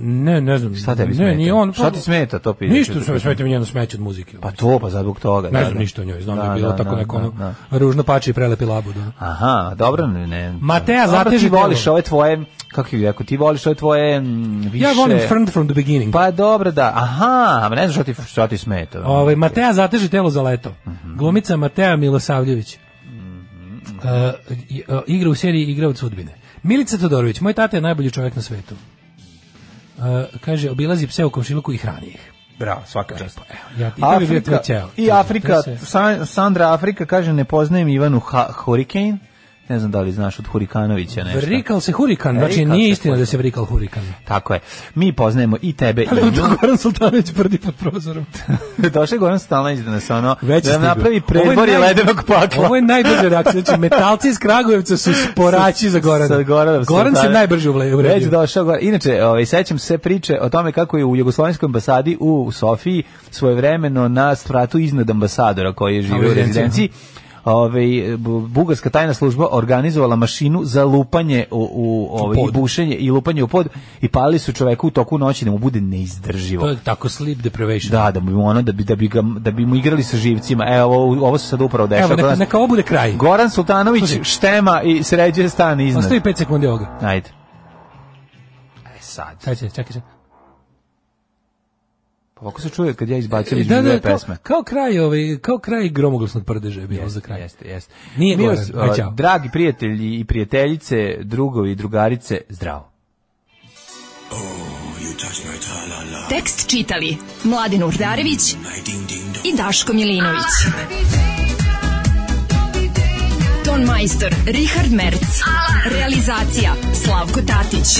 Speaker 6: ne, ne znam.
Speaker 5: Šta tebi smeta?
Speaker 6: ne, nije on, pa,
Speaker 5: Šta ti smeta to pitanje?
Speaker 6: Ništa se smeta mi njeno smeće od muzike. ono.
Speaker 5: Pa to, pa sad zbog toga.
Speaker 6: ne
Speaker 5: da,
Speaker 6: znam
Speaker 5: da.
Speaker 6: ništa o njoj, znam da,
Speaker 5: Da,
Speaker 6: je bilo
Speaker 5: da,
Speaker 6: tako
Speaker 5: da,
Speaker 6: neko ono,
Speaker 5: da,
Speaker 6: ružno pači i prelepi labud. ono.
Speaker 5: Aha, dobro, ne, ne.
Speaker 6: Mateja,
Speaker 5: Dobro,
Speaker 6: zateži
Speaker 5: ti
Speaker 6: telo.
Speaker 5: voliš ove tvoje, kako bi rekao, ti voliš ove tvoje mm, više...
Speaker 6: Ja volim Friend from the Beginning.
Speaker 5: Pa dobro, da, aha, a ne znam šta ti, šta ti smeta. ono.
Speaker 6: Ovaj Mateja zateže telo za leto.
Speaker 5: Mhm.
Speaker 6: Glumica Mateja Milosavljević. E, i- e, igra u seriji Igra od sudbine. Milica Todorović, moj tata je najbolji čovjek na svetu. E, kaže, obilazi pse u komšiluku i hrani ih.
Speaker 5: Bravo, svaka čast.
Speaker 6: Evo, ja, I to bi bio tvoj
Speaker 5: Afrika,
Speaker 6: ceo.
Speaker 5: I
Speaker 6: Kaže,
Speaker 5: Afrika,
Speaker 6: to se-
Speaker 5: Sa- Sandra Afrika kaže ne poznajem Ivanu ha Hurricane. Ne znam da li znaš od Hurikanovića nešto.
Speaker 6: Vrikal se hurikan, znači
Speaker 5: Vrikal
Speaker 6: nije
Speaker 5: se
Speaker 6: istina da
Speaker 5: hurikan. Pa
Speaker 6: se vrikal hurikan.
Speaker 5: Tako je. Mi poznajemo i tebe i
Speaker 6: Ali on
Speaker 5: nju.
Speaker 6: to Goran Sultanović prdi pod prozorom.
Speaker 5: Došao je Goran Stalnić da nas ono,
Speaker 6: Već
Speaker 5: da
Speaker 6: je
Speaker 5: nam
Speaker 6: stigao.
Speaker 5: napravi
Speaker 6: Ovo
Speaker 5: predvor
Speaker 6: je
Speaker 5: i
Speaker 6: naj-
Speaker 5: ledenog pakla.
Speaker 6: Ovo je najbrže reakcija. Znači, metalci iz Kragujevca su sporaći za Gorana.
Speaker 5: Sa Goranom
Speaker 6: Goran se
Speaker 5: Sultanović.
Speaker 6: najbrže uvle-
Speaker 5: Već
Speaker 6: uvredio.
Speaker 5: došao Goran. Inače, ovaj, sećam se priče o tome kako je u Jugoslovenskoj ambasadi u Sofiji svojevremeno na stratu iznad ambasadora koji je živio u
Speaker 6: rezidenciji.
Speaker 5: rezidenciji Ove, bugarska tajna služba organizovala mašinu za lupanje u, u, ovaj, i
Speaker 6: pod.
Speaker 5: bušenje i lupanje u pod i palili su čoveku u toku noći da mu bude neizdrživo.
Speaker 6: To je tako sleep deprivation.
Speaker 5: Da, da bi mu ono da bi da bi ga da bi mu igrali sa živcima. Evo ovo, ovo se sad upravo dešava.
Speaker 6: Evo,
Speaker 5: kod
Speaker 6: neka,
Speaker 5: nas.
Speaker 6: neka ovo bude kraj.
Speaker 5: Goran Sultanović
Speaker 6: Slušaj.
Speaker 5: štema i sređuje stan iznad.
Speaker 6: Ostavi 5 sekundi ovoga.
Speaker 5: Ajde. E sad.
Speaker 6: Sad će, čekaj, čekaj.
Speaker 5: Pa Ovako se čuje kad ja izbacim iz
Speaker 6: E, Da, da, kao,
Speaker 5: pesme.
Speaker 6: kao kraj, ovaj, kao kraj gromoglasnog prdeža je bilo za kraj.
Speaker 5: Jeste, ovaj- jeste.
Speaker 6: Nije
Speaker 5: Mi
Speaker 6: Goran,
Speaker 5: vas,
Speaker 6: aj,
Speaker 5: a,
Speaker 6: ćao.
Speaker 5: Dragi prijatelji i prijateljice, drugovi i drugarice, zdravo.
Speaker 3: Tekst čitali Mladin Urdarević i Daško Milinović. Ton majstor Richard Merc. Realizacija Slavko Tatić.